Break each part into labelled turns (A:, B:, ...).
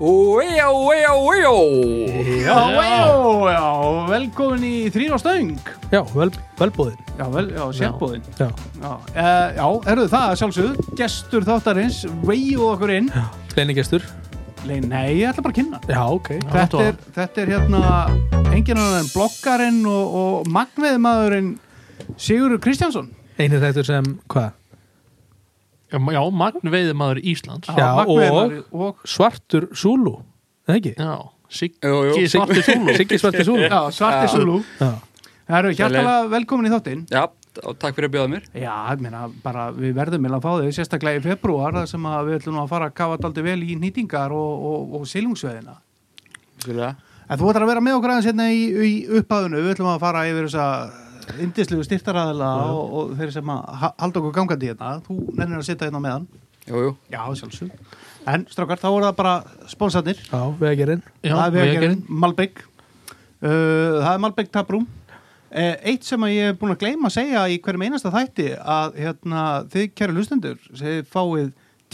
A: Ejó, ejó, ejó
B: Já, já, já, velkomin í þrýr á stöng
C: Já, vel, velbúðin
B: Já, vel, já, sérbúðin
C: Já,
B: Já, uh, já erðu það að sjálfsögðu Gestur þáttarins, veiðu okkur inn
C: leiningestur
B: Nei, nei, ég ætla bara að kynna
C: Já, ok
B: þetta er, þetta er hérna enginn annar en bloggarinn og, og magveðmaðurinn Sigurður Kristjánsson
C: Einir þættur sem, hvað?
D: Já, já magnveiði maður Íslands
C: Já,
B: magnveiðimaður og
C: Svartur Súlu, eða ekki?
D: Já,
A: Jú, jú,
D: Siggi
A: Siggi-
D: Svartur Súlu
C: Siggi Svartur Súlu
B: já, svarti
A: Já.
B: Sulu
C: Já,
B: Það eru hjartalega velkomin í þáttinn
A: Já, og takk fyrir að bjóða mér
B: Já, ég meina, bara við verðum meðan að fá þau sérstaklega í februar þar sem að við ætlum nú að fara að kafa daldi vel í nýtingar og, og, og silungsveðina
A: Sjölega.
B: En þú ætlar að vera með okkur aðeins hérna í, í upphafinu við ætlum að fara yfir þessa indislegu styrtaræðila og, og þeir sem að ha- halda okkur gangandi hérna þú nennir að sitja hérna á meðan
A: Jú, jú
B: Já, sjálfsög. En strákar, þá voru það bara sponsarnir.
C: já vegarinn
B: það
D: Já,
B: er vegagerðin,
D: vegagerðin
B: Malbygg. Uh, það er Malbygg Taprúm. Uh, eitt sem að ég er búin að gleyma að segja í hverjum einasta þætti að hérna, þið, kæru hlustendur, þið fáið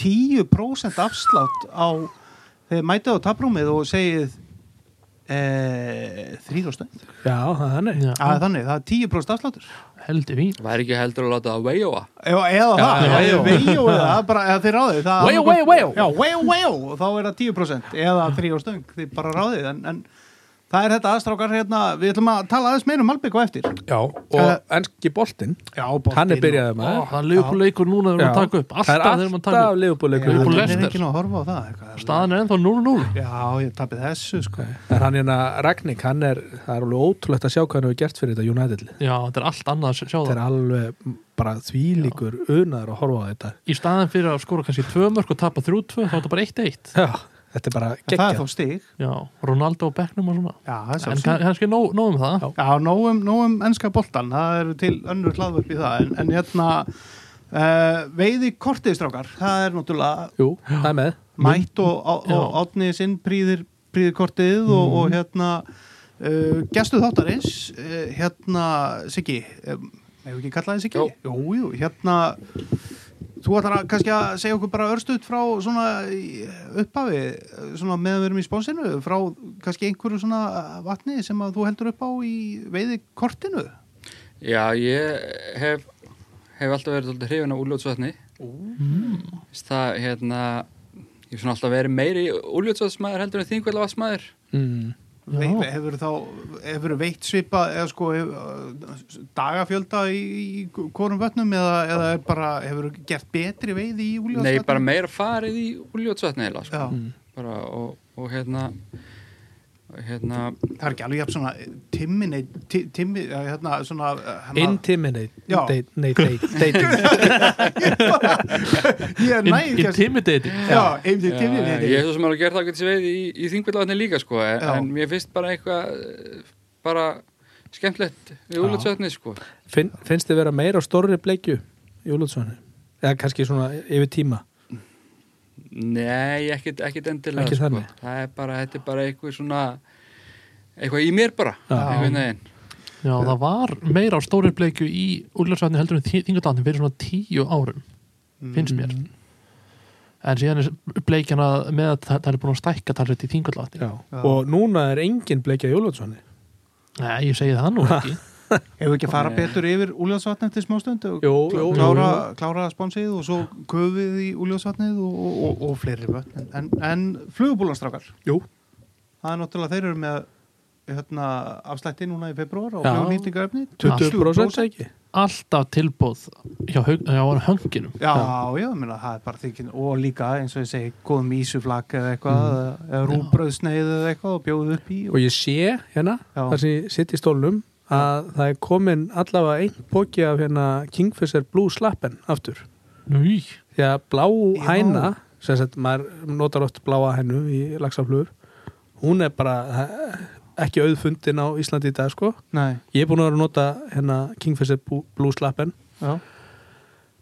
B: 10% afslátt á þið mætið á Taprúmið og segið uh, þrýðostönd.
C: Já, það er þannig
D: Já,
B: Það er þannig, það er 10% afsláttur.
D: heldur vín
A: Það er ekki heldur að láta það vejóa
B: Já, eða það, það er veio eða það, bara, eða þið ráðið það er
D: Veio,
B: annað hvort-
D: veio, veio.
B: Já, veio, veio, og þá er það 10% eða 3 og stöng, þið bara ráðið en, en það er þetta aðstrákar hérna við ætlum að tala aðeins meira um Malbygg og eftir
C: Já, og
B: Eh,
C: enski boltinn
B: Já,
C: Hann er byrjaðið
D: Ó,
C: maður
D: Það er leifbúleikur núna þegar við erum að
C: Já.
D: taka upp
C: Það er
D: Alltaf þegar við erum að taka
C: alltaf
D: upp
C: liðbúleikur
D: Já.
C: ja.
D: og
B: Það er
D: Leicester.
B: ekki nú að horfa á það eitthvað.
D: Staðan er ennþá 0-0
B: Já, ég tapið þessu sko
C: En hann hérna, Ragnik, hann er Það er alveg ótrúlegt að sjá hvað hann hefur gert fyrir þetta United lið.
D: Já, þetta er allt annað að sjá
C: Þetta
D: það
C: er alveg bara þvílíkur unaður að horfa á þetta
D: Í staðan fyrir að skora kannski 2 mörg og tapa 3-2 þá er þetta bara 1-1
C: Já, þetta er bara
B: En Það er
C: geggjað
B: þó stig
D: Já, Ronaldo á bekknum og svona
B: Já, það er
D: En
B: sjálfsög
D: kann- kannski nóg nóg um það
B: Já, um, nógum, nógum ennska boltan, það eru til önnur hlaðvörp í það, en, en hérna uh, veiði kortið strákar, það er náttúrulega
C: Jú, það er með
B: mætt og, á-
D: Já.
B: og átnið sinn príðir, príðir kortið og, og hérna uh, gestu þáttarins uh, hérna Siggi um, hefur ekki kallað þið Siggi?
A: Jó.
B: Jú, jú, hérna þú ætlar að kannski að segja okkur bara örstuðt frá svona í upphafi eh, svona meðan við erum í sponsinu frá kannski einhverju svona eh, vatni sem að þú heldur upp á í veiði kortinu
A: Já, ég hef, hef alltaf verið alltaf hrifin á úljótsvatni. Það, hérna, ég hef svona alltaf verið meiri úljótsvatsmaður heldur en þingvölda vatsmaður.
C: mm.
B: Veiði, hefur þá hefur veitt svipa eða sko hef, eh, dagafjölda í, í hvorum vötnum eða, eða er bara hefur gert betri veiði í úljóðsvötnum?
A: Nei, bara meira farið í úljótsvatni eða, sko.
B: Já,
A: Bara, og, og hérna, og hérna,
B: það er ekki alveg jafn svona timmini, timmi, eh, hérna svona eh, hérna-
C: Intimidate
B: Já.
C: Date- Nei, date- dating
B: Ég er næg
D: In- Intimidating
B: Já, einnig
A: Já,
B: timmini
A: ég hef svo sem alveg gert ákveðt sem veið í, í þingvöldavatni líka sko en,
B: Já.
A: en mér finnst bara eitthvað eh, bara skemmtlegt við úljótsvatni sko
C: Finn, Finnst þið vera meira á stórri bleikju í Úlútsvönu? Eða kannski svona yfir tíma
A: Nei, ekkit, ekkit endilega
C: Ekki
A: sko.
C: þannig?
A: Það er bara, þetta er bara eitthvað svona eitthvað í mér bara
C: Já.
A: einhvern veginn
D: Já, það var meira á stóri bleikju í úrlæðsvæðinu heldur en þingadáttin fyrir svona tíu árum, finnst mér.
C: Mm.
D: En síðan er bleikjana með að það, það er búin að stækka talveit í þingadáttin.
C: Já. Og núna er engin bleikja í Úlútsvönu
D: Nei, ég segi það nú ekki.
B: Hefur ekki fara betur yfir úljóðsvötnum til smástund og
C: Jú, jú, jú,
B: klára, klára sponsið og svo köfið í úljóðsvötnið og, og, og, og fleiri vötn en, en, en flugubúlanstrákar
C: jú.
B: Það er náttúrulega þeir eru með hérna, afslætti núna í februar og
C: Já.
B: flugnýtingarefni
C: 20% eða ekki
D: Alltaf tilbóð hjá, Hauk- hjá hönginum.
B: Já, já, ég meina, það er bara þykinn og líka eins og ég segi, góðum ísuflak eða eitthvað,
C: Mm.
B: eða rúbröðsneið eða eitthvað og bjóðu upp í
C: Og ég sé hérna,
B: Já.
C: þar sem ég sitt í stólnum að það er komin allavega einn póki af hérna Kingfisher Blue Slappen aftur
D: Núi.
C: því að blá
B: Já.
C: hæna sem sagt, maður notar oft bláa hænu í lagsaflugur hún er bara eh, ekki auðfundin á Íslandi í dag sko
B: Nei,
C: ég er búin að vera að nota hérna Kingfisher Blue Slappen
B: já,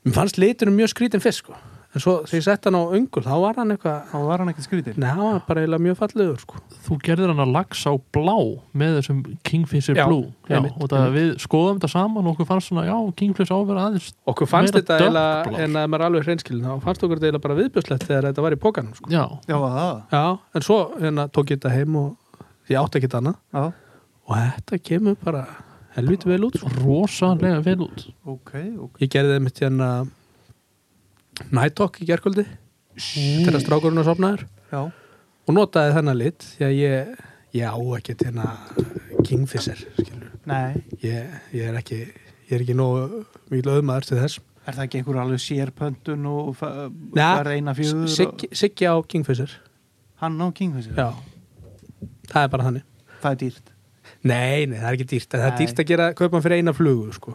C: mér fannst liturinn mjög skrítin fisk sko en svo þegar ég sett hann á öngul þá var hann eitthvað,
B: þá var hann ekkert skrítið
C: nei, hann var bara eiginlega mjög fallegur sko.
D: þú gerðir hann að lagsa á blá með þessum Kingfisher
C: Já,
D: Blue já,
C: einmitt,
D: og það við skoðum þetta saman og okkur fannst svona, já, Kingfisher áverða aðeins
C: okkur fannst
D: Meira
C: þetta
D: dökkblár.
C: eiginlega en að maður er alveg hreinskilin þá fannst okkur þetta eiginlega bara viðbjöðslegt þegar þetta var í pókanum sko.
D: já,
B: Já, það,
C: já, en svo hérna, tók ég þetta heim og ég átti ekki þetta annað
B: já,
C: og þetta kemur bara helviti vel út sko.
D: rosalega vel út
B: ok, ok
C: ég gerði það mitt hérna Night Talk í gerkvöldi þegar strákurinn að sopnaður
B: Já,
C: og notaði þennan lit því að ég, ég á ekkert hérna Kingfisher skilur.
B: nei,
C: ég, ég er ekki ég er ekki nógu mikil auðmaður til þess
B: er það ekki einhver alveg sérpöntun og fa-
C: Nei,
B: reyna fjöður og-
C: Siggi, Siggi á Kingfisher
B: Hann á Kingfisher,
C: já, það er bara þannig
B: það er dýrt
C: nei, nei, það er ekki dýrt en það er
B: Nei.
C: dýrt að gera, kaupa hann fyrir eina flugu sko.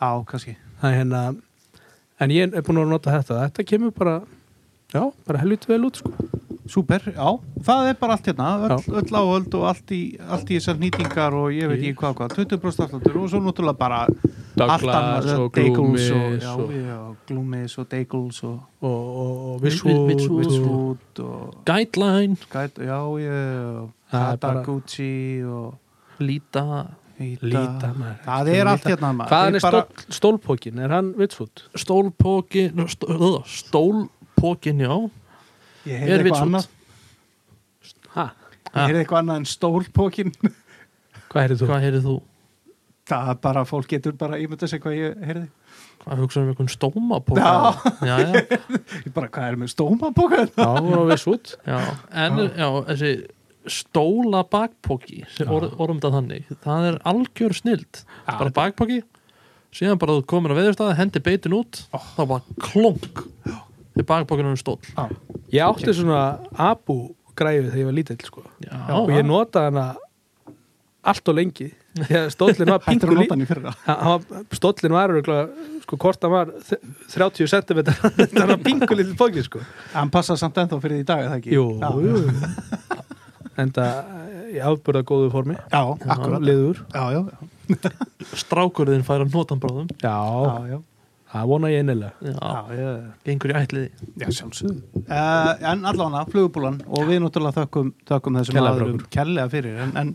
B: Já, kannski
C: það er hérna en ég er búin að nota þetta, þetta kemur bara já, bara helviti vel út sko.
B: Súper, já, það er bara allt hérna öll,
C: Já.
B: öll áhöld og allt í, allt í þessar nýtingar og ég veit ekki hvað og hvað 20% afsláttur og svo náttúrulega bara allt annað, Deigles og,
C: og Gloomis
B: já,
C: og,
B: já, Gloomis og Deigles og
C: og, og, og
D: Witchwood.
C: Visswood
B: Witchwood og
D: Guideline,
B: Gæt, já, ég
C: Það er bara-
B: Hataguchi og
D: Lita
B: Hita.
C: Líta maður
B: Það er allt hérna maður
C: Hvaðan
B: Þeir
C: er bara... stól, stólpókin? Er hann vitsfút?
D: Stólpókin stól, Stólpókin, já
B: Ég
D: Er
B: heyrði eitthvað
D: vitsfúll.
B: annað
C: Ha? Ah.
B: Ég heyrði eitthvað annað en stólpókin
C: Hvað er þú?
D: Hvað heyrið þú?
B: Það er bara, fólk getur bara ímynda sér hvað ég heyrði
D: Hvað hugsaðum við einhvern stómapóka?
B: Já.
D: já, já,
B: Ég bara, hvað er með hérna? stómapókan?
C: Já, hún var vitsfút
D: já. En já, þessi stóla bakpóki sem orð, orðum þetta þannig, það er algjör snild bara bakpóki síðan bara þú komir að veðurstaða, hendi beitin út þá bara klonk þegar bakpókinu er um stól já,
C: Ég átti svona abu græfið þegar ég var lítill sko. og
D: já.
C: ég notaði hana allt og lengi þegar stólinn var
B: Hættur að
C: pingu
B: nota hann í fyrra
C: lítið stólinn var örugglega, sko hvort hann var þ- 30 cm þetta var pingu lítið fókin sko
B: Hann passar samt ennþá fyrir því í dag, er það ekki?
C: Jú,
B: já,
C: jú. enda í afbörða góðu formi
B: já akkurat
C: liður
B: Já, já, já,
D: strákurðin fær að nota hann bráðum
C: já,
B: já, já,
C: það vona ég innilega
D: já,
B: já, já.
D: gengur í ætliði
B: já sjálfsög En allána, flugubúlan og við náttúrulega þökkum, þökkum þessum
C: Kærlega fyrir
B: aðrum kellega fyrir en, en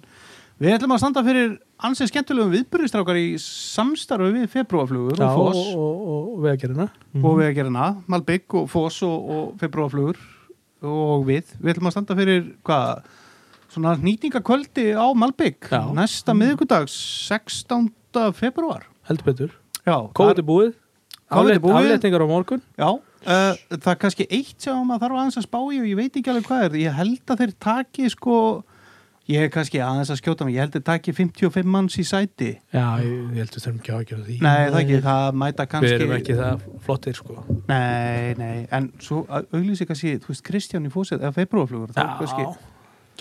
B: við ætlum að standa fyrir ansið skemmtilegum viðbyrðistrákar í samstarfi við februarflugur og
C: og,
B: fós
C: og, og, og vegagerina
B: og við að gera hana, Malbygg og Foss og, og februarflugur og við, við ætlum að standa fyrir hvað, svona nýtingakvöldi á Malbygg,
C: Já.
B: næsta miðvikudag 16. februar
C: heldur betur
B: Já,
C: Kóðið er
B: Kóðið
C: búið
B: er
C: Aflétt-
B: búið.
C: Afléttingar á morgun
B: Já, uh, það er kannski eitt sem maður þarf aðeins að spá í og ég veit ekki alveg hvað er ég held að þeir taki sko ég er kannski aðeins að skjóta mig, ég held að þeir taki 55 manns í sæti
C: Já, ég, ég heldur þurfum ekki að gera því
B: Nei, það ekki, það mæta kannski
C: Við erum ekki það flottir sko
B: Nei, nei, en svo auglýsi kannski, þú veist, Kristján í fósið eða februarflugur, það er kannski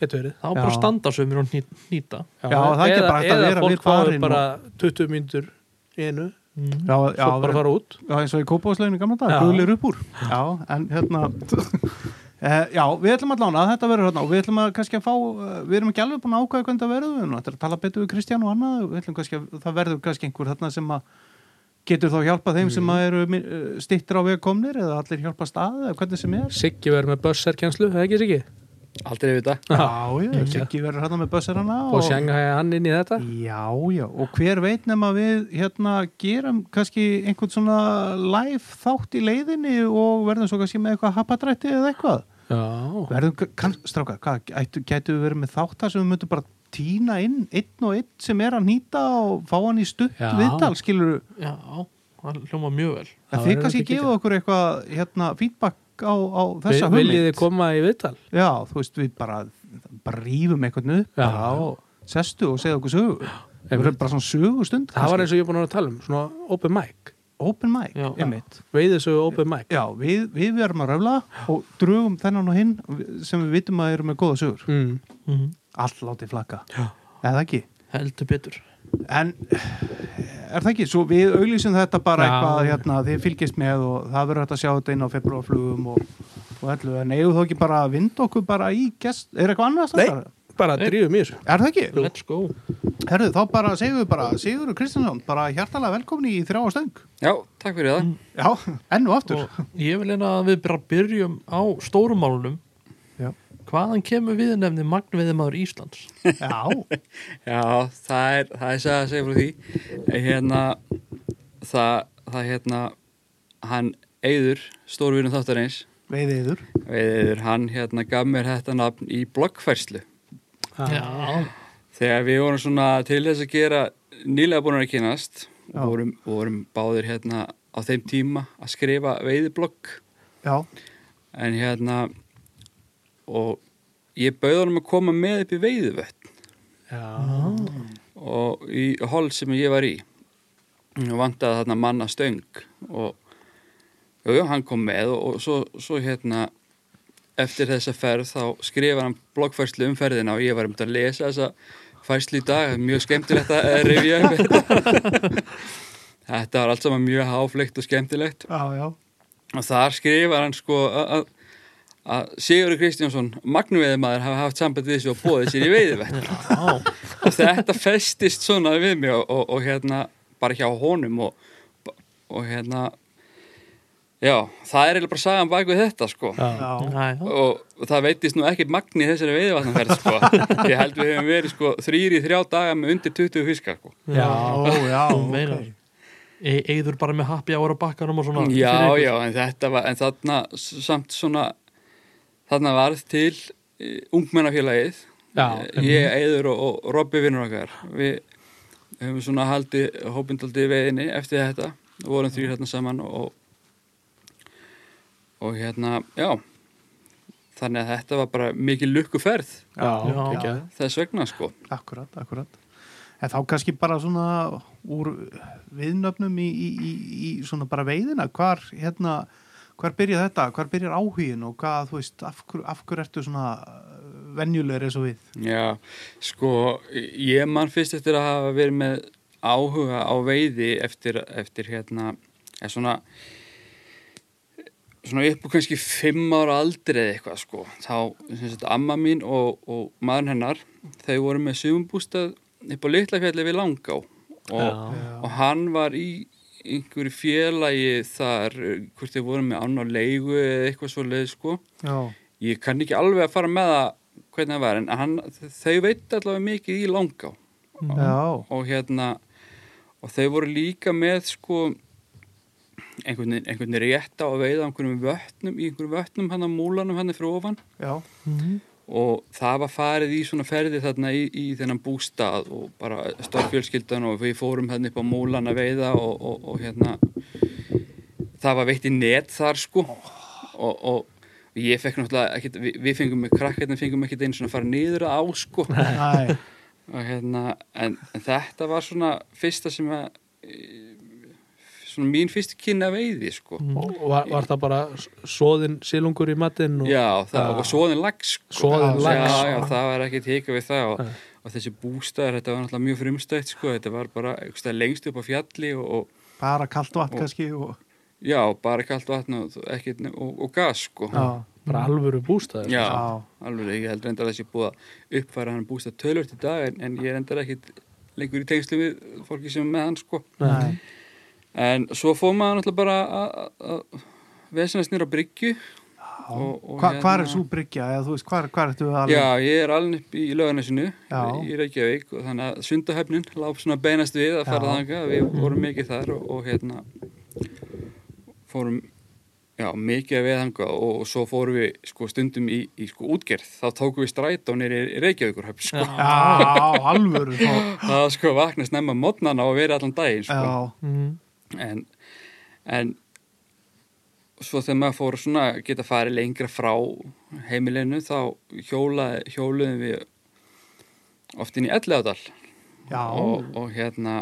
C: getur verið
D: þá bara
B: Já.
D: standa sömur og hnýt- hnýta
B: Já, það er ekki bara hægt að vera við
C: Eða fólk
B: barinn
C: fáið bara 20 mínútur í einu
D: mm.
B: Já, já,
C: Svo bara
B: verið-
C: fara út
B: Já, eins og í kópáðsleginu gamla dag,
C: Já.
B: guðlir upp úr. Já, en hérna, uh, já, við ætlum að lána að þetta verður hérna og við ætlum að kannski að fá, uh, við erum ekki alveg búin að ákvæða hvernig það verður, við erum náttúrulega að tala betur við Kristján og annað, við ætlum kannski að það verður kannski einhver þarna sem að getur þá hjálpað þeim sem að eru uh, stittir á veg komnir eða allir hjálpa staði eða hvernig sem er.
C: Siggi verður með börsarkjænslu, það ekki Siggi?
A: Aldrei við þetta.
B: Já,
C: Já.
B: já,
C: ekki.
B: Siggi verður hérna með bösserana
C: Og sjangaði hann inn í þetta
B: Já, já, og hver veit nema við hérna gerum kannski einhvern svona live þátt í leiðinni og verðum svo kannski með eitthvað hapadrætti eða eitthvað.
C: Já
B: Verðum, ka- kann, stráka, hvað, ættu, gætu við verið með þátt þar sem við möndum bara týna inn einn og einn sem er að nýta og fá hann í stutt
C: Já.
B: viðtal, skilur
D: já, það hljóma mjög vel
B: að
C: Það
B: þið
C: verður
B: kannski
C: ekki
B: gefa okkur eitthvað hérna feedback á, á þessa
C: Vi-
B: hugmynd.
C: Viljið þið koma í viðtal?
B: Já, þú veist, við bara, bara rýfum eitthvað upp
C: Já.
B: bara og sestu og segja okkur sögu. Það verður bara svona sögustund.
C: Það var
B: kannski.
C: eins og ég er búin að vera að tala um Svona open mic
B: open mic,
D: Já.
B: einmitt
C: Veiðið svo open mic
B: Já, við, við verum að röfla og drögum þennan og hinn sem við vitum að eru með góða sögur
C: mm.
B: Mhm.
D: mm.
B: allt látið flakka,
C: Já.
B: eða ekki
D: heldur betur
B: en er það ekki, svo við auglýsum þetta bara
C: Já.
B: eitthvað hérna, þið fylgist með og það verður hægt að sjá þetta inn á februarflugum og, og ætlu, en eigum þó ekki bara að vinda okkur bara í gest, er eitthvað annað að
C: Nei.
B: standa?
C: bara drífum í þessu
B: Er það ekki?
D: Let's go
B: Herðu, þá bara segjum við bara Sigur Kristinsson, bara hjartalega velkomin í þrjá á stöng
A: Já, takk fyrir það.
B: Já, enn og aftur
D: og ég vil eina að við bara byrjum á stórumálunum
B: Já.
D: hvaðan kemur viðnefni Magnveiðimaður Íslands
B: Já,
A: Já, það er, það er sagði að segja frá því hérna það, það hérna hann Eyður, stórvinum þáttarins
B: veiðið yður
A: Eyður, hann hérna gaf mér þetta nafn í bloggfærslu
D: Já,
A: þegar við vorum svona til þess að gera nýlega búin að kynast
B: Já.
A: og vorum, og vorum báðir hérna á þeim tíma að skrifa veiðiblogg
B: Já,
A: en hérna og ég bauð honum að koma með upp í veiðivött
C: Já.
A: og í hol sem ég var í og vantaði þarna manna stöng og jú, jú, hann kom með og, og svo, svo hérna eftir þessa ferð þá skrifa hann bloggfærslu um ferðina og ég var um að lesa þessa færslu í dag, mjög skemmtilegt að revja um þetta þetta var allt saman mjög háflegt og skemmtilegt
B: já, já
A: og þar skrifar hann sko að- að- að Sigurður Kristjánsson magnuveiðmaður hafa haft sambandi þessu og bóðið sér í veiðivett
D: já,
A: og þetta festist svona við mig og, og, og hérna bara hjá honum og, og hérna já, það er eiginlega bara sagan bak við þetta sko
C: Já.
B: Já,
D: já, já.
A: og það veitist nú ekkert magni í þessari veiðvatnanferð sko ég held við hefum verið sko þrýri þrjá daga með undir 20 fiskar sko
B: já, já
D: Þú
B: ok.
D: meinar. E Eður bara með happy hour á bakkanum og svona
A: já,
D: fyrir ykkur.
A: já, en þetta var en þarna s- samt svona þarna varð til eh, ungmennafélagið
C: Já,
A: Eh, ég, Eður og, og Robby vinnur okkar við höfum svona haldið hópindaldi veiðinni eftir þetta og vorum þrýr hérna saman og og hérna, já þannig að þetta var bara mikil lukkuferð
B: Já,
D: Já.
C: ekki að-
A: þess vegna sko
B: Akkurat, akkurat. En þá kannski bara svona úr viðnöfnum í, í, í, í svona bara veiðina, hvar hérna, hvar byrja þetta, hvar byrjar áhugin og hvað, þú veist, af hverju af hver ertu svona uh, venjulegur eins og við?
A: Já, sko, ég man fyrst eftir að hafa verið með áhuga á veiði eftir, eftir hérna, eða svona svona upp á kannski fimm ára aldri eða eitthvað sko þá, sem sagt, amma mín og, og maður hennar, þau voru með sumbústað upp á Litlafjalli við Langá og, og hann var í einhverju félagi þar, hvort þau voru með án á leigu eða eitthvað svo leið sko
B: Já,
A: ég kann ekki alveg að fara með það hvernig það var en hann, þau veit allavega mikið í langá
B: já,
A: og hérna og þau voru líka með sko einhvern, veginn- einhvern veginn rétt á að veiða á einhverjum vötnum í einhverjum vötnum hann að múlanum hann er frá ofan
B: já,
A: og það var farið í svona ferði þarna í, í þennan bústað og bara stórfjölskyldan og við fórum þarna upp á múlan að veiða og, og, og hérna það var veitt í net þar sko og, og ég fekk náttúrulega ekkit, við, við fengum með krakkarnir fengum ekkit einu svona að fara niður að á sko
B: næ,
A: og hérna en, en þetta var svona fyrsta sem að eh, svona mín fyrstu kynna veiði sko
C: Og var, var það bara soðin silungur í matinn og
A: Já, það, og svoðin lags sko.
C: Soðinn lax.
A: já, já, það var ekkert hika við það og, og þessi bústæður, þetta var náttúrulega mjög frumstætt sko. þetta var bara einhvers staðar lengst upp á fjalli og, og
B: bara kalt vatn
A: Og-
B: kannski og,
A: já, bara kalt vatn og, ekki, og, og gas sko.
B: já,
C: bara alvöru bústæður
A: já,
B: Já.
A: alveg, ég held reyndar að þessi búið að uppfæra hann bústæð tölvört í dag en, en ég er reyndar ekkert lengur í tengslu við fólki sem er með hann sko.
B: næ,
A: en svo fór maður náttúrulega bara að- að vesinast nýra bryggju og- og
B: hva, hvar
A: hérna-
B: er svo bryggja, eða þú veist, hvar, hvar ertu að
A: Já, ég er alveg upp í lögarnesinu
B: Já.
A: í Reykjavík og þannig að sundahöfnin láf svona beinast við að fara
B: Já.
A: þangað við vorum mikið þar og, og hérna fórum já, mikið að við þangað og, og svo fórum við sko stundum í, í sko útgerð þá tókum við strætó nýri Reykjavíkurhöfn sko.
B: Já, alvöru þá,
A: það var sko vakna snemma mótnana og verið allan daginn sko
B: já,
D: Mhm.
A: en, en svo þegar maður fór svona að geta farið lengra frá heimilinu þá hjóla, hjóluðum við oft inn í Ellegadal
B: já,
A: og, og hérna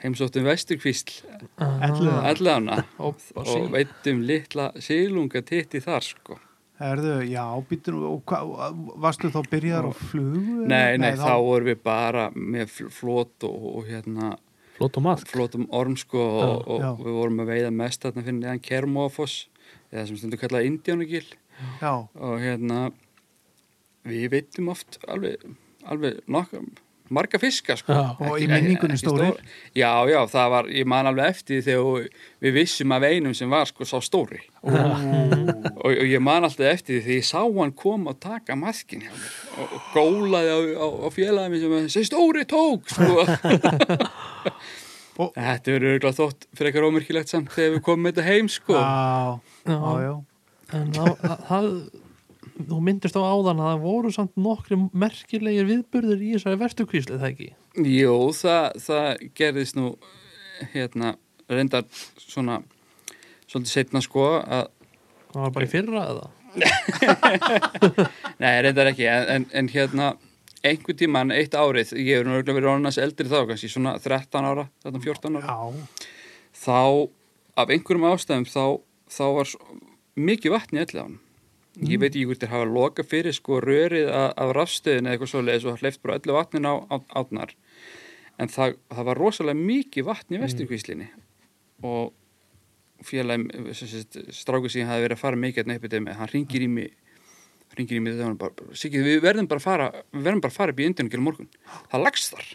A: heimsóttum vesturkvísl
B: ellu það.
A: Ellegana
D: og,
A: og veittum litla sílunga titti þar sko
B: Herðu, já, býtur nú, og hva, varstu þá byrjar á flugu?
A: nei, nei, þá vorum við bara með fl- flot og, og hérna
C: flott og maðk
A: flótum orm sko og,
B: Já.
A: og við vorum að veiða mest þarna fyrir neðan Kermofoss eða sem stundu kallaði Indiánugil
B: Já,
A: og hérna við veitum oft alveg, alveg nokka, marga fiska sko.
C: Já.
B: Og í
A: Ekki- ekki-
B: minningunni
A: ekki
B: stórir.
A: stór- já, já, það var, ég man alveg eftir því þegar við vissum af einum sem var sko sá stóri og, og ég man alltaf eftir því því ég sá hann koma og taka maskin hjá mér og, og gólaði á, á, á félagið mér sem að þessi stóri tók sko.
B: Og-
A: þetta verður auðvitað þótt fyrir eitthvað ómerkilegt samt þegar við komum með þetta heim sko.
B: Já,
D: Já.
B: já, já.
D: en það, það- það þú myndist á áðan að það voru samt nokkri merkilegir viðburður í þessari vesturkvíslu, það ekki?
A: Jú, það, það gerðist nú hérna, reyndar svona svolítið setna sko að,
D: Það var bara í fyrra eða?
A: nei, reyndar ekki en, en, en hérna, einhvern tíman eitt árið, ég er nú auðvitað verið onnast eldri þá, kannski svona 13 ára 13, 14 ára,
B: já.
A: þá af einhverjum ástæðum þá, þá var svo, mikið vatn í öllu án ég veit ekki hvort þér hafa lokað fyrir sko rörið af, af rafstöðin eða eitthvað svoleiðis og hleyft bara öllu vatnin á, á átnar en það, það var rosalega mikið vatn í vesturkvíslinni og félagum stráku síðan hafi verið að fara mikið hérna upp í dæmi, hann ringir í mig ringir í mig þegar hann bara, bara Siggi, við verðum bara að fara, við verðum bara að fara upp í indunum gælum morgun, það lagst þar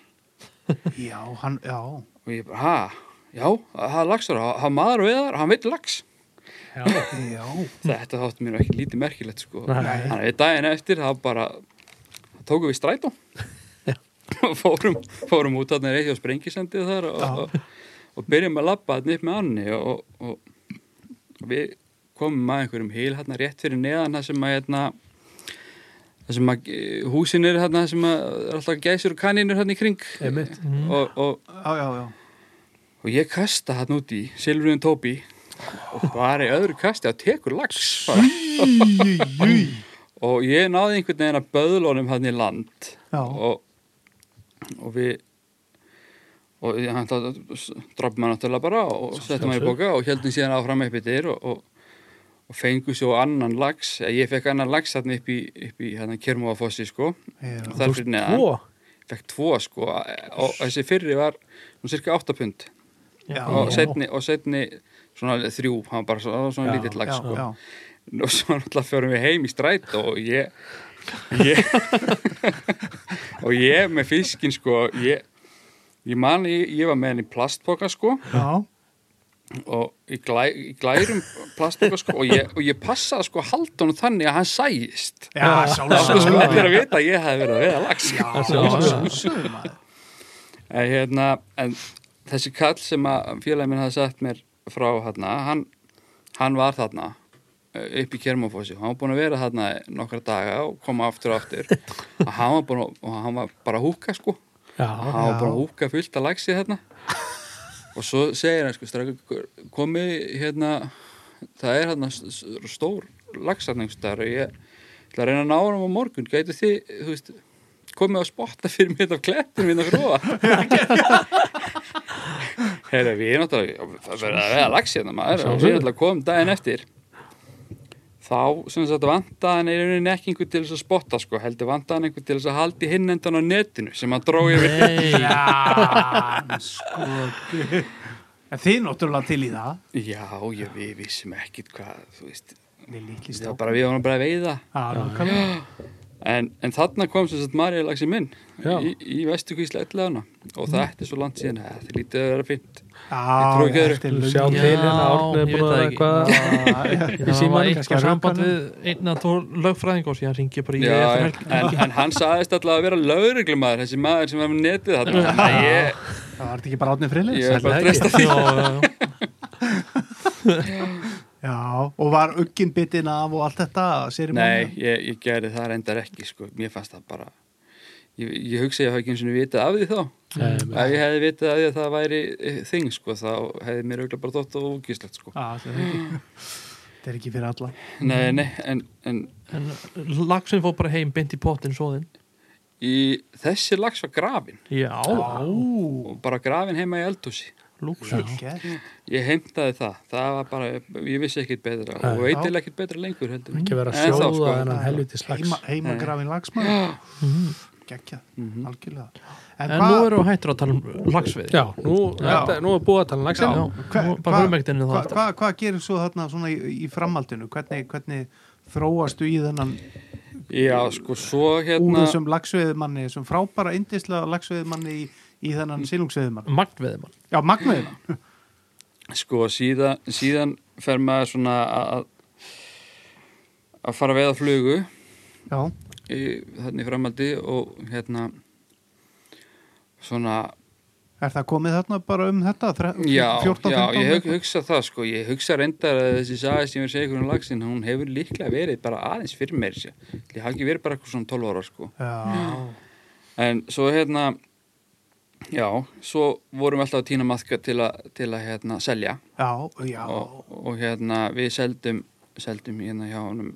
B: Já, hann, já.
A: og ég bara, ha, já, það er laxar það er maður við þar, hann veit lax
B: Já.
A: þetta þátti mér nú ekki lítið merkilegt sko
C: Nei.
A: þannig að daginn eftir þá bara tókum við strætó og fórum, fórum út þarna reyði og sprengisendið þar og, og, og byrjum að labba þarna upp með annni og, og, og við komum að einhverjum hýl hérna rétt fyrir neðan það sem að hérna það sem að eh, húsin er hérna það sem að er alltaf gæsir og kaninur hérna í kring
C: Einmitt.
A: og, og
B: Já, já, já.
A: og ég kasta hann út í Silfriðin Tóbi og var í öðru kasti á tekur lags bara. og ég náði einhvern veginn að böðlónum hann í land
B: Já.
A: og, og við og ég- hann dropp maður náttúrulega bara og settum maður í boka og heldum síðan áfram upp yfir og, og, og fengu svo annan lags ég fekk annan lags þarna upp í, upp í hann kermóafossi sko
B: Já.
A: þar fyrir neðan
C: Tvo?
A: fekk tvo sko og þessi fyrri var um cirka 8 pund
B: Já.
A: og setni, og setni svona þrjú, hann var bara svona, svona
C: Já,
A: lítill lag
B: Já,
A: sko.
B: já.
A: og svo náttúrulega förum við heim í stræt og ég, ég og ég með fiskin sko, ég ég man, ég, ég var með hann í plastpoka sko
B: Já.
A: og í, glæ, í glærum plastpoka sko og ég, og ég passaði sko að halda hann þannig að hann sæist
B: Já,
A: það sko
B: sjálfsögum.
A: allir að vita að ég hafði verið að veða lags
B: Já, sjálfsögum. maður.
A: en, hérna, en þessi kall sem að félagin minn hafði sagt mér frá hérna, hann, hann var þarna eh, upp í Kermofossi hann var búin að vera þarna nokkra daga og koma aftur og aftur og hann var, búin, að- og hann var bara að húka sko
C: Já.
A: hann var bara að húka fullt að lagsi þarna og svo segir hann sko strákur, komi hérna það er hérna s- s- stór lagsarningstar og ég ætla að reyna að ná hann á morgun gæti þið, þú veist komið að spotta fyrir mig þetta hérna af klettin minna fróa Herra, við erum náttúrulega það verður að vega lagsi hérna maður og við erum náttúrulega komum um daginn eftir þá sem sagt vandaðan er einhvern veginn ekki einhver til þess að spotta sko, heldur vandaðan einhver til þess að haldi hinn endan á netinu sem hann dró yfir
D: Nei,
B: Já, sko. En þið náttúrulega til í það.
A: Já, já, við vissum ekkit hvað, þú veist,
B: Við líkist
A: það var bara við varum bara að veiða.
B: Já, nákvæmlega.
A: En, en þarna kom sem sagt Marjalaxi minn
C: Já.
A: í, í vestukvísla ellana og það ætti svo langt síðan, það lítið að vera fint.
B: Já,
A: trúi ekki öðru.
B: þetta er
C: Þú
B: löngu-
C: sjá til hérna Árni
D: ég
C: er búin
D: veit
C: að
D: það ekki.
C: eitthvað
B: Já, já.
D: það var
C: símanum,
D: eitthvað
B: kannski
D: samband
B: rökvarnir.
D: við einn að tvo lögfræðing og síðan ringi bara í
A: Já,
D: eftir
A: en,
D: helgi.
A: en, en hann saðist alltaf að vera lögreglumæður, þessi maður sem var með netið þarna. Þannig að ég,
B: Það var þetta ekki bara átnið friðlis.
A: ég er bara að
C: Sætlega
A: treysta
D: Já, já, já.
B: Já, og var uggin bitinn af og allt þetta
A: Nei,
B: sérimóni?
A: ég, ég gerði það reyndar ekki, sko, mér fannst það bara, ég, ég hugsa að ég hafa ekki eins og vitað af því þá. Ef ég hefði vitað af því að það væri eh, þing, sko, þá hefði mér auðvitað bara þótt og úkislegt, sko.
B: Já, þetta er ekki- þetta er ekki fyrir alla.
A: Nei, nei, en, en
D: En lagsin fór bara heim beint í pottin svoðinn.
A: í þessi lags var grafin
D: Já,
B: Ó,
A: og bara grafin heima í eldhúsi
D: lúksus.
B: gert.
A: ég heimtaði það, það var bara ég vissi ekkit betra
C: Nei.
A: og veitil ekkit betra lengur heldur
C: ekki vera
A: En
C: að
A: þá, sko.
C: sjóða þennan helviti slags
B: Heima, heima grafin lagsmaður. Gekkjað,
A: Mhm.
B: algjörlega. En,
D: En
B: hvað-
D: nú eru hættur að tala um lagsveið.
C: Já, nú, Þetta, nú er búið að tala um
B: Já,
C: lagsin
B: hva-
D: nú bara
B: hva-
D: förum ekkert inn í það
B: hva-
D: aftur.
B: Hvað hva gerir svo þarna svona í, í framhaldinu? Hvernig, hvernig þróastu í þennan
A: Já, sko, svo
B: úr
A: hérna
B: þessum lagsveðumanni, þessum frábæra indislega lagsveðumanni í, í
A: Mm.
B: þennan silungsveðumann.
D: Magnveðimann
B: Já, magveðumann.
A: sko, síðan, síðan fer maður svona að að fara að veiða flugu
B: Já,
A: í, þannig framaldi og hérna svona
B: er það komið þarna bara um þetta? Þre-
A: já,
B: 14,
A: já,
B: 15?
A: ég hug, hugsa það sko ég hugsa reyndar að þessi saga sem ég segi ykkur um lagsin, hún hefur líklega verið bara aðeins fyrir mér sér, ég haf ekki verið bara eitthvað svona 12 ára sko,
B: Já,
A: en svo hérna já, svo vorum við alltaf að týna maðka til að til að hérna selja
B: já, já.
A: og, og hérna við seldum seldum hérna hjá honum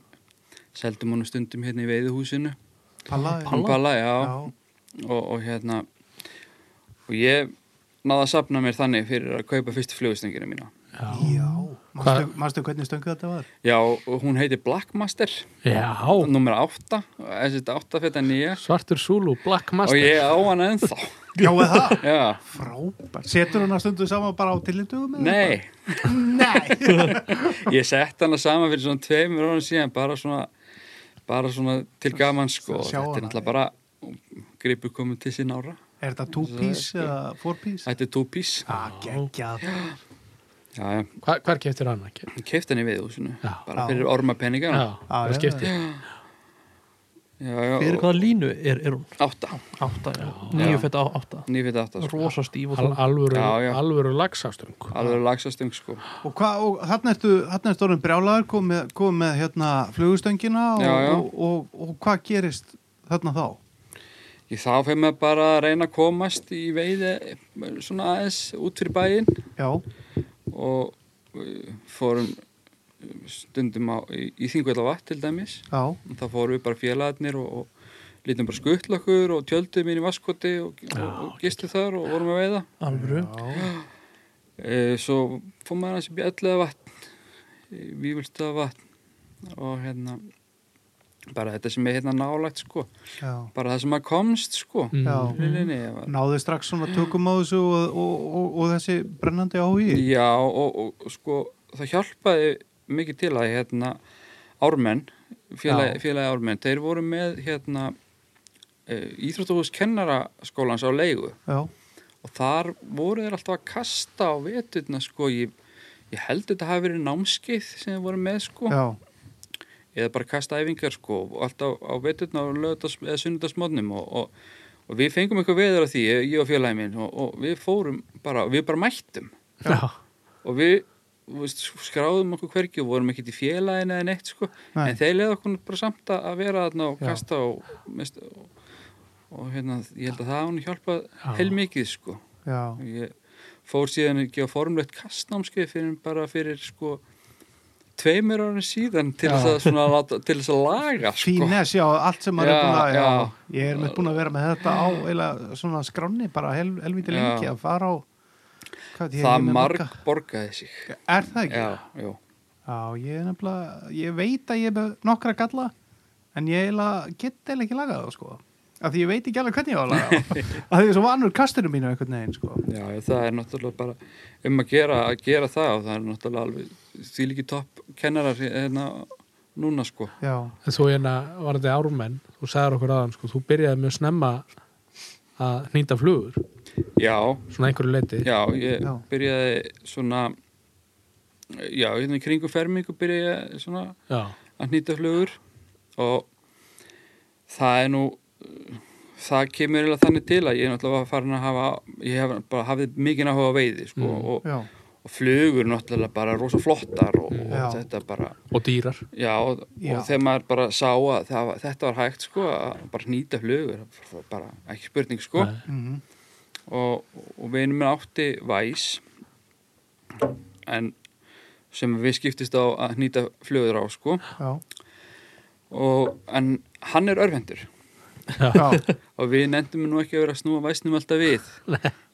A: seldum honum stundum hérna í veiðuhúsinu
B: Palla,
A: Hún Palla, já,
B: já.
A: Og, og hérna og ég náða að safna mér þannig fyrir að kaupa fyrstu flugustengina mína
B: Já,
A: Mm.
B: manstu, manstu hvernig stöngu þetta var?
A: Já, og hún heitir Blackmaster
D: Já,
A: Númer 8, þessi þetta 8 fyrir nýja
D: svartur súlu, black
A: Og
D: master
A: ég á hana ennþá
B: Já, eða það?
A: Já,
B: Frábært. Setur hann að stundu saman bara á tillitugum?
A: nei,
B: Nei.
A: ég sett hana saman fyrir svona tveimur ára síðan bara svona, bara svona til gaman sko Þetta
B: Sjá
A: er
B: hana.
A: náttúrulega bara gripur komið til sín ára
B: Er þetta two piece eða four piece?
A: Þetta er túpís
B: Ah, geggjað.
A: Já, já,
C: Hva, hvar keftir hann ekki?
A: keift henni við húsinu
C: Já.
A: Bara
B: Já.
A: fyrir orma peningana
C: Já,
B: Já,
C: það
B: já,
C: skiptir
A: Já, já,
D: Fyrir
A: og-
D: hvaða línu er, er hún?
A: átta
D: Átta, já, nýju fætt á átta
A: Nýfitt átta sko.
D: Rosa stíf og
C: Al,
D: það
C: alvöru,
A: Já, já.
C: alvöru lagsastung
A: Alveg lagsastöng sko
B: Og, hva, og þarna ertu, þarna ertu orðin brjálaður, komið með, kom með hérna flugustöngina og,
A: Já, já.
B: Og, og, og, hvað gerist þarna þá?
A: Í þá fyrir maður bara að reyna að komast í veiði svona aðeins út fyrir bæinn
B: Já,
A: og uh, fórum uh, stundum á, í, í þingvölda vatn til dæmis
B: já,
A: og þá fórum við bara félagarnir og, og lítum bara skuttlakur og tjöldum inn í vaskoti og, og, og gistu þar og vorum að veiða
D: Alvöru
B: já,
A: uh, Svo fórum maður aðeins í bjallega vatn vífulstaða vatn og hérna bara þetta sem er hérna nálægt sko
B: já.
A: bara það sem maður komst sko
C: Mm.
B: Já.
A: Nei, nei, nei, ég var-
B: Náðu strax svona tökum á þessu og, og, og, og þessi brennandi áhugi?
A: Já, og, og, og sko, það hjálpaði mikið til að hérna ármenn, félagi, félagi ármenn, þeir voru með hérna e, Íþróttahús kennaraskólans á leigu
B: Já,
A: og þar voru þeir alltaf að kasta á veturna sko, ég, ég held þetta hafi verið námskið sem þeir voru með sko,
B: já,
A: eða bara kasta æfingar sko, og alltaf á veturna og lögðast eða sunnudasmónum og, og, og við fengum eitthvað veður af því, ég og félagi minn og, og við fórum bara, við bara mættum
D: Já,
A: og við þú veist, skráðum okkur hvergi og vorum ekkert í félaginu eða neitt sko.
B: Nei.
A: en þeir leiði okkur bara samt að- að vera þarna og
B: Já.
A: kasta og, mest, og, og hérna, ég held að það hún hjálpað heilmikið sko.
B: já,
A: ég fór síðan ekki á formlegt kastnámskeið fyrir bara fyrir sko tveimur árið síðan til þess að, svona, láta- til þess að laga sko.
B: fínes, já, allt sem maður
A: Já,
B: er búin að,
A: já.
B: já, ég er með búin að vera með þetta á, eila, svona skráni, bara hel, helviti
A: Já.
B: lengi að fara á, hvað ég
A: það
B: ég með
A: marg
B: marga-
A: borgaði sig
B: Er það ekki?
A: já, já,
B: Já, ég er nefnilega, ég veit að ég er með nokkra galla, en ég eiginlega get eða ekki lagað þá, sko. Af því ég veit ekki alveg hvernig ég á að laga þá. Af því ég er svo vanur kastinu mínu einhvern veginn, sko.
A: já, það er náttúrulega bara um að gera, að gera það og það er náttúrulega alveg því líki topp kennarar hérna núna sko
B: Já,
C: En þú hérna var þetta ármenn þú sagðir okkur aðan, sko, þú byrjaði mjög snemma að hnýta flugur
A: Já,
C: svona einhverju leiti
A: já, ég
B: Já.
A: byrjaði svona já, hérna í kringu fermingu byrjaði ég svona
C: já.
A: að hnýta flugur og það er nú það kemur eiginlega þannig til að ég er náttúrulega farin að hafa ég hef bara hafið mikið áhuga á veiði sko, og,
B: já,
A: og flugur náttúrulega bara rosa flottar og, og
B: Já.
A: þetta bara
C: og dýrar
A: Já, og,
B: Já.
A: og þegar maður bara sá að það, var- þetta var hægt sko að bara nýta flugur bara ekki spurning sko
C: Nei.
B: mhm,
A: og, og vinur minn átti væs en sem við skiptist á að nýta flugur á sko
B: já,
A: og, en hann er örfendur
B: já,
A: og við nefndum nú ekki að vera að snúa væsnum alltaf við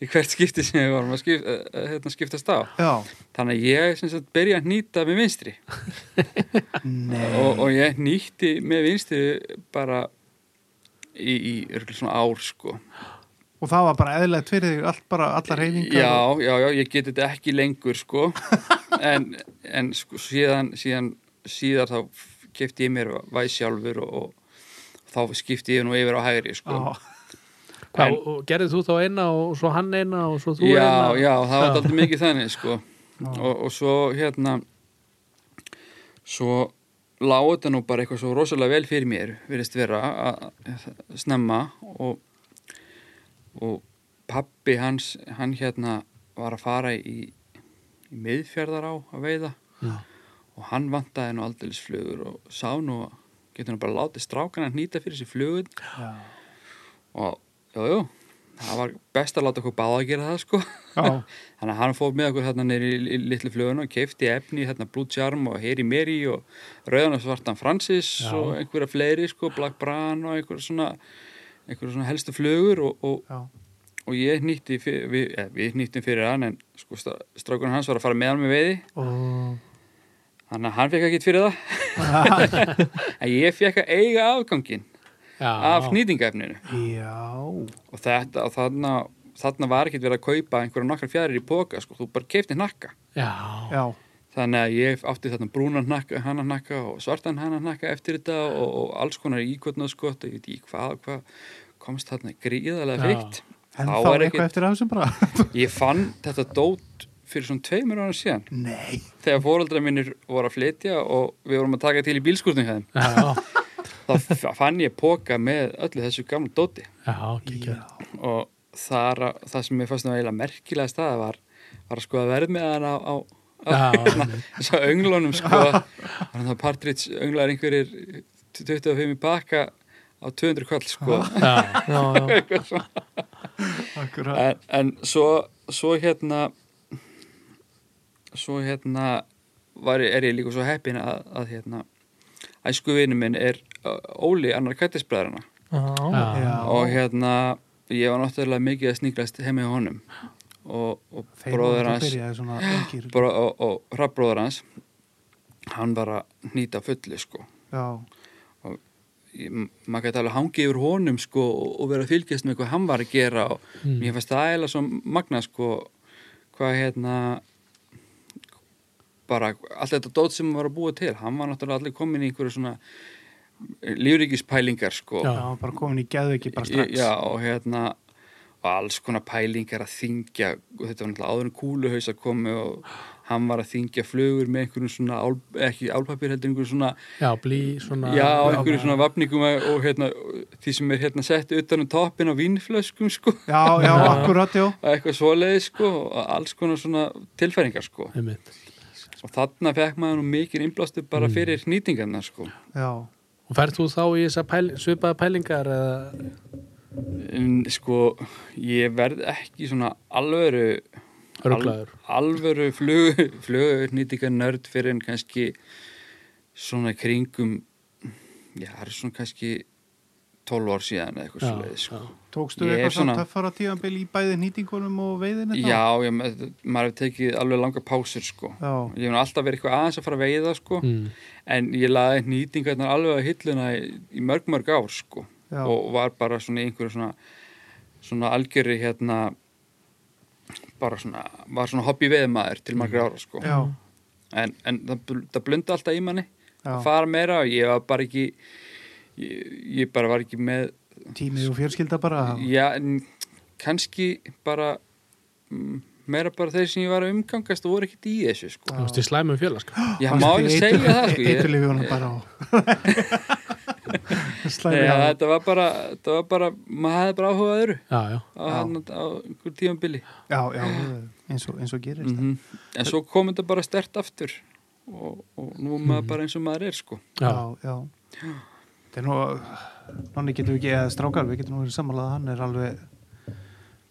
A: í hvert skipti sem við varum að skip, að, að, hérna, skiptast á
B: já,
A: þannig að ég sem sagt byrja að nýta með vinstri
B: nei,
A: og, og ég nýtti með vinstri bara í, í örugglega svona ár sko
B: og það var bara eðlilegt fyrir þig, allt bara, alla reyningar.
A: já, já, já, ég geti þetta ekki lengur sko en, en sko, síðan, síðan síðar þá kefti ég mér væs sjálfur og, og, þá skipti ég nú yfir á hægri sko.
B: Á,
C: Hvað,
A: En-
C: og- og gerðið þú þá eina og svo hann eina og svo þú
A: já,
C: eina
A: já, það var alltaf mikið þannig sko. og, og svo hérna svo lágu þetta nú bara eitthvað svo rosalega vel fyrir mér virðist vera að snemma og, og pappi hans hann hérna var að fara í, í miðfjörðar á að veiða
D: Já.
A: og hann vantaði nú aldeilis flugur og sá nú að getur nú bara látið strákana hnýta fyrir sér flugun
B: já.
A: og jú, jú, það var best að láta okkur báða að gera það sko
B: Já.
A: þannig að hann fór með okkur hérna neyri í, í litlu flugun og keifti efni hérna Blue Charm og Heri Meri og Rauðan og Svartan Francis og einhverja fleiri sko, Black Bran og einhverja svona einhverja svona helstu flugur og, og,
B: Já.
A: og ég nýtti fyrir, við, eh, við nýttum fyrir hann en sko stra- strákurinn hans var að fara með hann með veiði
D: og
A: þannig að hann fekk ekkert fyrir það en ég fekk að eiga afgangin af nýtingafninu
B: Já.
A: og þetta og þarna, þarna var ekkert verið að kaupa einhverja nokkar fjærir í póka sko, þú bara keifti hnakka
D: já,
B: Já.
A: þannig að ég átti þarna brúnan hnakka, hana hnakka og svartan hana hnakka eftir þetta og, og alls konar íkvötna skott ég veit ekki hvað, og hvað komst þarna gríðalega
D: Já.
A: feikt
B: En
A: Þá
B: þá
A: er
B: er
A: ekkert-
B: eitthvað eftir af þessu bara.
A: ég fann þetta dót fyrir svona tveimur ára síðan
B: Nei.
A: þegar fóreldra mínir voru að flytja og við vorum að taka til í bílskúrnum hjá þeim
D: já,
A: þá f- fann ég póka með öllu þessu gamla dóti
D: já, kikja
A: og þar, það sem ég fannst nú eiginlega merkilega staða var, var að skoða verð með hann á, á, á
D: Já,
A: hérna, þess að önglunum sko, var hann það partridge önglar einhverjir 25 í baka á 200 kvall sko
D: já, já, já,
A: eitthvað svona
B: Akkurat.
A: en, en svo, svo hérna svo hérna var, ég- er ég líka svo heppin að, að hérna æsku vinur minn er uh, Óli annar kættisbræðrana
D: já,
B: Já.
A: og hérna ég var náttúrulega mikið að sníklast heim með honum og, og
B: Þeir voru
A: bróður
B: að
A: hans
B: byrja svona ungir.
A: bró, og, og hrappbróður hans hann var að nýta fullu sko
B: Já.
A: Ég- maður gæti alveg hangið yfir honum sko og, og vera að fylgjast með hvað hann var að gera og mér fannst það eða svo magna sko hvað hérna bara allt þetta dót sem hann var að búa til hann var náttúrulega allir komin í einhverju svona lífríkispælingar sko
D: Já.
B: Já, bara komin í geðveiki bara strax.
A: Já, og hérna og alls konar pælingar að þingja og þetta var náttúrulega áður en kúluhaus að komi og hann var að þingja flugur með einhverjum svona, ál, ekki álpapir heldur einhverjum svona,
C: já blí svona
A: já, einhverjum svona vapningum að- og hérna, því sem er hérna sett utan um toppin á vínflöskum sko,
B: Já, já, akkurat, já.
A: og eitthvað svoleiði sko, og alls konar svona tilfæringar sko,
C: Einmitt.
A: og þarna fekk maður nú mikið innblástu bara fyrir hnýtingarna sko.
B: Já.
C: og ferð þú þá í þessar pæl, svipaða pælingar eða
A: En sko, ég verð ekki svona alvöru
C: örglaður
A: alvöru flug, flugurnýtingar nörd fyrir en kannski svona í kringum já, það er svona kannski 12 ár síðan eða eitthvað
C: Já,
A: svoleiði sko.
B: Tókstu
A: Ég er
B: eitthvað svona
A: svona-
B: töffara tíðanbíl í bæði nýtingunum og veiðinu?
A: já, já, ma- maður hef tekið alveg langa pásir sko.
B: Já.
A: ég hef nú alltaf verið eitthvað aðeins að fara að veiða sko.
D: Mm.
A: en ég laði nýtingarnar alveg að hilluna í, í mörg mörg ár sko.
B: Já.
A: og var bara svona í einhverju svona, svona algjörri hérna bara svona, var svona hobby veðmaður til margra ára sko.
B: Já.
A: en, en það, bl- það blundi alltaf í manni
B: Já.
A: að fara meira og ég var bara ekki ég, ég bara var ekki með
B: Tímið og fjörskilda bara.
A: já, en kannski bara mm, meira bara þeir sem ég var að umgangast og voru ekkert í þessu sko.
B: Já.
C: þú veist í slæmum félag sko.
A: já, má
B: Fannst
A: ekki
B: þið
A: segja
B: eitur-
A: það sko. ég,
B: eiturlyfið honum bara á slæmi
A: já,
B: á
A: þetta var bara, þetta var bara maður hefði bara áhugað öðru
C: já, já,
A: á,
B: Já.
A: hann, á einhver tímabili
B: já, já, eins og, eins og gerist
A: mm en svo kom þetta bara stert aftur og, og nú er
B: Mhm.
A: maður bara eins og maður er sko.
C: já.
B: já, já þetta er nú nonni getum við ekki, eða strákar við getum nú verið samanlega hann er alveg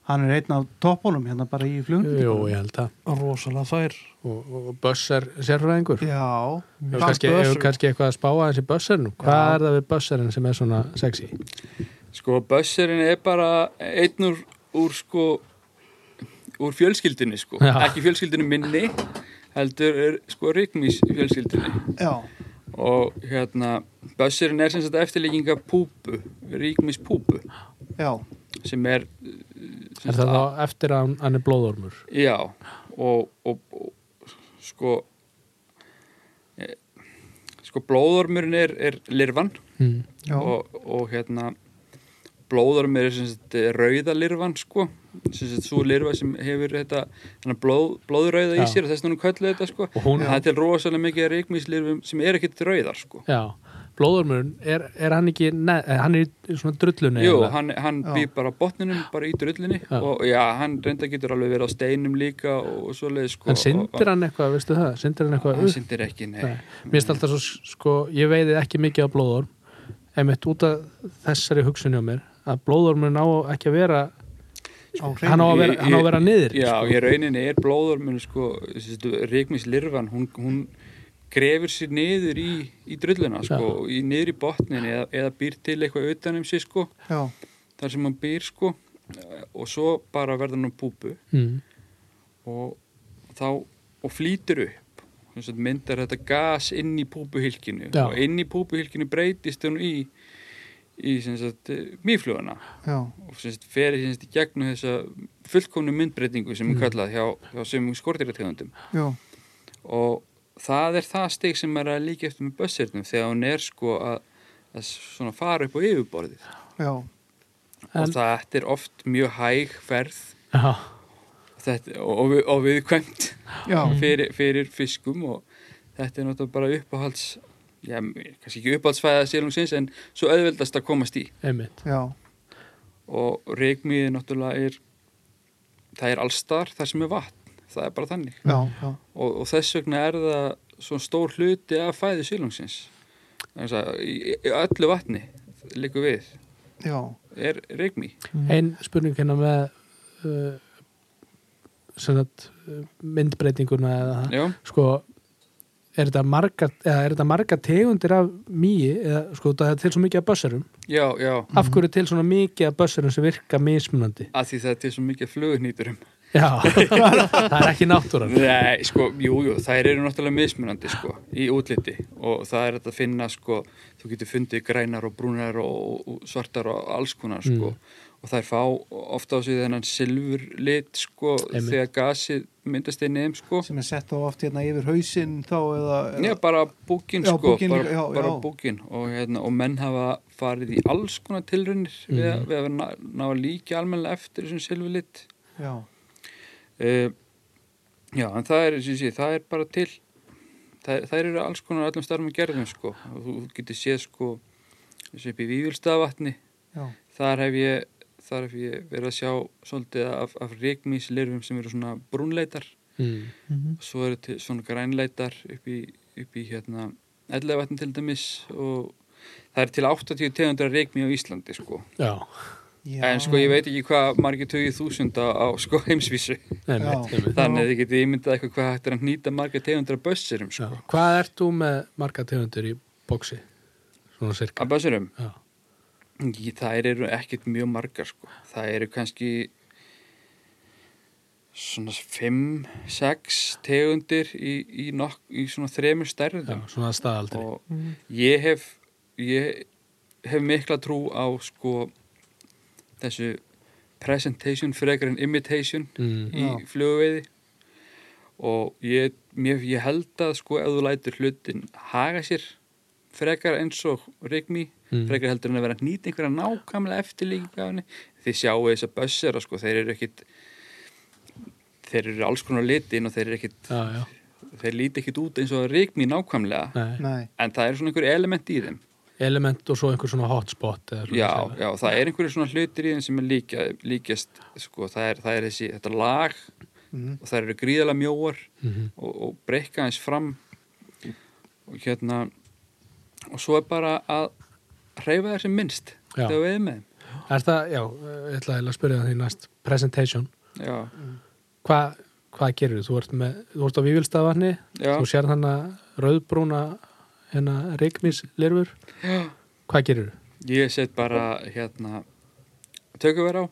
B: hann er einn af toppunum hérna bara í flugun
C: Jú, ég held að
D: rosalega fær
C: og, og Böss er sérfræðingur
B: já,
C: hefur kannski, hefur kannski eitthvað að spá aðeins í Bössernum hvað
B: Já.
C: er það við Bösserinn sem er svona sexy
A: Sko, Bösserinn er bara einn úr, úr sko úr fjölskyldinni sko
C: Já.
A: ekki fjölskyldinni minni heldur er sko rikmís fjölskyldinni
B: já,
A: og hérna Bösserinn er sem sagt eftirlíkinga púpu rikmís púpu
B: já,
A: sem er sem
C: er það þá eftir að hann- hann er blóðormur
A: já og, og, og sko e, sko blóðormurinn er, er lirfan
C: mm.
B: Já.
A: og, og hérna blóðormur er sem sagt rauða lirfan sko, sem sagt svo lirfa sem hefur þetta hérna, blóð, blóðrauða
C: Já.
A: í sér og þess að hún köllu þetta sko
C: Og hún-
A: það er til rosalega mikið reikmíslirfum sem er ekkit rauðar sko
C: Já, blóðormurinn, er, er hann ekki neð, hann er í svona drullunni
A: Jú,
C: eða?
A: hann, hann
B: Já.
A: býr bara á botninum, bara í drullinni
C: Já.
A: og já, hann reynda getur alveg verið á steinum líka og, og svoleið sko
C: En syndir hann eitthvað, veistu það? Syndir hann eitthvað
A: Hann
C: upp?
A: syndir ekki, nei,
C: Nei. Mér finnst alltaf svo, sko, ég veiði ekki mikið af blóðorm einmitt út af þessari hugsunni á mér að blóðormurinn á ekki að vera hann á að vera, hann á að vera niður
A: Já,
C: sko.
A: í rauninni er blóðormun sko, reikmis lirfan hún, hún grefur sér niður í, í drulluna, sko, í, niður í botnin eða, eða býr til eitthvað utan um sig sko,
B: Já,
A: þar sem hann býr sko, og svo bara verður hann á búbu
C: mm.
A: og þá og flýtur upp Sem sagt, myndar þetta gas inn í púbuhylkinu
C: Já.
A: og inn í púbuhylkinu breytist hún í, í sem sagt, mýfluguna
B: já,
A: og sem sagt, fer sem sagt, í gegnum þessa fullkomnu myndbreytingu sem er kallað hjá, hjá sem skortýrategundum
B: já,
A: og það er það stig sem er að líka eftir með bössirnum þegar hún er sko að, að svona fara upp á yfirborðið
B: já,
C: En-
A: og þetta er oft mjög hæg ferð
C: Já,
A: þetta, og, og, við- og viðkvæmt
B: já,
A: fyrir, fyrir fiskum og þetta er náttúrulega bara uppáhalds já, kannski ekki uppáhaldsfæða sílungsins en svo auðveldast að komast í
C: einmitt
B: já,
A: og reikmiði náttúrulega er það er allstar þar sem er vatn það er bara þannig
B: já, já,
A: og, og þess vegna er það svona stór hluti af fæði sílungsins þannig að í, í öllu vatni líku við
B: já,
A: er reikmi
C: Einn spurning hérna með uh, sem sagt uh, myndbreytinguna eða það
A: já,
C: sko er þetta marga, eða, er þetta marga tegundir af mýi eða sko það er til svo mikið af bössurum
A: já, já
C: af hverju er til svona mikið af bössurum sem virka mismunandi
A: að því þetta er svo mikið um. flugunýturum
C: já, það er ekki náttúran
A: Nei, sko, jú, jú, þær eru náttúrulega mismunandi, sko, í útliti og það er hægt að finna, sko, þú getur fundið grænar og brúnar og, og svartar og alls konar, sko
B: Mm.
A: og þær fá ofta á sig þennan silfurlit, sko,
C: Einmitt.
A: þegar gasið myndast inn í þeim, sko
B: sem er sett á oft hérna yfir hausinn þá eða,
A: Já, bara búkin
B: Já,
A: sko,
B: búkin
A: bara,
B: líka, já,
A: bara
B: já.
A: búkin og, hérna, og menn hafa farið í alls konar tilrunir við,
B: Mhm.
A: að, við að ná, ná að líka almennilega eftir þessum silfulitt
B: já,
A: uh, Já, en það er, sem sé, það er bara til það, það eru alls konar öllum starfum að gerðum sko og þú þú getur séð sko þessu upp í Vífjulstaðavatni
B: já,
A: þar hef ég þar hef ég verið að sjá svolítið af, af reikmíslirfum sem eru svona brúnleitar
C: mm.
B: mhm,
A: svo eru til svona grænleitar upp í, upp í hérna ellavatn til dæmis og það er til 80 tegundra reikmi á Íslandi sko.
C: já,
B: já,
A: en sko ég veit ekki hvað margir tugið þúsunda á sko heimsvísu
C: einmitt,
B: Já.
C: einmitt.
A: þannig að þið getið ímyndað eitthvað hvað hættir að nýta margir tegundra bössurum
C: Já.
A: sko.
C: hvað ert þú með marga tegundir í bóksi svona sirka
A: að bössurum,
C: já,
A: Í- þær eru ekkert mjög margar sko. það eru kannski svona 5-6 tegundir í, í, nokk, í svona þremur
C: já,
A: stærðum
C: svona staðaldri
A: og ég hef ég hef mikla trú á sko þessu presentation frekar en imitation
C: mm.
A: í
B: Já.
A: flugveiði og ég, mér, ég held að sko ef þú lætur hlutin haga sér frekar eins og reikmi
C: Mm.
A: frekar heldur en að vera að nýta einhverja nákvæmlega eftirlíkingafinni þið sjáu þess að bössera sko þeir eru ekkit þeir eru alls konar litin og þeir eru ekkit
C: já, já,
A: þeir líti ekkit út eins og reikmi nákvæmlega
C: nei
B: nei,
A: en það er svona einhver element í þeim
C: element og svo einhver svona hotspot eða svona
A: já,
C: segja.
A: já, það er einhverju svona hlutir í þeim sem er líka, líkjast sko, það, er, það er þessi, þetta lag
C: Mm.
B: mhm,
A: og það eru gríðalega mjóar
C: Mhm.
A: og, og breyka eins fram og hérna og svo er bara að hreyfa þér sem minnst
C: Já.
A: þegar við erum með þeim
C: Er það, já, ég ætla eiginlega að spyrja það því næst presentation,
A: já,
C: Hva, hvað gerir þú? Ert með, þú ert á Vívilstaðvarni
A: já,
C: þú sér þannig að rauðbrúna hérna reikmislirfur
A: já.
C: hvað gerir þú?
A: ég set bara hérna tökuver á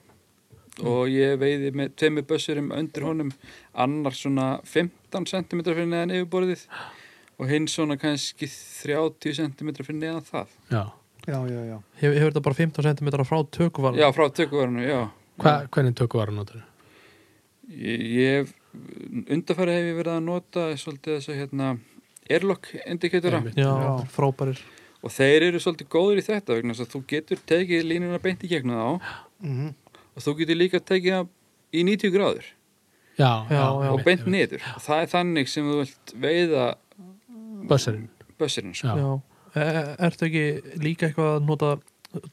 A: og
C: Mm.
A: ég veiði með tveimur bössurum undir honum annar svona 15 cm fyrir neðan yfirborðið og hinn svona kannski 30 cm fyrir neðan það
C: Já,
B: já, já, já,
D: Hefur, hefur þetta bara 15 cm frá tökuvar
A: Já, frá tökuverðinu, já.
C: Hva, hvernig tökum var að nota þau?
A: Ég, ég undarfæri hef ég verið að nota svolítið þessu hérna airlock indikatora
C: Einmitt.
E: já,
C: Já.
E: frábærir
A: og þeir eru svolítið góður í þetta vegna þess að þú getur tekið línuna beint í gegnum þá
B: Mhm.
A: og þú getur líka tekið það í 90 gráður
E: Já,
D: já,
E: já.
D: já,
A: og beint niður og það er þannig sem þú vilt veiða
D: Bösserinn
A: bössurinn sko.
D: Já.
E: já. E ertu ekki líka eitthvað að nota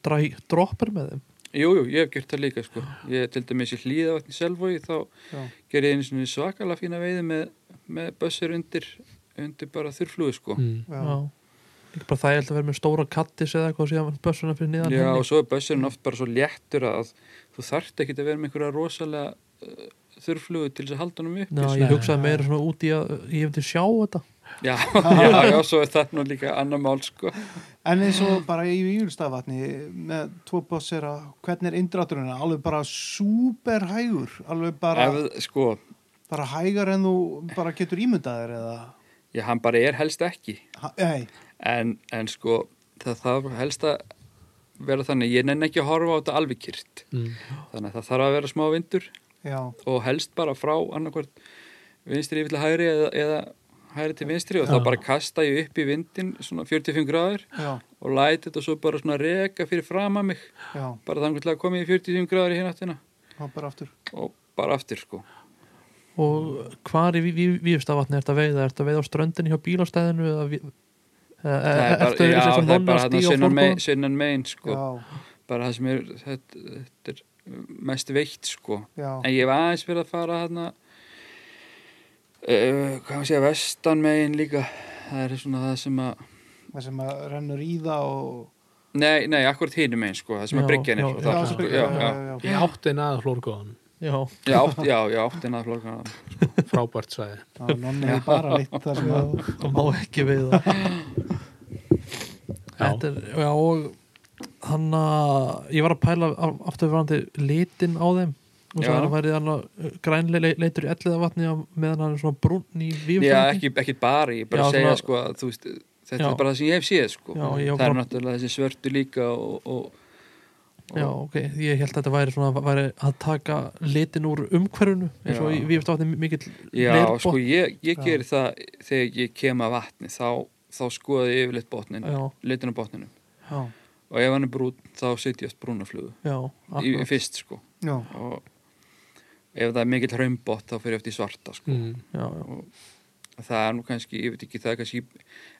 E: dræ, dropper með þeim
A: Jú, jú, ég hef gert það líka sko. ég til dæmis í hlýðavatn í Selvogi þá
E: Já.
A: gerði ég einu svona svakalega fína veiði með, með bössur undir undir bara þurrflúi sko.
D: mm.
E: já. líka bara það ég held að vera með stóra kattis eða eitthvað síðan bössuna fyrir niðan
A: Já, og
E: henni.
A: svo er bössurinn oft bara svo léttur að þú þarft ekki að vera með einhverja rosalega uh, þurrflugu til þess að halda honum upp
E: já,
D: Nei,
E: ég hugsaði meira svona út í að ég hef til sjá þetta
A: Já, já, já, svo er það nú líka annar mál sko.
B: En eins og bara í Júlstafatni með tvo bossera, hvernig er indrátturinn alveg bara súper hægur alveg bara,
A: Ef, sko,
B: bara hægar en þú bara getur ímyndaðir eða
A: já, hann bara er helst ekki
B: ha, nei,
A: en, en sko, það þarf helst að vera þannig, ég nenni ekki að horfa á þetta alveg kýrt
D: Mm.
A: þannig að það þarf að vera smá vindur
B: já,
A: og helst bara frá annarkvært vinstri yfir til hægri eða, eða hægri til vinstri og
D: Já.
A: þá bara kasta ég upp í vindin svona 45 gráður
B: já,
A: og læti þetta svo bara svona reka fyrir fram að mig
B: já
A: bara þannig til að koma í 45 gráður í hináttina
B: þá bara aftur
A: og bara aftur sko
E: og hvar í Vífstavatni er þetta veiða er þetta veiða á ströndinni hjá bílastæðinu eða vi- eða-
A: það er
E: eða
A: bara,
E: Eh, ertu
A: já,
E: öðru sem
A: það er
E: nonna
A: bara
E: stíg
A: þarna
E: á
A: sunnan
E: forgóðum
A: megin, sunnan megin sko.
B: já,
A: bara það sem er þetta, þetta er mest veitt sko en
B: já,
A: ég hef aðeins verið að fara þarna uh, hvað sé, vestan megin líka það er svona það sem að
B: það sem að rennur í það og
A: nei, nei, akkurat hínum megin sko, það sem
E: Já,
A: að bryggjan
E: já,
A: er
E: já,
A: sko,
B: já,
A: þar,
B: já,
A: sko,
B: já,
A: já, já,
B: já, já.
D: Ég átti að hlórgóðan
E: já,
A: já, átt, já, já, áttin að flokka
D: Frábært svæði
B: Já, nonni er bara litt þar sem að
E: það má ekki veiða Þetta er, já, og hann að ég var að pæla af- afturverandi litin á þeim og svo
A: Já.
E: hann uh, að færið hann að grænlega leitur í elliða vatni meðan hann er svona brún í vífum
A: já, ekki, ekki bara, ég bara
E: Já,
A: segja
E: svona-
A: sko að þú veist, þetta
E: Já.
A: er bara það sem ég hef séð sko,
E: Já, ég
A: það
E: bara-
A: er náttúrulega þessi svörtu líka og, og
E: Já, ok, ég held að þetta væri svona væri að taka litin úr umhverfinu eins og
A: Já.
E: í vífum vatni mikill
A: já,
E: leirbotn.
A: sko, ég, ég
E: Já.
A: geri það þegar ég kem að vatni, þá þá skoði ég yfirleitt botnin,
E: Já,
A: litin á botninum
E: já,
A: og ef hann er brún, þá setjast ég oft brúnaflugu
E: já,
A: í,
E: akkurat.
A: fyrst sko
B: já,
A: og ef það er mikill hraumbott þá fyrir eftir svarta sko.
D: mm.
E: já, já.
A: það er nú kannski, ég veit ekki það er kannski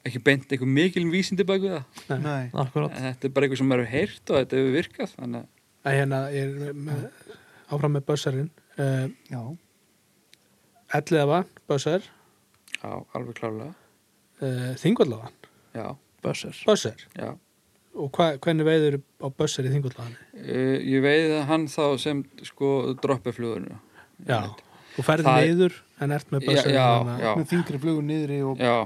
A: ekki beint einhver mikil vísindi bak við það
B: nei
E: akkurat
A: en þetta er bara eitthvað sem maður hefur heyrt og þetta hefur virkað þannig að
C: En hérna, ég er með, áfram með bösserinn uh,
B: já,
C: Elliða vann, bösser
A: já, alveg klárlega
C: uh, Þingvallavann,
A: já,
E: Bösser
C: bösser
A: já
C: Og hva, hvernig veiður á bösser í Þingvallavann?
A: uh, ég veið að hann þá sem sko droppi flugurnu
C: Já, þú færði
A: Það-
C: niður en ert með
A: já,
C: bösser
A: já,
C: þannig
A: já,
B: með þingri flugur niðri og
A: já.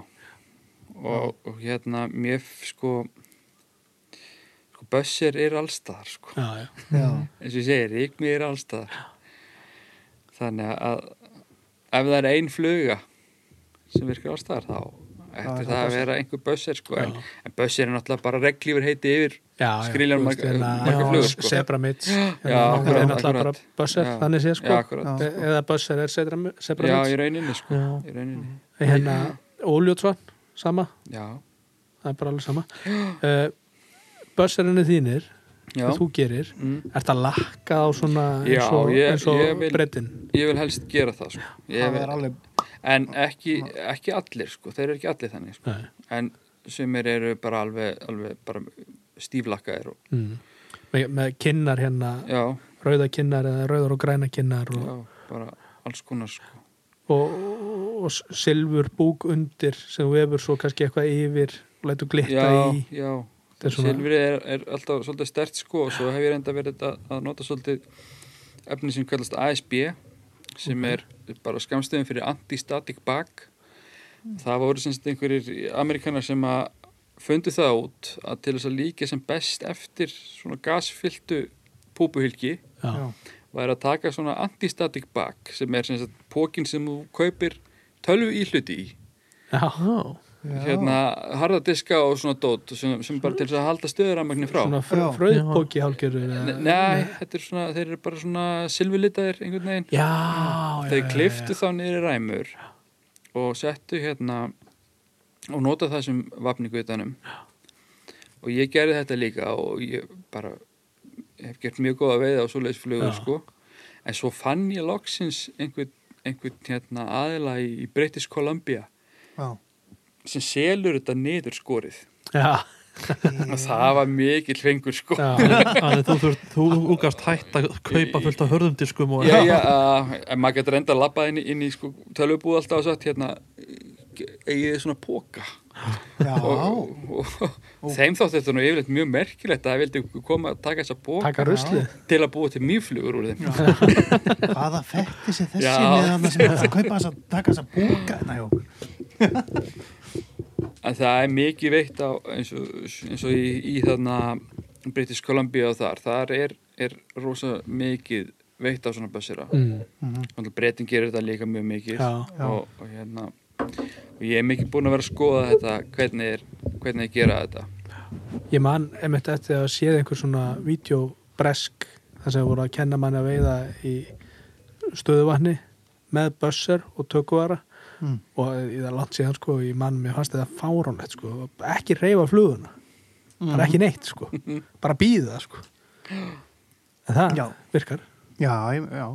A: Og, og hérna mér f- sko sko bössir er allstaðar sko
C: að- já, já.
B: já,
A: eins og ég segir, ríkmi er allstaðar þannig að ef það er ein fluga sem virkar allstaðar þá
B: er
A: ætti
B: það
A: það að
B: bösser.
A: vera einhver bösser sko. en,
C: Já.
A: en bösser er náttúrulega bara reglífur heiti yfir
C: já,
A: Skriljan
C: þú veist,
A: marga-
C: hérna,
A: marga
C: já,
A: flugur, sko.
C: Zebra mitts
A: Já,
C: Það er
A: akkurat,
C: náttúrulega bara
A: akkurat.
C: bösser,
A: Já.
C: þannig sé
A: já,
C: sko
A: akkurat,
C: E- Eða bösser er zebra
A: já,
C: mitts
A: í rauninni, sko.
E: Já.
A: í rauninni.
C: Hérna, óljótsvann, sama
A: Já.
C: Það er bara alveg sama uh, Bösserinni þínir,
A: Já.
C: sem þú gerir
A: Mm.
C: Ert að lakka á svona
A: Já,
C: eins og,
A: ég-
C: eins og
A: ég vil-
C: breiddin?
A: ég vil helst gera það sko. Ég
B: það
A: vil-
B: er alveg
A: en ekki, ekki allir sko. þeir eru ekki allir þannig sko.
C: Nei.
A: en sumir eru bara alveg, alveg bara stíflakkaðir og,
C: Mm. Með, með kinnar hérna,
A: já,
C: rauða kinnar eða rauðar og græna kinnar og,
A: já, bara alls konar sko.
C: og, og, og silfur búk undir sem þú hefur svo kannski eitthvað yfir og lætur glitta
A: já,
C: í
A: já,
C: Þetta er svona-
A: Silfrið er, er alltaf svolítið stert sko og svo hef ég reynda verið að, að nota svolítið efni sem kallast ASB sem er bara skamstöðum fyrir anti-static bag það voru sem sagt einhverjir amerikanar sem að fundu það út að til þess að líka sem best eftir svona gasfylltu púpuhylki
B: já,
A: væri að taka svona anti-static bag sem er sem sagt pókin sem þú kaupir tölvu íhluti í
C: Já,
B: já,
A: hérna harðadiska og svona dót sem, sem bara til þess að halda stöðuramagnin frá
C: svona
B: Já.
C: fr fröðbóki hálgjörður
A: Nei, nei, þetta er svona, þeir eru bara svona silfurlitaðir einhvern veginn.
C: Já,
A: þeir kliftu þá niður í ræmur og settu hérna og nota það sem vapningu utanum og ég gerði þetta líka og ég bara hef gert mjög góða veiða á svoleiðis flugur
C: Já.
A: sko en svo fann ég loksins einhvern, einhvern hérna, aðila í, í British Columbia
B: Já.
A: sem selur þetta niður skorið
C: Já,
A: og það var mikill fengur sko
C: já,
E: Þannig þú þurft, þú úgast hætt að kaupa fullt af hörðumdiskum og
A: Já, já, uh, en maður getur enda að labba inn, í- inn í sko, tölvubúð alltaf og sagt hérna eigið þið svona póka
B: Já.
A: og, og, þeim þótti þetta nú yfirleitt mjög merkilegt að það vildi koma að taka þessa póka
C: taka ruslið
A: til að búa til mýflugur úr þeim
B: Hvaða fætti sér þessi
A: Já.
B: með hann sem er að kaupa þess að taka þess að búka? Nei, jú.
A: en það er mikið veitt á, eins, og, eins og í, í þarna British Columbia og þar þar er, er rosa mikið veitt á svona bössira
C: mm.
A: mm. breytin gerir þetta líka mjög mikið
C: Já.
A: og, og hérna og ég er mikið búin að vera að skoða þetta hvernig er, hvernig er gera þetta
C: Ég man einmitt eftir að séð einhver svona vídeobresk þar sem voru að kenna manni að veiða í stöðuvatni með bösser og tökuvara
B: Mm.
C: og í það langt síðan sko ég man mér fannst þetta fáránlegt sko ekki reyfa fluguna,
A: Mhm.
C: bara ekki neitt sko bara býða sko en það
B: Já.
C: virkar
B: Já, ég- já.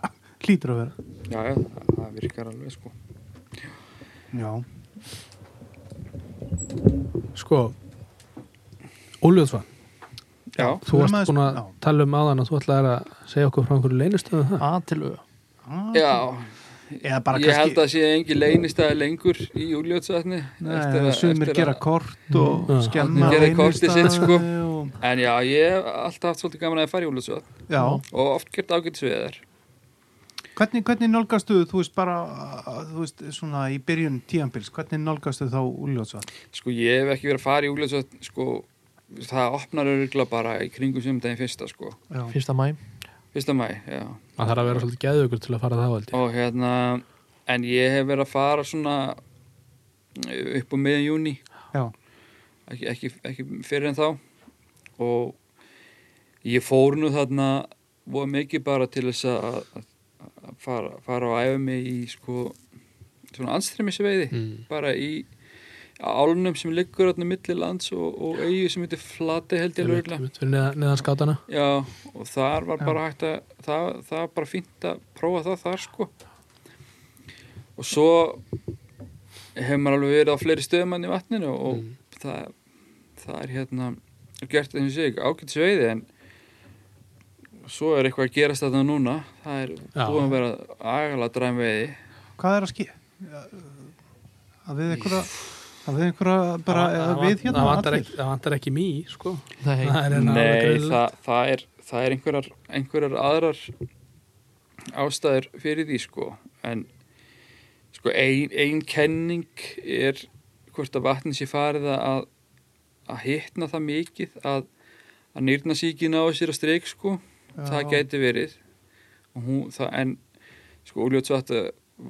B: Ah, Hlýtur að vera.
A: já, já, það, það virkar alveg sko
B: Já.
C: sko Óljóðsvann,
A: já,
C: þú varst
B: Maður-
C: búin að
B: já.
C: tala um áðan að þú ætlaðir að segja okkur frá einhverju leynistöðu það
D: að til auða
B: Ah,
A: já
B: Eða bara
A: ég held
B: kannski,
A: að sé engin leynistæði lengur í júljótsvæðni
B: nei, sumir gera kort og
C: Já.
B: skemma
A: Allir gera kortið sitt, sko.
B: innistæði og-
A: en já, ég hef alltaf haft svolítið gaman að fara í júljótsvæð
B: Já.
A: og oft gert ágætis við þær
B: Hvernig, hvernig nálgastu, þú veist bara, uh, þú veist, svona í byrjun tíambils, hvernig nálgastu þá úljótsvæð?
A: sko, ég hef ekki verið að fara í júljótsvæð sko, það opnar örgla bara í kringum sumdæðin fyrsta sko
B: Já.
D: fyrsta mæ
A: fyrsta mæ, já
C: Það þarf að vera svolítið geðugur til að fara það held ég.
A: og hérna en ég hef verið að fara svona upp á miðan júni
B: Já.
A: ekki, ekki, ekki fyrir en þá og ég fór nú þarna voða mikið bara til þess að, að, að fara, fara og æfa mig í sko svona anstremisveiði
C: Mm.
A: bara í álunum sem liggur þarna milli lands og, og eigu sem heitir flati held ég lögulega
C: Einmitt, fyrir neðan, neðan skátana
A: Já, og þar var bara hægt að það, það var bara fínt að prófa það þar sko og svo hefur maður alveg verið á fleiri stöðum enn í vatninu og það, það er hérna er gert eins og ég ágætt sveiði en svo er eitthvað að gerast þetta núna það er
C: Já.
A: búin að vera agalega dræm veiði
B: Hvað er að skýja? Að við einhverja, að við einhverja bara, eða við hérna
C: það vantar,
B: allir?
C: ekki, það vantar ekki mý sko.
D: Nei,
C: það er hérna alveg
A: Nei,
C: greinilegt.
A: það, það er, það er einhverjar, einhverjar aðrar ástæður fyrir því sko en sko ein, ein kenning er hvort að vatnin sé farið að, að hittna það mikið að, að nýrna síkina á sér að streik sko, það gæti verið og hún, það, en sko úljótsvætt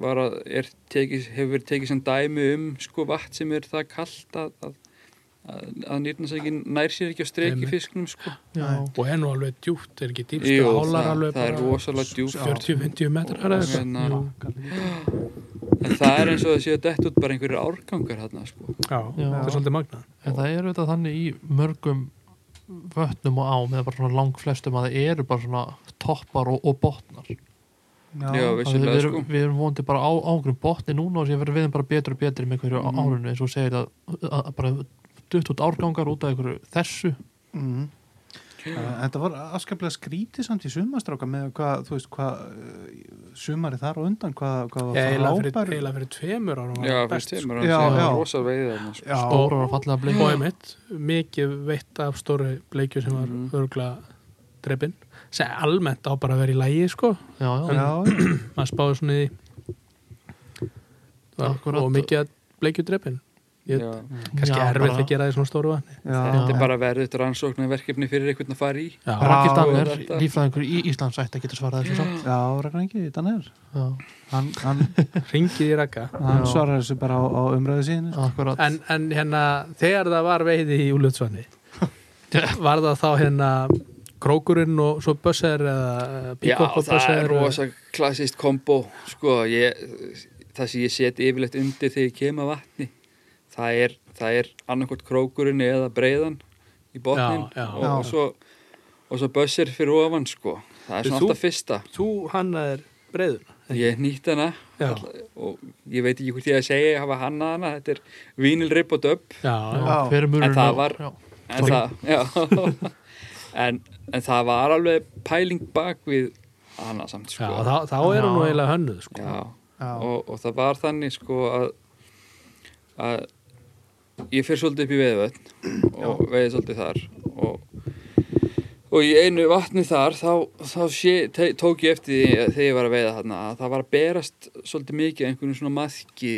A: var að er tekið, hefur verið tekið sem dæmi um sko vatn sem er það kalt að, að, að, að nýrnasækin nær sér ekki á streik í
C: Einmitt.
A: fisknum sko
B: Já.
C: og er nú alveg djúpt, er ekki dýrst
A: Jú,
C: hálar
A: það,
C: alveg
A: það er
C: bara
A: rosalega djúpt
C: 40-50
A: Og
C: metrar eða eitthvað. Mm.
A: hérna-
C: Jú.
A: en það er eins og það séu dett út bara einhverjir árgangar hérna sko
C: Já, það er svolítið magnað
D: en það eru þetta þannig í mörgum vötnum og ám eða bara svona lang flestum að það eru bara svona toppar og, og botnar
A: já,
B: Já,
D: Þannig að
A: vissulega
D: við erum,
A: sko
D: við erum vonandi bara á ágrum botni núna og sér verðum við bara betur og betur með einhverju mm. árunni eins og segir að, að, að bara dutt út árgangar út af einhverju þessu
B: Mm. Uh, Þetta var afskaplega skrítið samt í sumastráka með hvað, þú veist, hvað uh, sumari þar og undan, hvað, hvað var það
C: eiginlega fyrir,
B: frábær-
C: eiginlega fyrir tveimur árum
A: já,
C: var
A: fyrir
C: best,
A: tímur
B: Já,
A: hann
B: já.
A: séu rosa veiðið hérna sko
B: Já,
D: stórar og fallega
C: sko. og
D: blikku
C: einmitt, mikið veitt af stóri bleikju sem var
A: Mhm.
C: örgulega dreppin, sem almennt á bara að vera í lægi sko,
D: já, já,
B: já,
C: maður spáði svona í var,
D: Akkurat.
C: og mikið að bleikju dreppin ég-
A: já.
C: kannski
D: Já,
C: erfitt
D: bara-
C: að gera því svona stóru vatni
A: þetta
B: já,
A: er bara verður þetta rannsóknarverkefni fyrir einhvern að fara í
C: Já,
D: Raggi
B: Já,
D: Danner,
A: þetta-
D: lífræðingur í Íslands ætti að geta svarað þessu samt
B: já, Ragnar Ingi, Danir
D: já,
B: hann, hann,
C: ringið í ragga
B: hann
D: Já.
B: svarar þessu bara á, á umræðu síðan
D: akkurat
C: en, en hérna, þegar það var veiði í úljótsvanni var það þá hérna krókurinn og svo bösser eða
A: Já,
C: píkopp og
A: það er
C: bösser
A: rosa klassist kombo sko, ég, það sem ég set yfirleitt undir þegar ég kem að vatni það er, það er annarkvort krókurinn eða breiðan í botnin
C: Já, já.
A: og,
B: Já.
A: og svo og svo bössir fyrir ofan sko það er
E: Þú-
A: svona alltaf fyrsta
E: Þú hannaðir breiðuna
A: ég nýtt hana
C: Já.
A: all- og ég veit ekki hvort ég að segja hafa hannað hana, þetta er vínil rip og döp
C: já, já,
B: Já.
D: hver er mörun
A: En það var-
D: já,
A: en það, já, en, en það var alveg pæling bak við hana samt sko
C: já þá, þá er hún nú eiginlega hönnuð sko.
A: Já,
B: Já.
A: og, og það var þannig sko að, að ég fyrir svolítið upp í veiðvötn og veiði svolítið þar og, og í einu vatni þar þá, þá sé, te, tók ég eftir því að þegar ég var að veiða þarna að það var að berast svolítið mikið einhvern svona maðki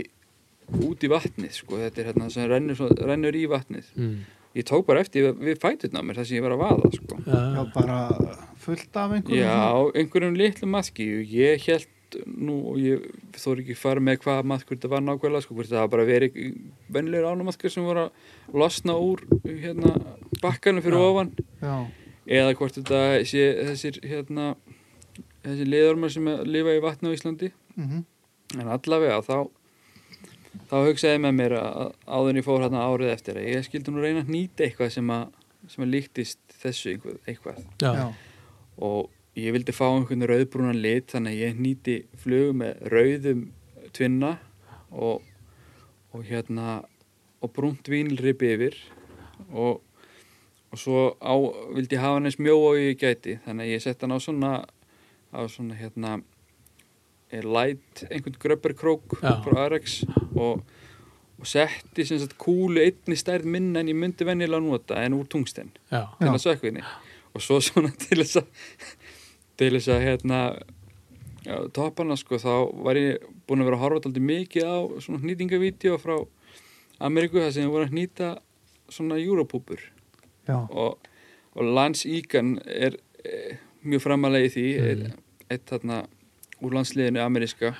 A: út í vatnið sko, þetta er hérna sem rennur, svo- rennur í vatnið
C: Mm.
A: ég tók bara eftir við, við fæturna á mér þar sem ég var að vaða sko
B: Já,
C: já,
B: bara fullt af einhverjum
A: Já, einhverjum litlu maðki ég held nú og ég þóri ekki fara með hvað maðkur þetta var nákvæmlega sko, hvort það var bara verið venlegur ánumaðkur sem voru að losna úr hérna, bakkanum fyrir ofan
B: já,
A: eða hvort þetta sé þessir hérna, þessir liðormar sem lifa í vatni á Íslandi
B: mhm,
A: en allavega þá þá hugsaði ég með mér að áðurinn ég fór hérna árið eftir að ég skildi nú reyna að nýta eitthvað sem að, sem að líktist þessu einhver- eitthvað
C: já,
B: já,
A: og ég vildi fá einhvern rauðbrúnan lit þannig að ég nýti flug með rauðum tvinna og, og hérna og brúnt vínlrip yfir og, og svo á, vildi ég hafa hann eins mjó og ég gæti þannig að ég sett hann á svona á svona hérna eh, light, einhvern gröpperkrók
C: Já.
A: frá Arax og, og setti sem sagt kúlu einni stærð minna en ég myndi venjulega nota en úr tungsten
C: já,
A: til að sökvinni og svo svona til þess að til þess að hérna já, topana sko þá var ég búin að vera að horfa alltaf mikið á svona hnýtingavídeó frá Ameríku þar sem ég voru að hnýta svona júropúpur
B: já,
A: og, og Lance Egan er e, mjög framalega í því mm. eitt þarna úr landsliðinu ameríska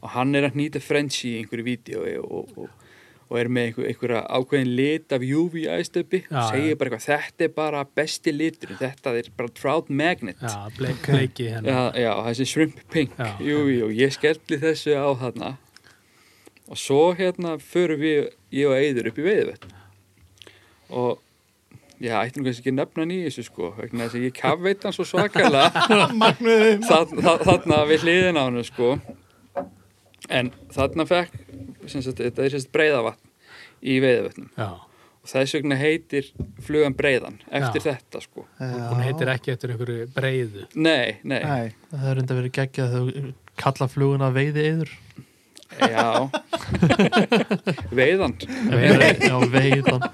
A: og hann er að nýta Frenchie í einhverju vídeoi og, og, og er með einhver, einhverja ákveðin lit af UV æstöpi
C: Já,
A: og segir bara eitthvað, þetta er bara besti litur þetta er bara Trout Magnet
C: já bleik, bleiki hérna.
A: Já,
C: henni
A: já, þessi shrimp pink
C: Já.
A: jú, jú, ég skelli þessu á þarna og svo hérna förum við, ég og Eiður upp í veiðvett og já, ætti nú kannski ekki að nefna hann í þessu sko vegna þess að ég kafveit hann svo svakalega þarna, þarna við hliðin á hann sko en þarna fekk sem sagt, þetta er sem sagt breiðavatn í veiðvettnum
C: já,
A: og þess vegna heitir flugan breiðan eftir þetta sko
C: hún heitir ekki eftir einhverju breiðu
A: Nei, nei,
B: nei,
D: það er enda verið geggjað þegar þú kalla fluguna veiði yður
A: já Veiðan
D: já, veiðan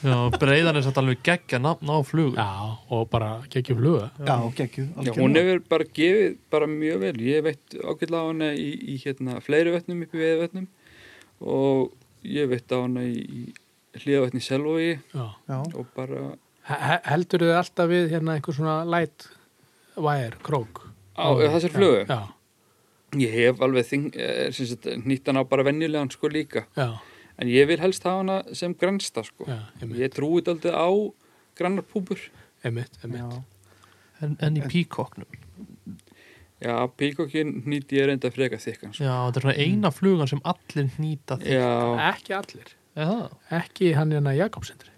D: já, breiðan er satt alveg geggja nafn á flug
C: já, og bara kekki fluga
B: já, geggju
A: Já, hún hefur bara gefið bara mjög vel ég veit ágætlega á hana í, í hérna, fleiri vötnum upp í veðvötnum og ég veit á hana í, í hlíðavötni selvogi
C: já.
B: já,
A: og bara
C: heldur þið alltaf við hérna einhver svona light wire, krók
A: á þessar flugu
C: já,
A: ég hef alveg þing, er, sagt, nýtt hana á bara venjulegan sko líka
C: já,
A: en ég vil helst hafa hana sem grænsta sko
C: já, einmitt,
A: ég trúi daldið á grannarpúpur
C: einmitt,
B: já,
C: einmitt.
D: en, en í píkóknum
A: já, píkokkin nýtt ég reynda freka þykkan sko.
D: já, þetta er svona eina flugan sem allir nýta þig
A: já,
C: ekki allir
D: Er það?
C: ekki hann hérna Jakobsendri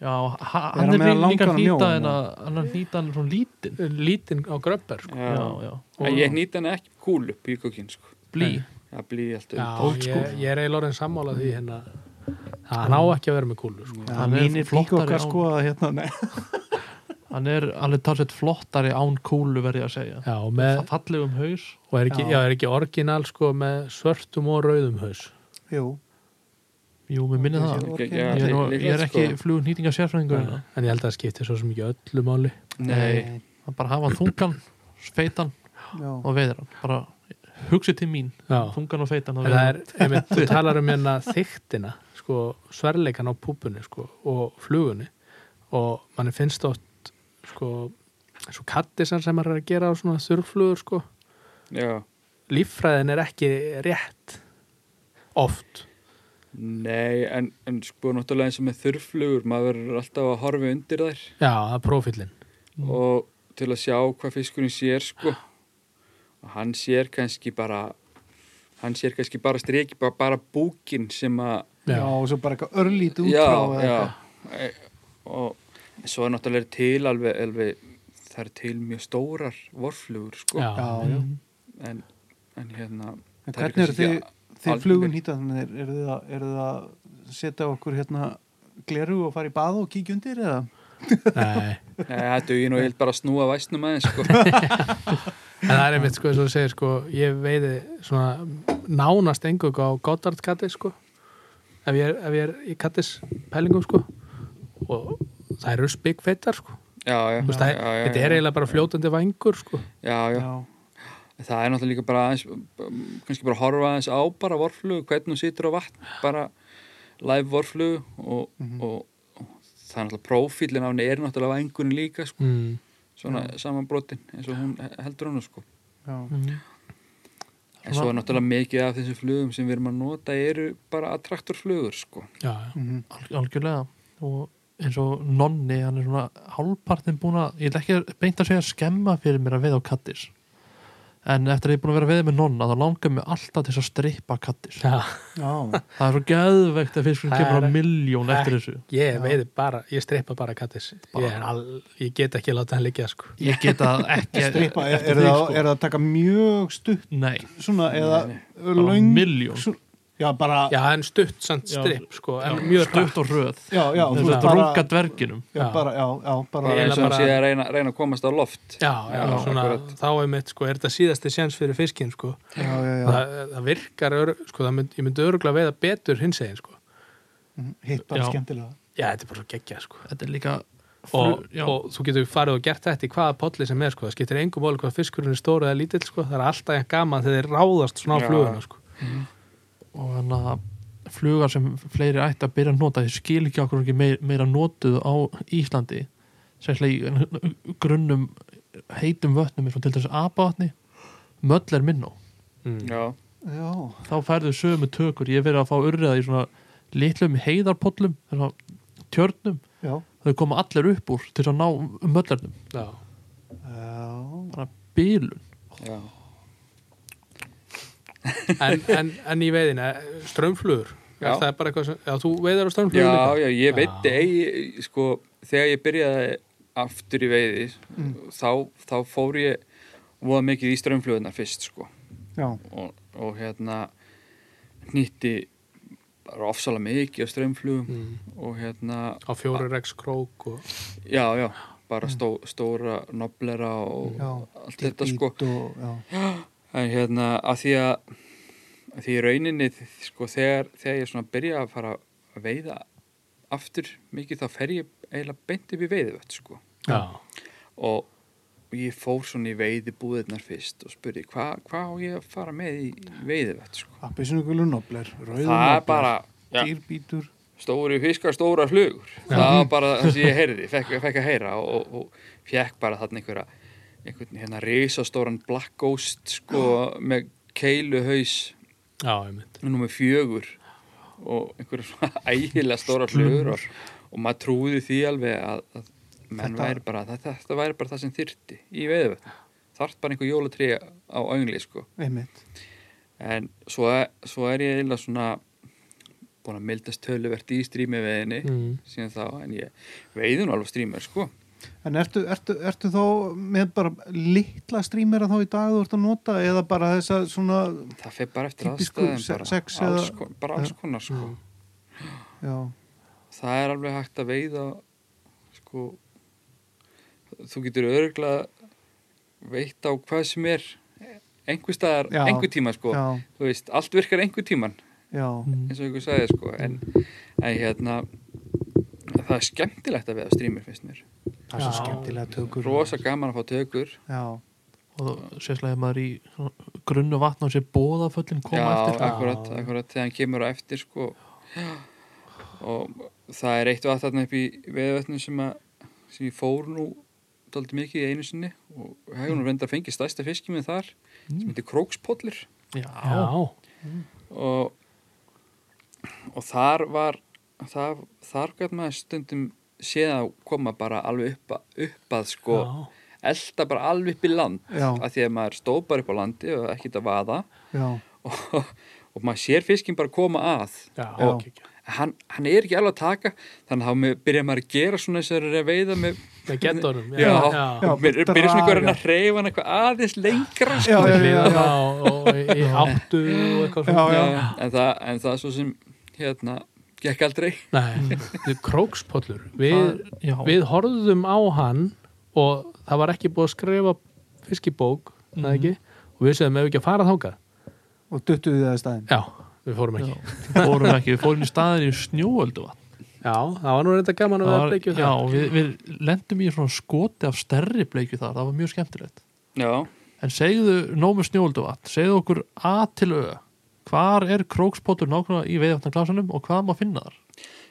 D: já, ha-
B: hann
D: hann er
B: með
D: líka- líka
B: langan mjó,
D: nýta
B: hann?
D: en að- hann er nýta hann er svona lítinn
C: lítinn á gröppar sko.
A: já.
D: já, já,
A: En ég nýtt hana ekki kúlu píkokkin sko
D: blí
A: Já, blíði allt um.
C: já,
D: old school.
C: ég, ég er eiginlega orðin sammála því hérna hann
A: Mm.
C: á ekki að vera með kúlu sko.
B: já
D: Hann er
B: mínir
D: flottari
B: píkokkar
D: á-
B: sko að hérna, nei
D: hann er alveg talsett flottari án kúlu verði ég að segja
C: já, og, með,
D: Fa- fallegum haus
C: og er, ekki,
B: Já.
C: já, er ekki orginal sko, með svörtum og rauðum haus
B: jú,
D: jú, mér minni
B: Ég
D: það
B: sé
A: Ég,
B: Já,
D: ég er, nú, ég er
A: sko.
D: ekki flugun hýtinga sérfræðingur hérna.
C: en ég held að það skipti svo sem ekki öllu máli
A: Nei,
D: að bara hafa þungan, feitan
B: já,
D: og veiðir hann bara hugsið til mín,
C: já.
D: þungan og feitan og
C: en það
D: veiðir
C: er, einmitt, þú talar um hérna þyktina, sko, sverleikan á púpunni, sko, og flugunni og manni finnst þótt sko, svo kattisar sem maður er að gera á svona þurrflugur, sko
A: já,
C: líffræðin er ekki rétt oft
A: nei, en, en sko náttúrulega eins og með þurrflugur, maður verður alltaf að horfa undir þær
C: já, það er prófílin
D: Mm.
A: og til að sjá hvað fiskurinn sér sko og hann sér kannski bara hann sér kannski bara streki bara, bara búkin sem að
B: já,
C: já,
B: og svo bara eitthvað örlít út
A: já, já E- og svo er náttúrulega til alveg, alveg það er til mjög stórar vorflugur sko
C: já,
B: já, Mm. já.
A: en, en hérna
B: En
A: það er
B: hvernig eru
A: kannski
B: þið,
A: ekki
B: þið
A: algeng.
B: flugun hýta þannig er, eru þið, að- eru þið að setja á okkur hérna gleru og fara í bað og kíkja undir eða?
C: nei
A: Nei, það dugir nú helt bara að snúa væsnum aðeins sko
C: En það er einmitt, sko, eins og þú segir, sko, ég veiði svona nánast engung á Goddard katti, sko, ef ég er, ef ég er í kattis pælingum, sko, og það eru spikfettar, sko.
A: já, já,
C: Þú veist,
A: já,
C: það,
A: já, já,
C: þetta er
A: já.
C: eiginlega bara fljótandi vangur, sko.
A: já, já. það er náttúrulega líka bara aðeins kannski bara horfa aðeins á bara vorflugu hvernig hún situr á vatn bara live vorflugu og,
C: Mm.
B: mhm,
A: og, og það er náttúrulega prófílin af henni er náttúrulega vængunin líka sko
C: Mm.
A: svona samanbrotin eins og hún heldur hann sko
B: já.
A: En svo er náttúrulega mikið af þessum flugum sem við erum að nota eru bara attraktorflugur, sko.
C: Já, já.
B: mhm.
D: Al- algjörlega og eins og nonni, hann er svona hálfpartin búin að, ég ætla ekki beint að segja skemma fyrir mér að veiða á kattis en eftir að ég er búin að vera að veiða með nonna þá langar mér alltaf til þess að strippa kattis
C: Já,
B: já.
D: það er svo geðveikt að fiskurinn
C: Það
D: kemur
C: er-
D: á miljón eftir þessu
C: ég veiði bara, ég strippa bara kattis. Ég, er al- ég get ekki láta hann liggja, sko.
D: ég geta ekki
B: Strippa, er, er,
D: eftir því,
B: það,
D: sko.
B: er það að taka mjög stutt
D: nei,
B: svona eða
D: bara
B: löng
D: miljón
B: svo- Já, bara
C: Já, en stutt samt
D: Já.
C: stripp, sko, en mjög
D: stutt og röð
B: Já, já, þú
D: þess
B: veist,
D: að
B: bara-
D: runga dverginum
B: Já,
C: Já.
B: bara, já, já, bara
A: Bara
C: Ég
A: eins og
C: bara-
A: hann sé að reyna, reyna að komast á loft.
C: Já, já,
A: Já,
C: svona,
A: akkurat.
C: þá er mitt, sko, er þetta síðasti sjans fyrir fiskinn, sko.
B: já, já, já.
C: það, það virkar ör, sko, það mynd, ég myndi öruglega veiða betur hins eginn sko.
B: Mhm, hitt bara
D: Já.
B: skemmtilega
C: já, þetta er bara svo geggja sko.
D: þetta er líka
C: og,
D: fru- já.
C: og þú getur farið og gert þetta í hvaða polli sem er sko. það skiptir engum máli hvað fiskurinn er stór eða lítill sko. það er alltaf jafn gaman þegar þeir ráðast svona á
A: Já.
C: fluguna sko.
D: og hann að flugar sem fleiri ætti að byrja að nota ég skil ekki okkur ekki meir, meira notuð á Íslandi sérslega í grunnum heitum vötnum eins og til þess apavatni möll er minn á
A: Já,
B: Já,
D: þá færðu sömu tökur, ég hef verið að fá urriða í svona litlum heiðarpollum svona tjörnum,
B: já,
D: þau koma allir upp úr til þess að ná möllarnum
C: já,
B: já.
D: bara bílun
A: já.
C: en, en, en í veiðina strömmflugur já.
A: Já.
C: það er bara eitthvað sem, já, þú veiðar á
A: Já,
C: strömmflugur líka
A: já, ég veit,
C: Já.
A: ei, sko, þegar ég byrjaði aftur í veiði, þá, þá fór ég voða mikið í strömmflugunar fyrst, sko.
B: já.
A: Og, og hérna, nýtti bara ofsalega mikið á strömmflugum
C: Mm.
A: og hérna,
C: á fjóri rex krók og,
A: já, já, bara stó, stóra noblera og
B: Já.
A: allt þetta, sko.
B: Bít og, já.
A: En hérna, að því að, að því í rauninni, sko, þegar, þegar ég svona byrja að fara að veiða aftur mikið, þá fer ég eiginlega beint upp í veiðvött, sko.
C: já,
A: Og ég fór svona í veiðibúðirnar fyrst og spurði, hvað hva á ég að fara með í veiðvött, sko?
B: Appisnugulur nobler, rauður
A: Það er bara já,
B: dýrbítur
A: stóri fiskar, stóra flugur. Það var bara það sem ég heyrði, fekk, fekk að heyra og, og fekk bara þarna einhverja, einhvern hérna risastóran black ghost, sko, með keiluhaus
C: já, ég mynd
A: nummer fjögur og einhverjum svona ægilega stóra hlugur og, og maður trúði því alveg að, að menn
B: Þetta-
A: væri bara þetta, þetta væri bara það sem þyrti í veðvöld þarf bara einhver jólatrí á öngli sko.
B: einmitt
A: en svo, svo er ég eiginlega svona búin að mildast töluvert í strímiveðinni
C: mm.
A: síðan þá, en ég veiði nú alveg strímur sko.
B: En ertu, ertu, ertu þá með bara litla strímera þá í dag þú ert að nota eða bara þessa svona
A: það fer bara eftir
B: Típisku
A: aðstæðum
B: se-
A: bara,
B: sex eða- Mm.
A: alls, kon- bara alls konar sko.
B: já,
A: það er alveg hægt að veiða sko þú getur örgulega veitt á hvað sem er einhver staðar,
B: Já.
A: einhver tíma sko
B: já,
A: þú veist, allt virkar einhver tíman
B: já,
A: eins og ykkur sagði sko en, en hérna það er skemmtilegt að veiða strímur finnst mér
B: það er svo
C: Já.
B: skemmtilega tökur
A: rosa gaman að fá tökur
B: Já,
D: og sérslega ef maður er í svona grunnu vatn og sér bóðaföllin koma
A: já,
D: eftir
A: akkurat, akkurat, þegar hann kemur á eftir sko og það er eitt og aðtatna upp í veðvötnum sem, að, sem ég fór nú daldið mikið í einu sinni og hefur nú reynda að fengi stærsta fiskjum en þar sem heitir krókspollir
D: já,
C: já,
A: og, og þar var þar, þar gæt maður stundum séð að koma bara alveg upp, að, upp að sko
C: já.
A: elda bara alveg upp í land
B: Já.
A: að því að maður stóð bara upp á landi og ekkert að vaða
B: já,
A: og, og maður sér fiskin bara koma að
C: já,
A: og
C: ok, ok.
A: hann, hann er ekki alveg að taka þannig að þá byrja maður að gera svona þessari veiða með
C: með getunum
A: Já,
B: Já,
A: og mér- byrja svona
B: draga.
A: einhvern að reyfa hann eitthvað aðeins lengra sko.
B: Já, já, já, já.
C: hliðana og, og í í áttu og eitthvað
B: Já, já.
A: en, það, en það svo sem hérna, gekk aldrei
C: Nei, þið krókspollur við,
D: Það- já.
C: við horfðum á hann og það var ekki búið að skrifa fiskibók, mm. ekki og við segðum ef við ekki að fara þáka
B: og duttuðu þið að staðin
C: Já, við fórum ekki Já,
D: fórum ekki, við fórum í staðir í snjóöldu
C: það var nú reynda gaman að vera bleikju
D: já, við, við lendum í svona skoti af stærri bleikju þar, það var mjög skemmtilegt
A: já,
D: en segðu nóg með snjóöldu segðu okkur að til ö hvar er krókspotur nákvæmlega í veiðvartnarklásanum og hvað má finna þar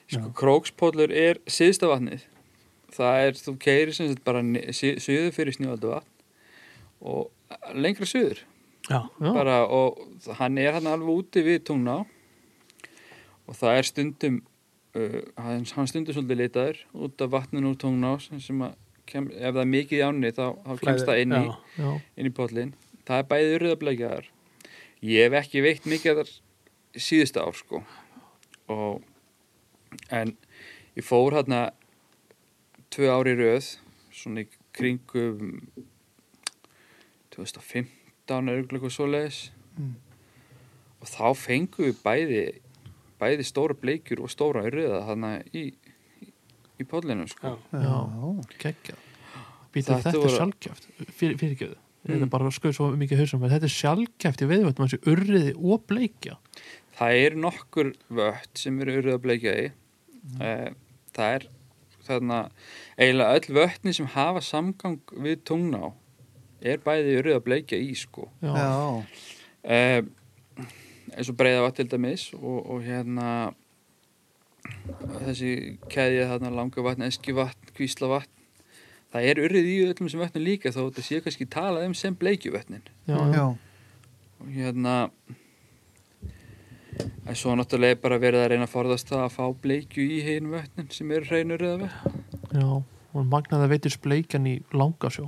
A: sko, krókspollur er síðsta vatnið það er, þú keiri sem sagt bara ni- sí- suður fyrir snjóaldu vatn og lengra suður
C: Já,
D: Já.
A: bara, og hann er hann alveg úti við tungna og það er stundum uh, hann, hann stundum svolítið litaður út af vatninu úr tungna sem, sem að kem, ef það er mikið í ánni þá, þá kemst það inn í,
C: já.
D: já,
A: inn í pollin það er bæði urðableikjaðar ég hef ekki veitt mikið þar síðustu ár sko og en ég fór hérna tvö ári röð svona í kringum 2015 örgleikur svoleiðis
B: Mm.
A: og þá fengum við bæði bæði stóra bleikjur og stóra urða þarna í, í pollinu sko
C: Já.
D: Já. geggja
A: Þetta
D: Býta, þetta er
A: voru-
D: sjálfgæft, fyrir, fyrirgjöðu
A: Mm.
D: þetta bara skauð svo mikið hausum þetta er sjálfgæft í veiðvartnum, þessi urriði og bleikja
A: Það er nokkur vött sem eru urðað bleikjaði. Mm. Það er þarna, eiginlega öll vötni sem hafa samgang við tungná er bæði urðað bleikja í sko.
D: já, já.
B: já,
A: Eh, eins og breiða vatn til dæmis og, og hérna þessi keðja þarna langa vatn, eski vatn, kvísla vatn það er urrið í öllum sem vötnum líka þó þetta sé kannski talað um sem bleikjuvötnin
D: Já,
B: já,
A: og hérna en svo náttúrulega er bara verið að reyna að forðast það að fá bleikju í hinn vötnin sem eru hreinur eða vötn
D: og magnaði að veitir bleikjan í langasjó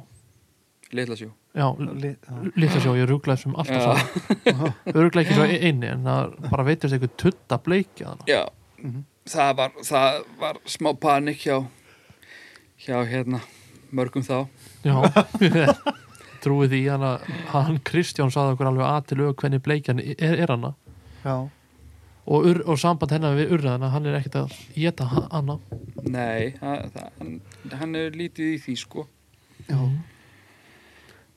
A: litla sjó
D: já,
B: Li- já.
D: Lítið sjó, ég rúglaði sem alltaf
A: Já.
D: saman Öruglega ekki svo einni en það bara veitist eitthvað tutta bleikja þannig
A: já, það, var, það var smá panik hjá hjá hérna mörgum þá
D: Já, trúið því hann að hann Kristján saði okkur alveg að til aðtilög hvernig bleikjan er, er hana
B: já.
D: og, ur, og samband hennar við urðana hann er ekkert að geta hana
A: nei, það, það, hann, hann er lítið í því sko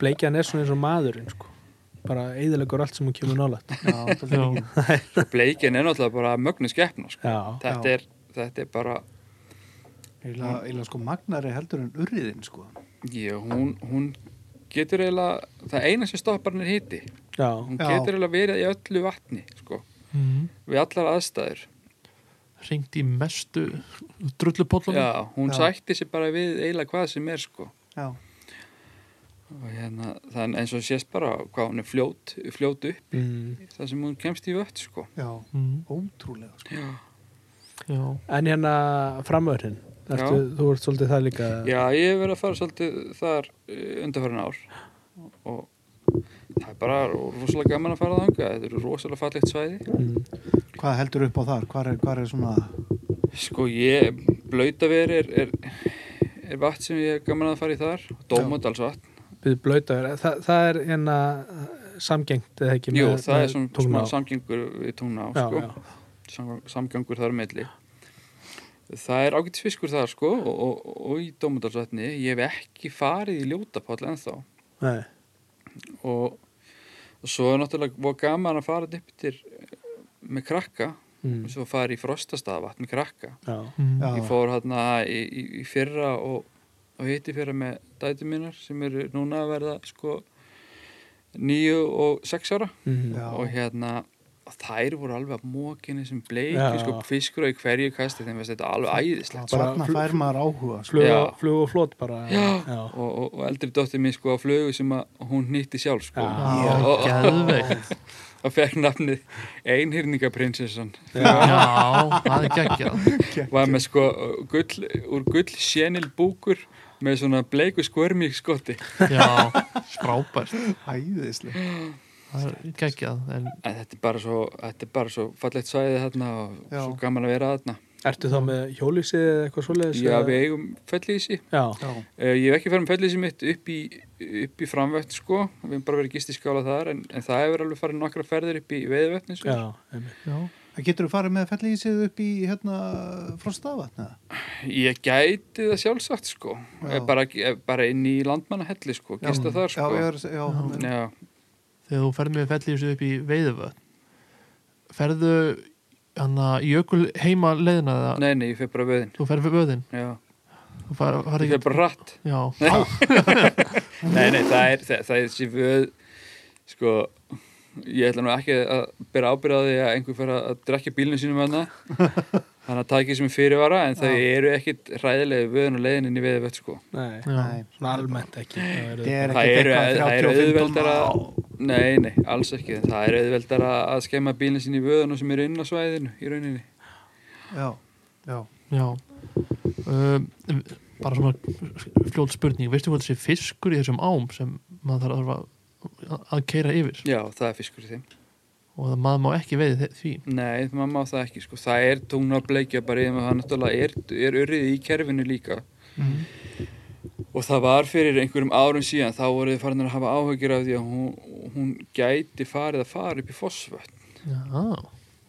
C: Bleikjan er svona eins og maðurinn sko. bara eðilegur allt sem hún kemur nálægt
B: já. dálítið
D: Já.
B: mikið.
A: Svo bleikjan er náttúrulega bara mögnu skeppna sko.
C: Já,
A: þetta,
B: Já.
A: er, þetta er bara
B: Eiginlega- eiginlega sko magnari heldur en urriðin sko
A: ég, hún, hún getur eiginlega það eina sem stoppar hann er hiti
C: já,
A: hún
B: Já.
A: getur eiginlega verið í öllu vatni sko,
D: mm.
A: við allar aðstæður
D: Ringt í mestu drullupollan
A: Já, hún
B: Já.
A: sætti sér bara við eiginlega hvað sem er sko
B: já,
A: og hérna, þann eins og sést bara hvað hún er fljót, fljót upp
C: Mm.
A: þar sem hún kemst í vött sko
B: já,
D: mm,
B: ótrúlega sko
A: Já,
D: Já,
C: En hérna framöðurinn Ertu, þú ert svolítið það líka
A: ég hef verið að fara svolítið þar undarfærin ár og það er bara rosalega gaman að fara þangað þetta eru rosalega fallegt svæði
C: Mm.
B: hvað heldur upp á þar, hvað er, hvar er svona
A: sko ég, blautaveri er, er, er vatn sem ég hef gaman að fara í þar dómadalsvatn,
C: Við blöytar, það, það er hérna samgengt eða ekki
A: jú
C: með-
A: það
C: með
A: er svona,
C: tungná.
A: svona samgengur við tungna
C: Já,
A: sko.
C: já.
A: samgang- samgangur þar á milli það er ágætis fiskur þar sko og, og, og í Dómundalsvætni ég hef ekki farið í ljótapoll ennþá
C: Nei,
A: og, og svo er náttúrulega var gaman að fara þetta upp til eh, með krakka
C: mm.
A: og svo farið í frostastaðavatn með krakka
C: já,
D: mm,
B: já,
A: ég fór hérna í, í, í fyrra og, og hitti fyrra með dætu mínar sem eru núna að verða sko níu og sex ára
C: mm.
B: já,
A: og hérna og þær voru alveg að mókinni sem bleiki
C: Já.
A: sko fiskur og í hverju kasti þeim veist þetta alveg æðislegt sko.
B: bara
C: bara
B: þarna
C: fl-
B: fær maður áhuga sko.
C: flug,
A: Já.
C: flug og flót bara
A: Já.
C: já.
A: og, og, og eldri dóttir mín sko á flugu sem að hún nýtti sjálf sko
C: Já.
D: já,
A: og, og,
D: geðveikt
A: og fekk nafnið einhyrningaprinsessan
D: Já, það er geggjað
A: var með sko gull, úr gull sénil búkur með svona bleiku skvörmík skotti
D: Já, frábært
B: hæðislega
D: það er geggjað en
A: En þetta er bara svo, þetta er bara svo fallegt svæðið þarna og
B: Já.
A: svo gaman að vera þarna.
C: Ertu þá með hjólísið eða eitthvað svoleiðis?
A: Já,
C: eða-
A: við eigum fellísi.
C: Já,
B: Já.
A: Uh, ég hef ekki farið með fellísi mitt upp í, upp í framvött, sko. Við hefum bara verið gistiskála þar, en, en það hefur alveg farið nokkra ferðir upp í veiðvötni, sko.
C: já, einmitt.
D: já,
B: Það getur þú farið með fellísið upp í hérna frostavatna?
A: Ég gæti það sjálfsagt, sko.
B: Já.
A: Eh, Bara, eh, bara inn í landmannahelli, sko. Gista þar, sko.
B: Já, ég var, já, já.
A: Já,
D: þegar þú ferð með fellísu upp í veiðuvöld ferðu hann að jökul heima leiðina það,
A: nei, nei, ég fer bara vöðin.
D: þú ferð við vöðin
A: Já,
D: þú far, far
A: ég fer
D: ekki,
A: bara rætt.
D: já,
A: Nei, nei, það er, það, það er þessi vöð sko, ég ætla nú ekki að bera ábyrða á því að einhver fyrir að drekja bílnum sínum hana þannig að það ekki sem fyrirvara en þau eru ekkit hræðilegi vöðun og leiðin inn í veðið sko.
C: Nei,
D: já.
B: Nei.
C: svona almennt ekki. Það eru-
B: Þetta er
A: Það
B: ekkert
A: eru-
B: eitthvað
A: það eru
B: 35
A: auðveldara-
B: tonn.
A: Nei, nei, alls ekki en það er auðveldar að að skemma bílnum sín í vöðun sem eru inn á svæðinu í rauninni
B: Já, já.
D: já. Um, bara svona fljóð spurning veistu hvað þessi fiskur í þessum ám sem maður þarf að, að keira yfir
A: Já, það er fiskur í þeim
D: og það maður má ekki veiði þe- því
A: Nei, maður má það ekki sko. Það er tungnableikja bara yfir með það náttúrulega er, er urrið í kerfinu líka og það var fyrir einhverjum árum síðan þá voru þið farin að hafa áhugir af því að hún, hún gæti farið að fara upp í fosfvötn
D: já,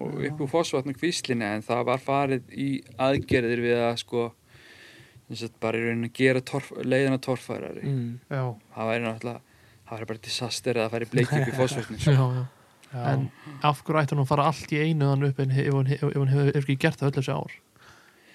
A: og upp úr fosfvötn og kvíslinni en það var farið í aðgerðir við að sko þess að bara í rauninni að gera torf, leiðina torfærari
C: Mm.
B: já.
A: það væri náttúrulega, það væri bara disaster að það færi bleikja upp í sko. fosfvötn
D: já, já. en af hverju ætti hann að fara allt í einu þann upp en ef hann hefur hef, hef, hef ekki gert það öll þessi ár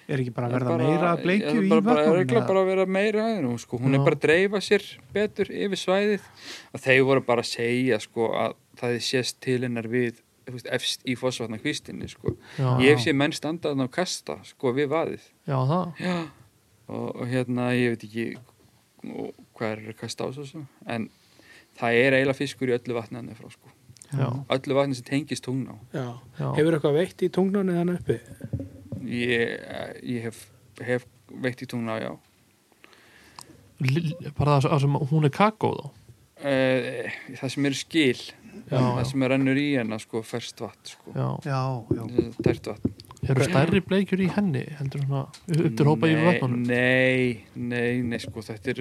B: Er ekki bara að verða meira að bleikju í
A: bara, bara,
B: vökkunum?
A: örugglega bara að vera meira að hennu, sko. hún
D: Já.
A: er bara að dreifa sér betur yfir svæðið og þeir voru bara að segja sko, að það er sést til hennar við þú veist, efst í fósvatna kvistinni sko.
D: já,
A: ég hef sé menn standaðan á kasta sko, við vaðið
D: já það,
A: Já. og, og hérna ég veit ekki og hvað er að kasta á þessu en það er eiginlega fiskur í öllu vatni hann frá sko.
D: já,
A: öllu vatni sem tengist tungna á
C: Já.
D: já.
C: Hefur eitthvað veitt í tungnunni þannig uppi?
A: ég, ég hef, hef veitt í tungna á já
D: Lill- bara það sem hún er kakó þá
A: Eh, það sem eru skil
D: Já,
A: það
D: já.
A: sem er rennur í hennar sko, ferst vatn sko.
D: já.
B: Já, já.
A: tært vatn
D: eru stærri bleikjur í henni heldur svona upptur hópa yfir vötnunum
A: nei, nei, nei sko, þetta er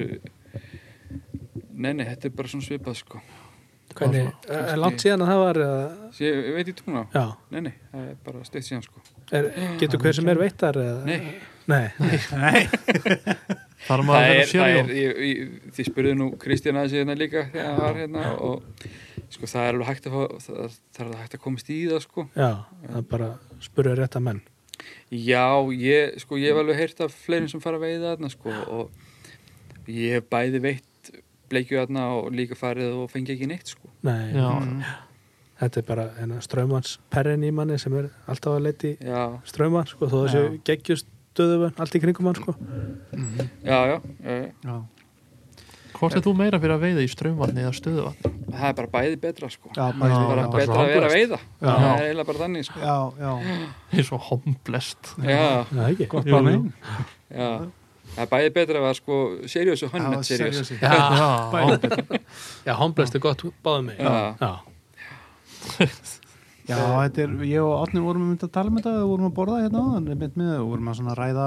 A: nei, nei, þetta er bara svona svipað sko.
C: Hvernig,
A: svona-
C: er langt síðan að það var? eða-
A: Svo ég veit í tungna á
C: Já,
A: nei, nei, það er bara steitt síðan sko.
C: er, getur hver sem er veittar? Eða?
A: nei,
C: Nei.
D: þar
A: það
D: maður
A: er, það
D: verður
A: er
D: sérjón
A: ég, ég, þið spurðu nú Kristján aðeins hérna líka þegar hann var hérna og sko, það er alveg hægt að fá, það, það er alveg hægt að komast í það sko.
C: Já, það er bara að spurja rétt að menn.
A: Já, ég, sko, ég hef alveg heyrt af fleirum sem fara að veiða þarna, sko, og ég hef bæði veitt bleikju þarna og líka farið og fengi ekki neitt, sko.
C: Nei,
D: já,
C: þetta er bara hérna, strömmans perrin í manni sem er alltaf að leiti
A: Já,
C: strömman sko, þó þessu geggjustöðuvenn allt í kringum hann sko
A: já, já, já, já.
B: já.
D: hvort er þú meira fyrir að veiða í strömvatni eða stöðuvatni
A: það er bara bæði betra, sko.
B: Já,
D: Já,
B: bara,
A: bara
D: já.
A: betra að vera að veiða. Það er eiginlega bara þannig, sko.
B: já, já.
D: eins og homblest
A: Já,
C: Já, ekki Gott
B: Bara minn.
A: já. Það er bæði betra að vera, sko, seriós og
B: Já,
A: hönnett seriós.
B: seriösi.
D: já,
C: Já, homblest er gott báðið mig
A: Já.
C: Já.
B: Já, þetta er, ég og Átni vorum myndið að tala með þetta, við vorum að borða hérna á þannig mynd með það, vorum að svona ræða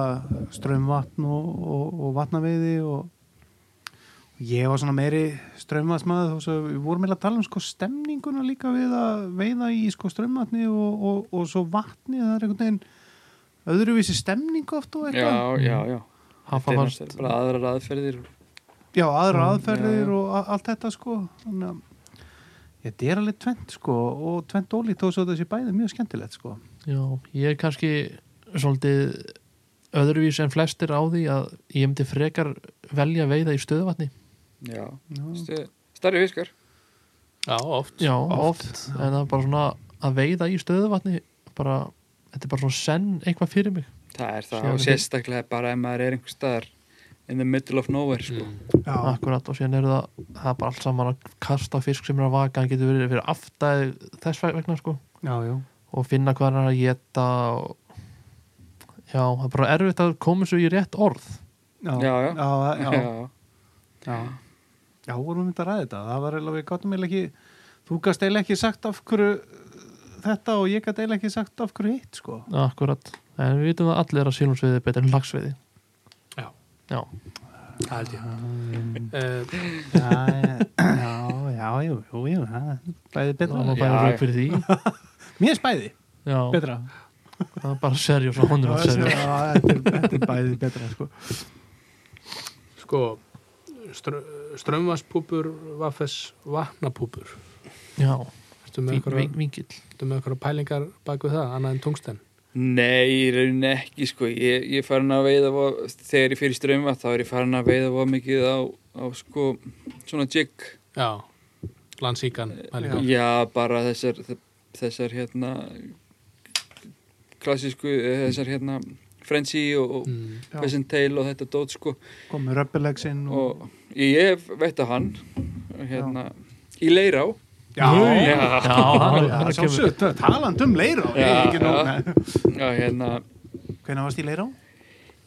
B: strömmvatn og, og, og vatnaveiði og, og ég var svona meiri strömmvatsmaður þó svo við vorum meira að tala um sko stemninguna líka við að veiða í sko strömmvatni og, og, og svo vatni, það er einhvern veginn öðruvísi stemning oft og
A: Já,
B: eitthvað.
A: já, já.
D: hann
A: Það
D: fann
A: er
D: fannst
A: náttúrulega bara aðrar aðferðir.
B: Já, aðra aðferðir
A: Mm, já, já.
B: og a- allt þetta sko þannig að þetta er alveg tvent sko og tvent ólíkt og svo þessi bæði mjög skemmtilegt sko
D: já, ég er kannski svolítið öðruvís en flestir á því að ég myndi frekar velja að veiða í stöðuvatni
A: Já,
B: Já,
A: Stu- starri fiskar.
C: Já, oft
D: já, oft, en það er bara svona að veiða í stöðuvatni bara, þetta er bara svona senn eitthvað fyrir mig
A: Það er það
D: Sjáum
A: og
D: við.
A: sérstaklega bara ef maður er einhver staðar in the middle of nowhere, sko.
B: já,
D: Akkurat og síðan eru það, það er bara allt saman að kasta fisk sem er að vaka, hann getur verið fyrir aftæð þess vegna sko
B: já, já.
D: og finna hvað hann er að geta og já, það er bara erfitt að koma svo í rétt orð
A: Já, já.
B: já, já,
A: já.
B: já. já vorum við myndið að ræða þetta það var eiginlega, við gáttum eiginlega ekki þú gast eiginlega ekki sagt af hverju þetta og ég gast eiginlega ekki sagt af hverju hitt sko.
D: akkurat en við vitum að allir að sílumsveiði er betur en lagsveiði
C: Já.
D: já,
C: það held ég uh,
B: Já, já, já, jú, jú, jú það er bæði
D: það
B: betra
D: var
A: Já,
D: bara
A: já.
D: rauk fyrir því
B: Mér er bæði
D: já,
B: betra
D: það er bara serjós og
B: Já,
D: honum er serjós
B: þetta er- þetta er bæði betra sko.
C: sko str strömvaspúpur vaffes vatnapúpur
D: já,
C: ertu með
D: ving-
C: einhverja
D: ving- vingill
C: ertu með einhverja pælingar bak við það annað en tungsten
A: Nei, í rauninni ekki sko ég, ég er farin að veiða vo- þegar ég fyrir strömma þá er ég farin að veiða vo mikið á, á sko svona jigg
C: já, landsíkan pælingar
A: Já, bara þessar þessar hérna klassísku, eh, þessar hérna frenzy og, og
C: Mm,
B: Já. Mm.
A: peasant tail og þetta dót sko
B: komið röppilegsin og...
A: og ég hef veitt að hann hérna, í leirá
B: Já,
A: Já,
D: já, það
B: já,
D: það kemur
B: sjálfsögt, taland um leirá
A: Já,
B: Ég- ekki nóg
A: já.
B: með-
A: já hérna
B: Hvenær varst í leirá?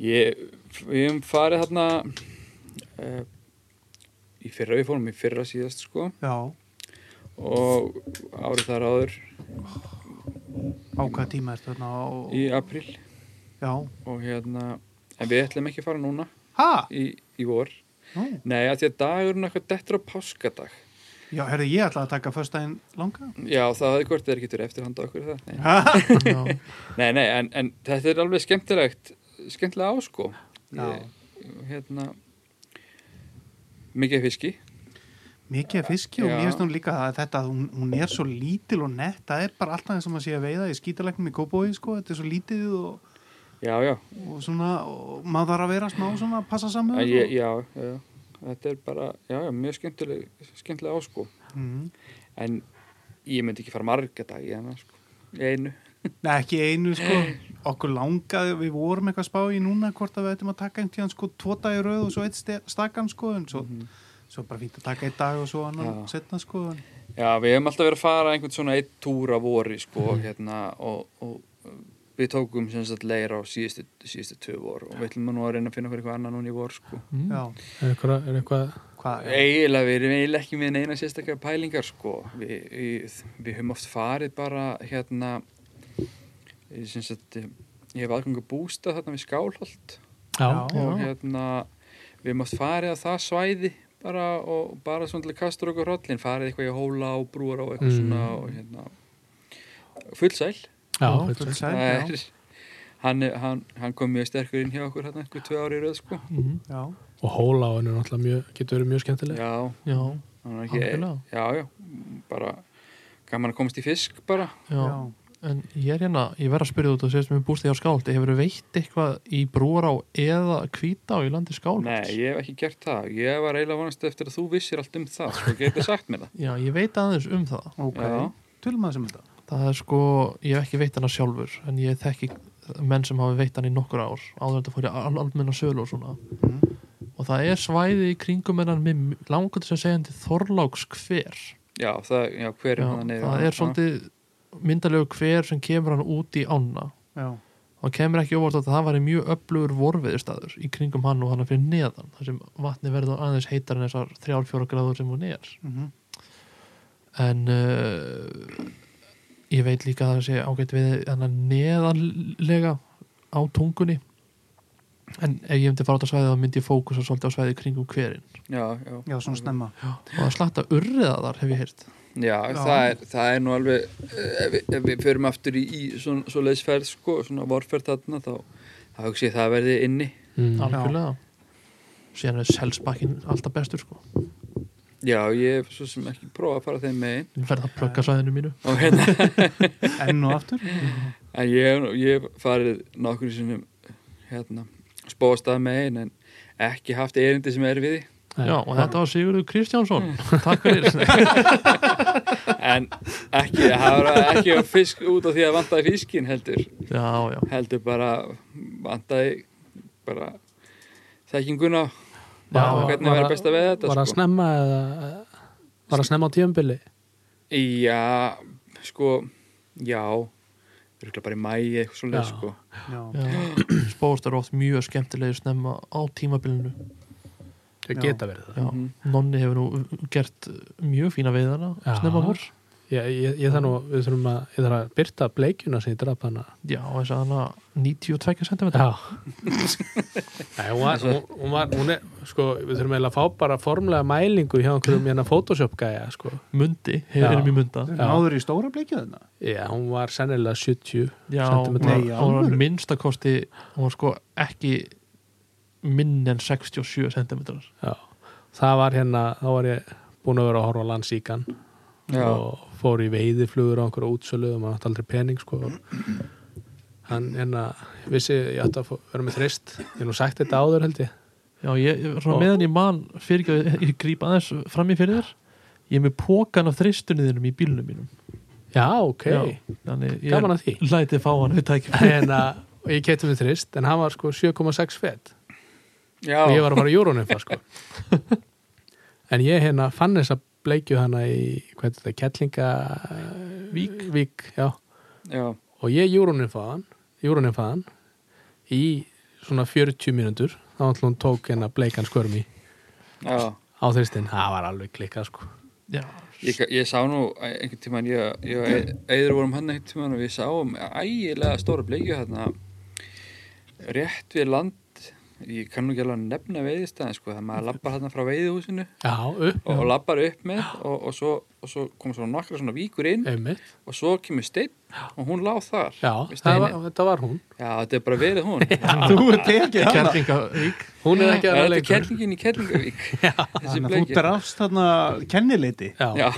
A: Ég, við hefum farið þarna uh, í fyrra, við fórum í fyrra síðast sko
B: Já,
A: og árið þar áður
B: á hvaða tíma ertu þarna og...
A: í april
B: Já,
A: og hérna, en við ætlum ekki að fara núna
B: ha?
A: í, í vor.
B: Nú.
A: Nei, að því að dagurinn eitthvað dettur á páskadag.
B: Já, herðu, ég ætla að taka föstudaginn langa
A: Já, það hefði hvort þeir getur eftirhanda okkur það. Nei,
B: Ha?
D: já,
A: nei, nei en, en þetta er alveg skemmtilegt, skemmtilega á sko.
B: Já.
A: Ég- Hérna, mikið af fiski.
B: Mikið af fiski og
A: Já.
B: mér finnst hún líka að þetta að hún, hún er svo lítil og nett það er bara alltaf eins og maður sé að veiða í skítalegnum í kópói sko, þetta er svo lítið og,
A: Já, já,
B: og svona og maður þarf að vera smá svona að passa
A: Æ,
B: saman
A: ég, já, já, já. Þetta er bara, já, já, mjög skemmtileg, skemmtilega á sko.
B: mm.
A: En ég myndi ekki fara marga dag í hana sko. Í Einu.
B: Nei, ekki einu sko okkur langaði, við vorum eitthvað að spá í núna hvort að við ættum að taka einn tíðan sko tvo dag í rauð og svo eitt ste- stakan sko en svo, svo bara fínt að taka einn dag og svo annan
A: Mhm. Já.
B: setna sko en,
A: Já, við hefum alltaf verið að fara einhvern svona eitt túr að vori, sko, hérna, og, og við tókum sem sagt leir á síðustu, síðustu tvö vor og við ætlum nú að reyna að finna okkur eitthvað annað núna í vor, sko.
C: Mhm.
B: já,
C: er eitthvað, er eitthvað
B: hvað
A: Eiginlega, við erum eiginlega ekki með neina sérstaklega pælingar, sko. Við, við, við höfum oft farið bara, hérna, eh, sem sagt, eh, ég hef aðgöngu bústað þarna við Skálholt
C: já,
A: og hérna, við höfum oft farið að það svæði bara og bara svona til að kastur okkur hrollin, farið eitthvað í hóla og brúar og eitthvað
C: Mm.
A: svona
D: Mhm.
A: og hérna, fullsæl.
C: já,
B: Já,
C: já,
B: full sæl,
A: Það
B: já,
A: er, hann, er- hann, hann kom mjög sterkur inn hjá okkur hérna, eitthvað tvö ári í röð, sko.
B: já,
C: og hóla á hennu náttúrulega mjög, getur verið mjög skemmtileg
A: Já,
D: já,
A: hann er ekki,
D: Algjörlega.
A: já, já, bara gaman að komast í fisk bara.
D: já.
B: já.
D: En ég er hérna, ég verð að spyrja út og segja sem ég búst því á skáldi, hefur þú veitt eitthvað í brúará eða hvítá í landi skáldi?
A: Nei, ég hef ekki gert það. Ég var eiginlega vonast eftir að þú vissir allt um það, sko, getið sagt mér það.
D: Já, ég veit aðeins um það.
B: Ok,
A: Já.
B: tölum að sem þetta
D: Það er sko, ég hef ekki veitt hana sjálfur, en ég þekki menn sem hafa veitt hana í nokkur ár, áður en þetta fór í al almenna sölu og svona.
A: Mhm.
B: Mm.
D: Og það er svæði í kringum hennan með langar til að segja hann til Þorláks hver.
A: Já, það, já, hver er
D: Já,
A: hann neyður?
D: það er svolítið myndalegu hver sem kemur hann út í ána.
B: Já,
D: og kemur ekki óvart að það væri mjög öflugur vorviðurstaður í kringum hann og hann fyrir neðan þar sem vatni verður aðeins heitar en þessar þrjár fjóra gráður sem hún er
B: mm
D: en uh, ég veit líka að það sé ágætt við þannig neðanlega á tungunni en ef ég myndi fara út á svæði þá myndi ég fókusa svolítið á svæði í kringum hverin
A: Já, já.
B: já svona snemma
D: og að slatta urriða þar hef ég heyrt
A: Já, það er, það er nú alveg, eh, ef við, ef við förum aftur í, í svona, svo leisferð, sko, svona vorferð þarna, þá, þá hugsi ég það verði inni.
C: mm.
D: algjörlega síðan er selsbakkin alltaf bestur sko
A: Já, ég hef svo sem ekki prófað að fara þeim megin.
D: verða að plugga svæðinu mínu
A: Og hérna,
B: Enn og aftur
A: En ég, ég hef farið nokkur sinnum hérna, spóðstað með einn en ekki haft erindi sem er við því.
D: Já, og þetta var Sigurður Kristjánsson Takk fyrir
A: en ekki, það var ekki að fisk út af því að vantaði fískin heldur
D: Já, já,
A: heldur bara vantaði bara þekkinguna já,
C: Já,
A: og hvernig
C: var-
A: verður best að veða þetta
C: var að
A: sko.
C: snemma eða var að snemma á tíumbili
A: já, sko já, rúkla bara í mæi eitthvað svo leið
C: Já.
A: sko
B: Já,
D: já. Spóðst eru oft mjög skemmtilegi snemma á tímabilinu
C: þau
B: Já.
C: geta verið það
D: Já,
A: Mhm.
D: Nonni hefur nú gert mjög fína veiðana
C: Já.
D: snemma vor
C: ég, ég, ég þarf nú, við þurfum að, ég þarf að byrta bleikjuna sem ég draf hana
D: Já, þess að hana 92 cm
C: Já Nei, hún var, hún, hún var hún er, sko, við þurfum eiginlega að fá bara formlega mælingu hjá einhverjum hérna Photoshop gæja, sko
D: Mundi,
C: Já.
D: hefur mjög munda
B: Þeir
C: Já.
B: náður í stóra bleikju þarna
C: Já, hún var sennilega 70
D: Já,
C: Sentimetra.
D: hún
B: Nei, í
D: var- hún var
B: alvöru?
D: minnstakosti hún var sko ekki minn en 67 cm
C: Já, það var hérna, þá var ég búin að vera að horfa á landsíkan
A: Já.
C: og fór í veiðiflugur á einhverju útsölu og maður átti aldrei pening, sko hann hérna, vissi, ég átti að fó- vera með þreist ég hef nú sagt þetta áður held ég
D: Já, ég, ég-
C: Og-
D: svona meðan ég man fyrir ekki að ég grípa aðeins fram í fyrir þér ég er með pókan af þristunniðinum í bílnum mínum
C: Já, ok,
D: Já, þannig ég
C: gaman að því
D: lætið fá hann við tækjum
C: hérna, og ég kefti með þrist en hann var sko 7,6 fett
A: Já,
C: og ég var að fara í jórunum sko. en ég hérna fann þess að bleikju hana í hvað er þetta, kettlinga vík, vík já.
A: já,
C: og ég jórunum faðan jórunum faðan í svona 40 mínútur þá ætlum hún tók hérna bleikan skörmi
A: já.
C: á þristin, það var alveg klikkað sko
D: Já,
A: Ég, ég sá nú einhvern tímann, ég, ég og eður vorum hann einhvern tímann og við sáum ægilega stóra bleikju hérna rétt við land, ég kann nú ekki alveg að nefna veiðistæðin sko, það maður lappar hérna frá veiðihúsinu
C: já, upp,
A: og, og lappar upp með og, og, svo, og svo kom svona nokkra svona víkur inn
C: einmitt
A: og svo kemur steinn og hún láð þar.
C: já,
A: Við
C: það
A: steininn.
C: var, þetta var hún
A: Já, þetta er bara verið hún.
B: Þú ert ekki þarna
D: kerlingavík
C: hún er ekki
A: Það
C: að vera
A: er
C: leikur
A: kellingin í Kellingavík. Þessi
B: Þannig að þú
A: bleikja.
B: drafst þarna kennileiti
C: já,
A: Já,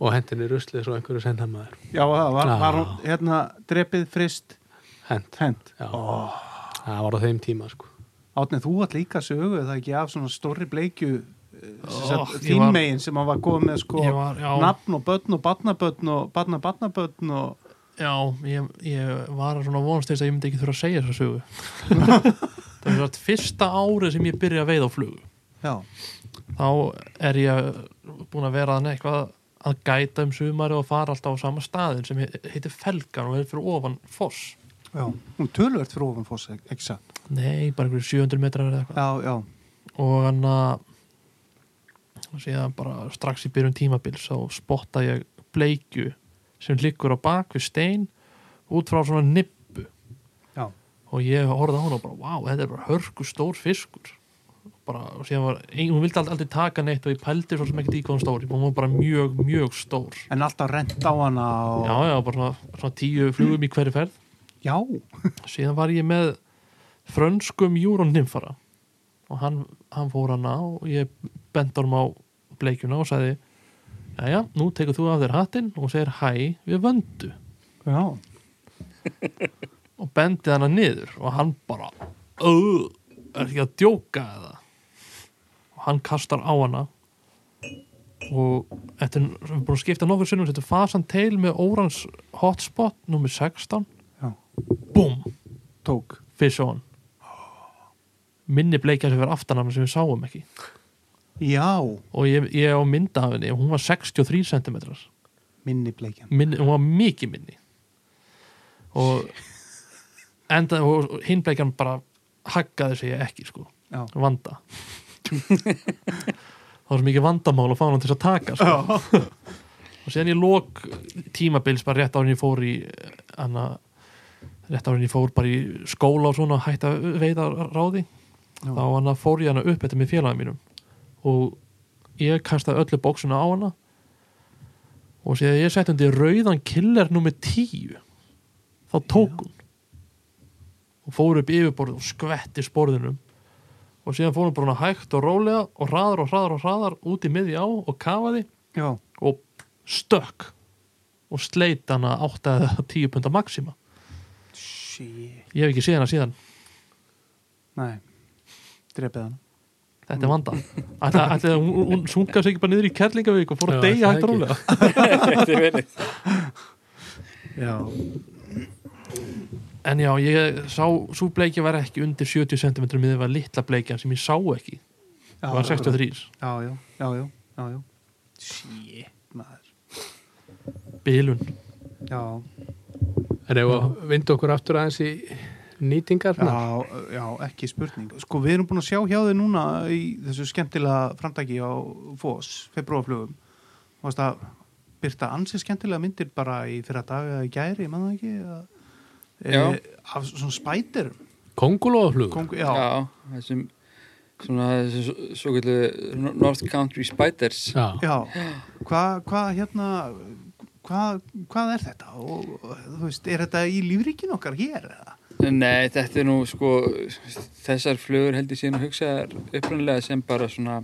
C: og hendin er ruslið svo einhverju sendamaður
B: Já, það var,
C: Já.
B: var hún hérna drepið frist
C: hend,
B: hent
C: já það var á þeim tíma sko
B: Átnið, þú var líka sögu það ekki af svona stóri bleikju eh, sem
D: Ó,
B: sagt,
D: ég
B: þín
D: var-
B: megin sem hann var komið með sko
D: Ég var, já,
B: nafn og börn og barnabörn og barnabarnabörn og
D: já ég, ég var svona vonast þess að ég myndi ekki þurfa að segja þessa sögu Það er svona fyrsta árið sem ég byrja að veiða á flugu
B: já,
D: þá er ég búin að vera þannig eitthvað að gæta um sumari og fara alltaf á sama staðin sem he- heitir Felgan og er fyrir ofan Foss
B: já. Hún tölvert fyrir ofan fórs, ekki satt
D: Nei, bara einhverju 700 metrar eða eitthvað
B: Já, já,
D: og hann að síðan bara strax í byrjun tímabils þá spotta ég bleikju sem liggur á bak við stein út frá svona nippu
B: Já.
D: og ég horfði á hann og bara, vá, þetta er bara hörku stór fiskur bara, og síðan var, ein- hún vildi aldrei, aldrei taka neitt og ég pældi svo sem ekkert í hvað hún stór hún var bara mjög, mjög stór
B: en alltaf rent á hana og...
D: já, já, bara svona, svona tíu flugum í hverju ferð
B: já,
D: síðan var ég með frönskum Júron Nymfara og hann, hann fór hana og ég bent honum á bleikjuna og sagði jæja, nú tekur þú af þér hattinn og segir hæ við vöndu
B: já,
D: og bendi hana niður og hann bara "Ö, er ekki að djóka eða og hann kastar á hana og þetta er við erum búin að skipta nokkur sinnum þetta er fasan teil með Órans hotspot nummer 16
B: Já.
D: búm
B: tók
D: fish on minni bleikja sem verið aftan af hann sem við sáum ekki
B: já,
D: og ég, ég á mynda af henni og hún var 63 cm
B: minni bleikjan
D: minni, hún var mikið minni og enda og og hinn bleikjan bara haggaði sig ekki sko
B: já,
D: vanda það var svo mikið vandamál að fá hann til þess að taka sko. og síðan ég lók tímabils bara rétt árin ég fór í hana, rétt árin ég fór bara í skóla og svona að hætta að veiða ráði
B: Já.
D: þá hana fór ég hana upp þetta með félagum mínum og ég kastaði öllu bóksuna á hana og síðan ég setti hundi rauðan killer nummer 10 þá tók hún og fór upp yfirborðið og skvetti sporðinum og síðan fór hún bara svona hægt og rólega og hraðar og hraðar og hraðar út í miðji á og kafaði
B: já,
D: og stökk og sleit hana 8 eða 10 punda maxima
B: sí
D: ég hef ekki séð hana síðan,
B: nei, drepið hana
D: þetta er vanda ætla, ætla, hún, hún sunga sig ekki bara niður í kerlingavík og fór að
C: Já,
D: deyja
C: það
D: hægt og
C: ekki.
D: rólega
A: þetta er verið.
B: já,
D: en já, ég sá, svo bleikja var ekki undir 70 cm miður var litla bleikja sem ég sá ekki,
B: já
D: það var 63
B: já, já, já, já, já, já. Shit, maður.
D: bilun
B: Já,
C: en ef við vindu okkur aftur aðeins í nýtingarnar
B: Já, já, ekki spurning. Sko, við erum búin að sjá hjá þið núna í þessu skemmtilega framtæki á FOS, februarflugum. Þú veist að byrta ansið skemmtilega myndir bara í fyrra daga í gæri, mann það ekki? eða-
A: Já.
B: E, af svona spætir.
C: kongulóflug
B: Kongu,
A: já.
B: já,
A: þessum svona þessum svo kallu North Country Spiders
C: já,
B: já. Hvað, hva, hérna, hvað, hvað er þetta? Og, þú veist, er þetta í lífríkin okkar hér? eða?
A: Nei, þetta er nú sko þessar flugur heldur síðan að hugsa upprannlega sem bara svona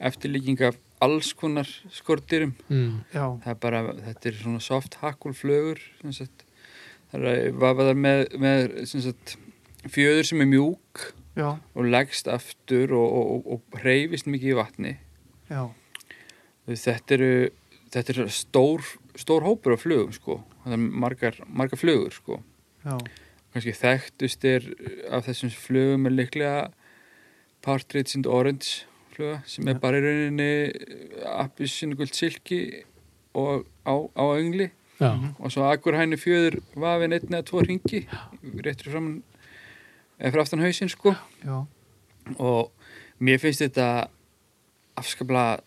A: eftirlíking af alls konar skortirum
C: Mm.
B: Já,
A: það er bara, þetta er svona soft hakkulflögur sem sagt það er að vafa þar með, með sem sagt, fjöður sem er mjúk
B: já,
A: og leggst aftur og, og, og, og reyfist mikið í vatni
B: já,
A: þetta eru þetta er stór, stór hópur af flugum sko, það er margar, margar flugur sko,
B: já,
A: kannski þekktust er af þessum flugum er líklega Partridge and Orange fluga sem er
B: Ja.
A: bara í rauninni appisynugult silki og á, á öngli
C: já,
A: og svo akkur hægni fjöður vafin einn eða tvo ringi réttur fram eða fyrir aftan hausinn sko
B: já,
A: og mér finnst þetta afskaplega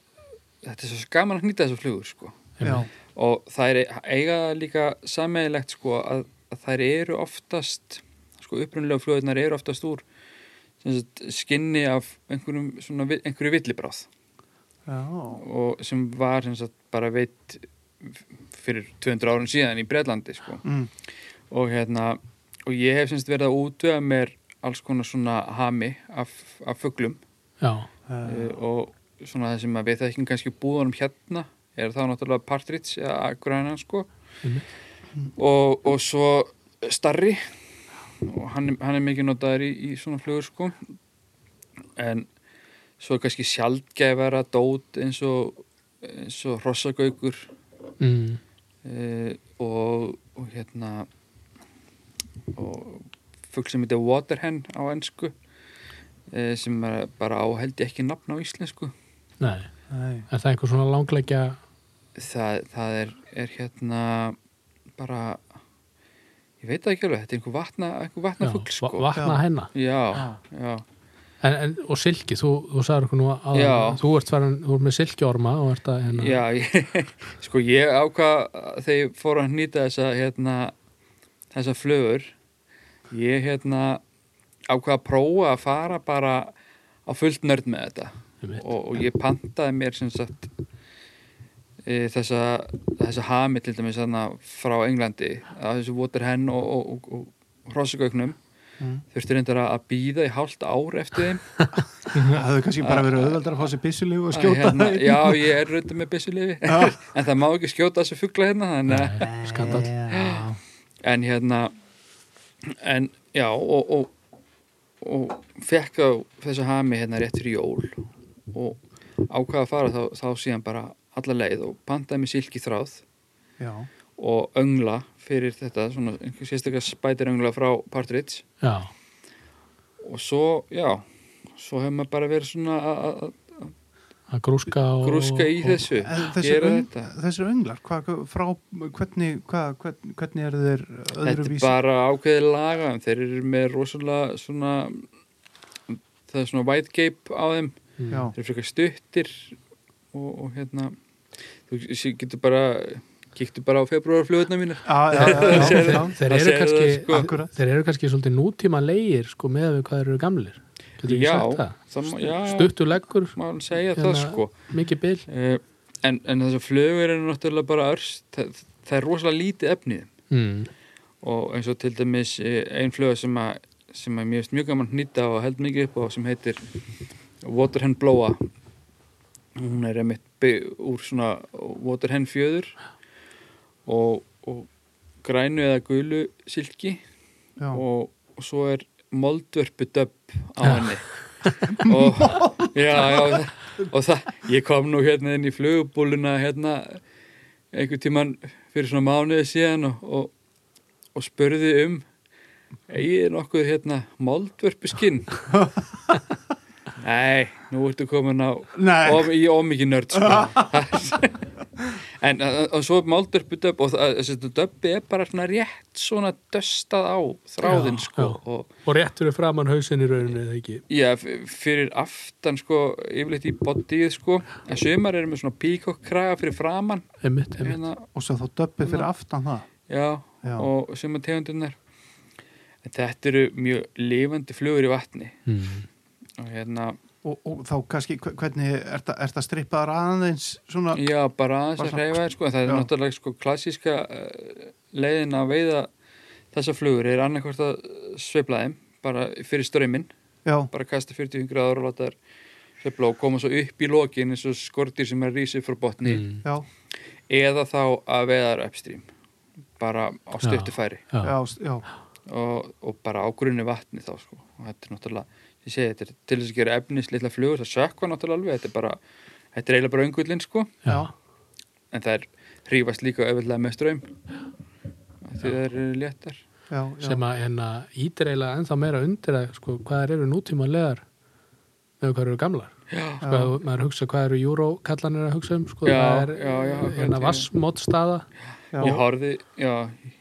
A: þetta er svo gaman að hnýta þessu flugur sko
B: já,
A: og það er eiga líka sammeðilegt sko að, að þær eru oftast sko upprunlega flugurnar eru oftast úr sem sagt, skinni af einhverjum svona, vi- einhverju villibráð
B: já.
A: og sem var sem sagt, bara veit fyrir 200 árun síðan í Breitlandi sko
B: Mm.
A: og hérna og ég hef semst verið að útvega mér alls konar svona hami af, af fuglum
C: já,
A: uh,
B: Eh,
A: og svona það sem að við þekkum kannski búðunum hérna er þá náttúrulega partridge eða agrænan sko
C: Einmitt.
A: og, og svo starri og hann, er- hann er mikið notaður í, í svona flugur sko en svo er kannski sjaldgæfara dót eins og eins og hrossagaukur
C: mm.
A: uh, og, og hérna og fugg sem heitir Waterhen á ennsku uh, sem er bara áheldi ekki nafn á íslensku
C: nei
B: Nei.
C: er það einhver svona langleikja
A: það, það er, er hérna bara ég veit það ekki alveg, þetta er einhver vatna, einhver vatna fugg sko
C: vatna
B: Já.
C: hennar
A: já, já,
C: en, en, og silki, þú, þú sagður okkur nú að
A: Já.
C: þú ert, farin, þú ert með silkiorma og ert að hérna,
A: já ég, sko ég ákvað þegar ég fór að nýta þessa hérna, þessa flögur ég hérna ákvað að prófa að fara bara á fullt nörd með þetta
C: einmitt.
A: og, og ég pantaði mér sem sagt e, þessa, þessa hami til dæmis þarna frá Englandi að þessu Waterhen og, og, og, og hrossugögnum
B: Mm.
A: þurfti reyndar að- að býða í hálft ár eftir þeim
B: Það hefur kannski bara verið auðveldar að fá sér byssulíu og skjóta
A: hérna,
B: þeim.
A: já ég er raundi með byssulifi en það má ekki skjóta þessu fugla hérna þannig að
C: Nei, skandal
B: Já.
A: en hérna en já og, og, og fekk á þessu hami hérna rétt fyrir jól og ákvaða að fara þá, þá síðan bara alla leið og pantaði mig silki þráð
B: Já.
A: og öngla fyrir þetta svona einhver sérstakar spætir öngla frá Partridge
C: já,
A: og svo, já svo hefur maður bara verið svona að- að að
C: að grúska og,
A: grúska í
C: og,
A: þessu
B: En Þessir,
A: gera
B: öng,
A: þetta
B: þessir önglar, hva, hva- frá, hvernig, hva, hvern- hvernig eru þeir
A: Þetta er
B: öðruvísi?
A: bara ákveðið laga en þeir eru með rosalega svona það er svona white gape á þeim
C: Mm.
B: Já,
A: þeir eru frekar stuttir og, og hérna þú sé- getur bara kíktu bara á februarflugurna mínar
B: já, já, já, já, já.
C: Þeir
A: Það
C: eru,
A: segir
C: kannski,
A: það, sko.
B: Akkúrat.
C: þeir eru kannski svolítið nútíma leir sko, með við hvað þeir eru gamlir Getur ekki
A: Já,
C: sagt það?
A: það má- já.
C: Stuttur leggur,
A: maður segja
C: Hérna-
A: það sko
C: mikið bil
A: uh, en, en þessar flugur eru náttúrulega bara örst það, það er rosalega lítið efnið
C: mm.
A: og eins og til dæmis eh, ein fluga sem að sem að mér finnst mjög gaman að nýta og held mikið upp á sem heitir Waterhen Blowa hún er einmitt byggð úr svona Waterhen fjöður og, og grænu eða gulu silki
B: já.
A: og, og svo er moldvörpu döpp á henni og, já, já, og það ég kom nú hérna inn í flugubúluna hérna einhver tíman fyrir svona mánuði síðan og, og, og spurði um eigið nokkuð hérna moldvörpu skinn nei, nú ertu komin á
B: Nei,
A: of, í ómikið nörd sko. en að- að- að svo er Moldvörpu döbb og það- þessi döbbi er bara svona rétt svona döstað á þráðin
C: Já,
A: sko
C: já.
A: og
C: og réttur er framann hausin í rauninu eða ekki
A: Já, f- fyrir aftan sko, yfirleitt í bodyið sko, en sumar eru með svona píkokkraga fyrir framann,
C: einmitt, einmitt.
A: hérna,
B: og svo þá döppið fyrir aftan það
A: já,
B: Já.
A: og sumar tegundirnar. En þetta eru mjög lifandi flugur í vatni
C: Mm.
A: og hérna,
B: og, og þá kannski, hve- hvernig er þetta strippaðar aðeins svona
A: já, bara aðeins
B: Bara
A: að
B: svona-
A: hreyfa þér sko, en það er
B: Já.
A: náttúrulega sko klassíska eh, leiðin að veiða þessa flugur er annarkvort að sveifla þeim, bara fyrir strömmin,
B: já,
A: bara kasta 40 gráður og láta þær sveifla og koma svo upp í lokin eins og skortir sem er rísið frá botni.
C: Mm.
B: já,
A: eða þá að veðar upstream bara á stöttu færi
C: Já.
B: já, s- já,
A: og, og bara á grunni vatni þá sko. og þetta er náttúrulega ég segi, þetta er til þess að gera efnis litla flugur það sökva náttúrulega alveg þetta er, bara, þetta er eiginlega bara öngullin sko.
B: já,
A: en það er hrífast líka auðvitað með ströym því það eru léttar
B: já, já.
C: sem að hérna, ítir eiginlega ennþá meira undir að sko, hvað þær eru nútíma legar með hvað þær eru gamlar
A: já,
C: sko, ef maður hugsa hvað eru júrókallanir að hugsa um sko,
A: Já,
C: það er
A: já, já,
C: hérna
A: já.
C: vassmótstaða
B: já,
A: ég horfði já,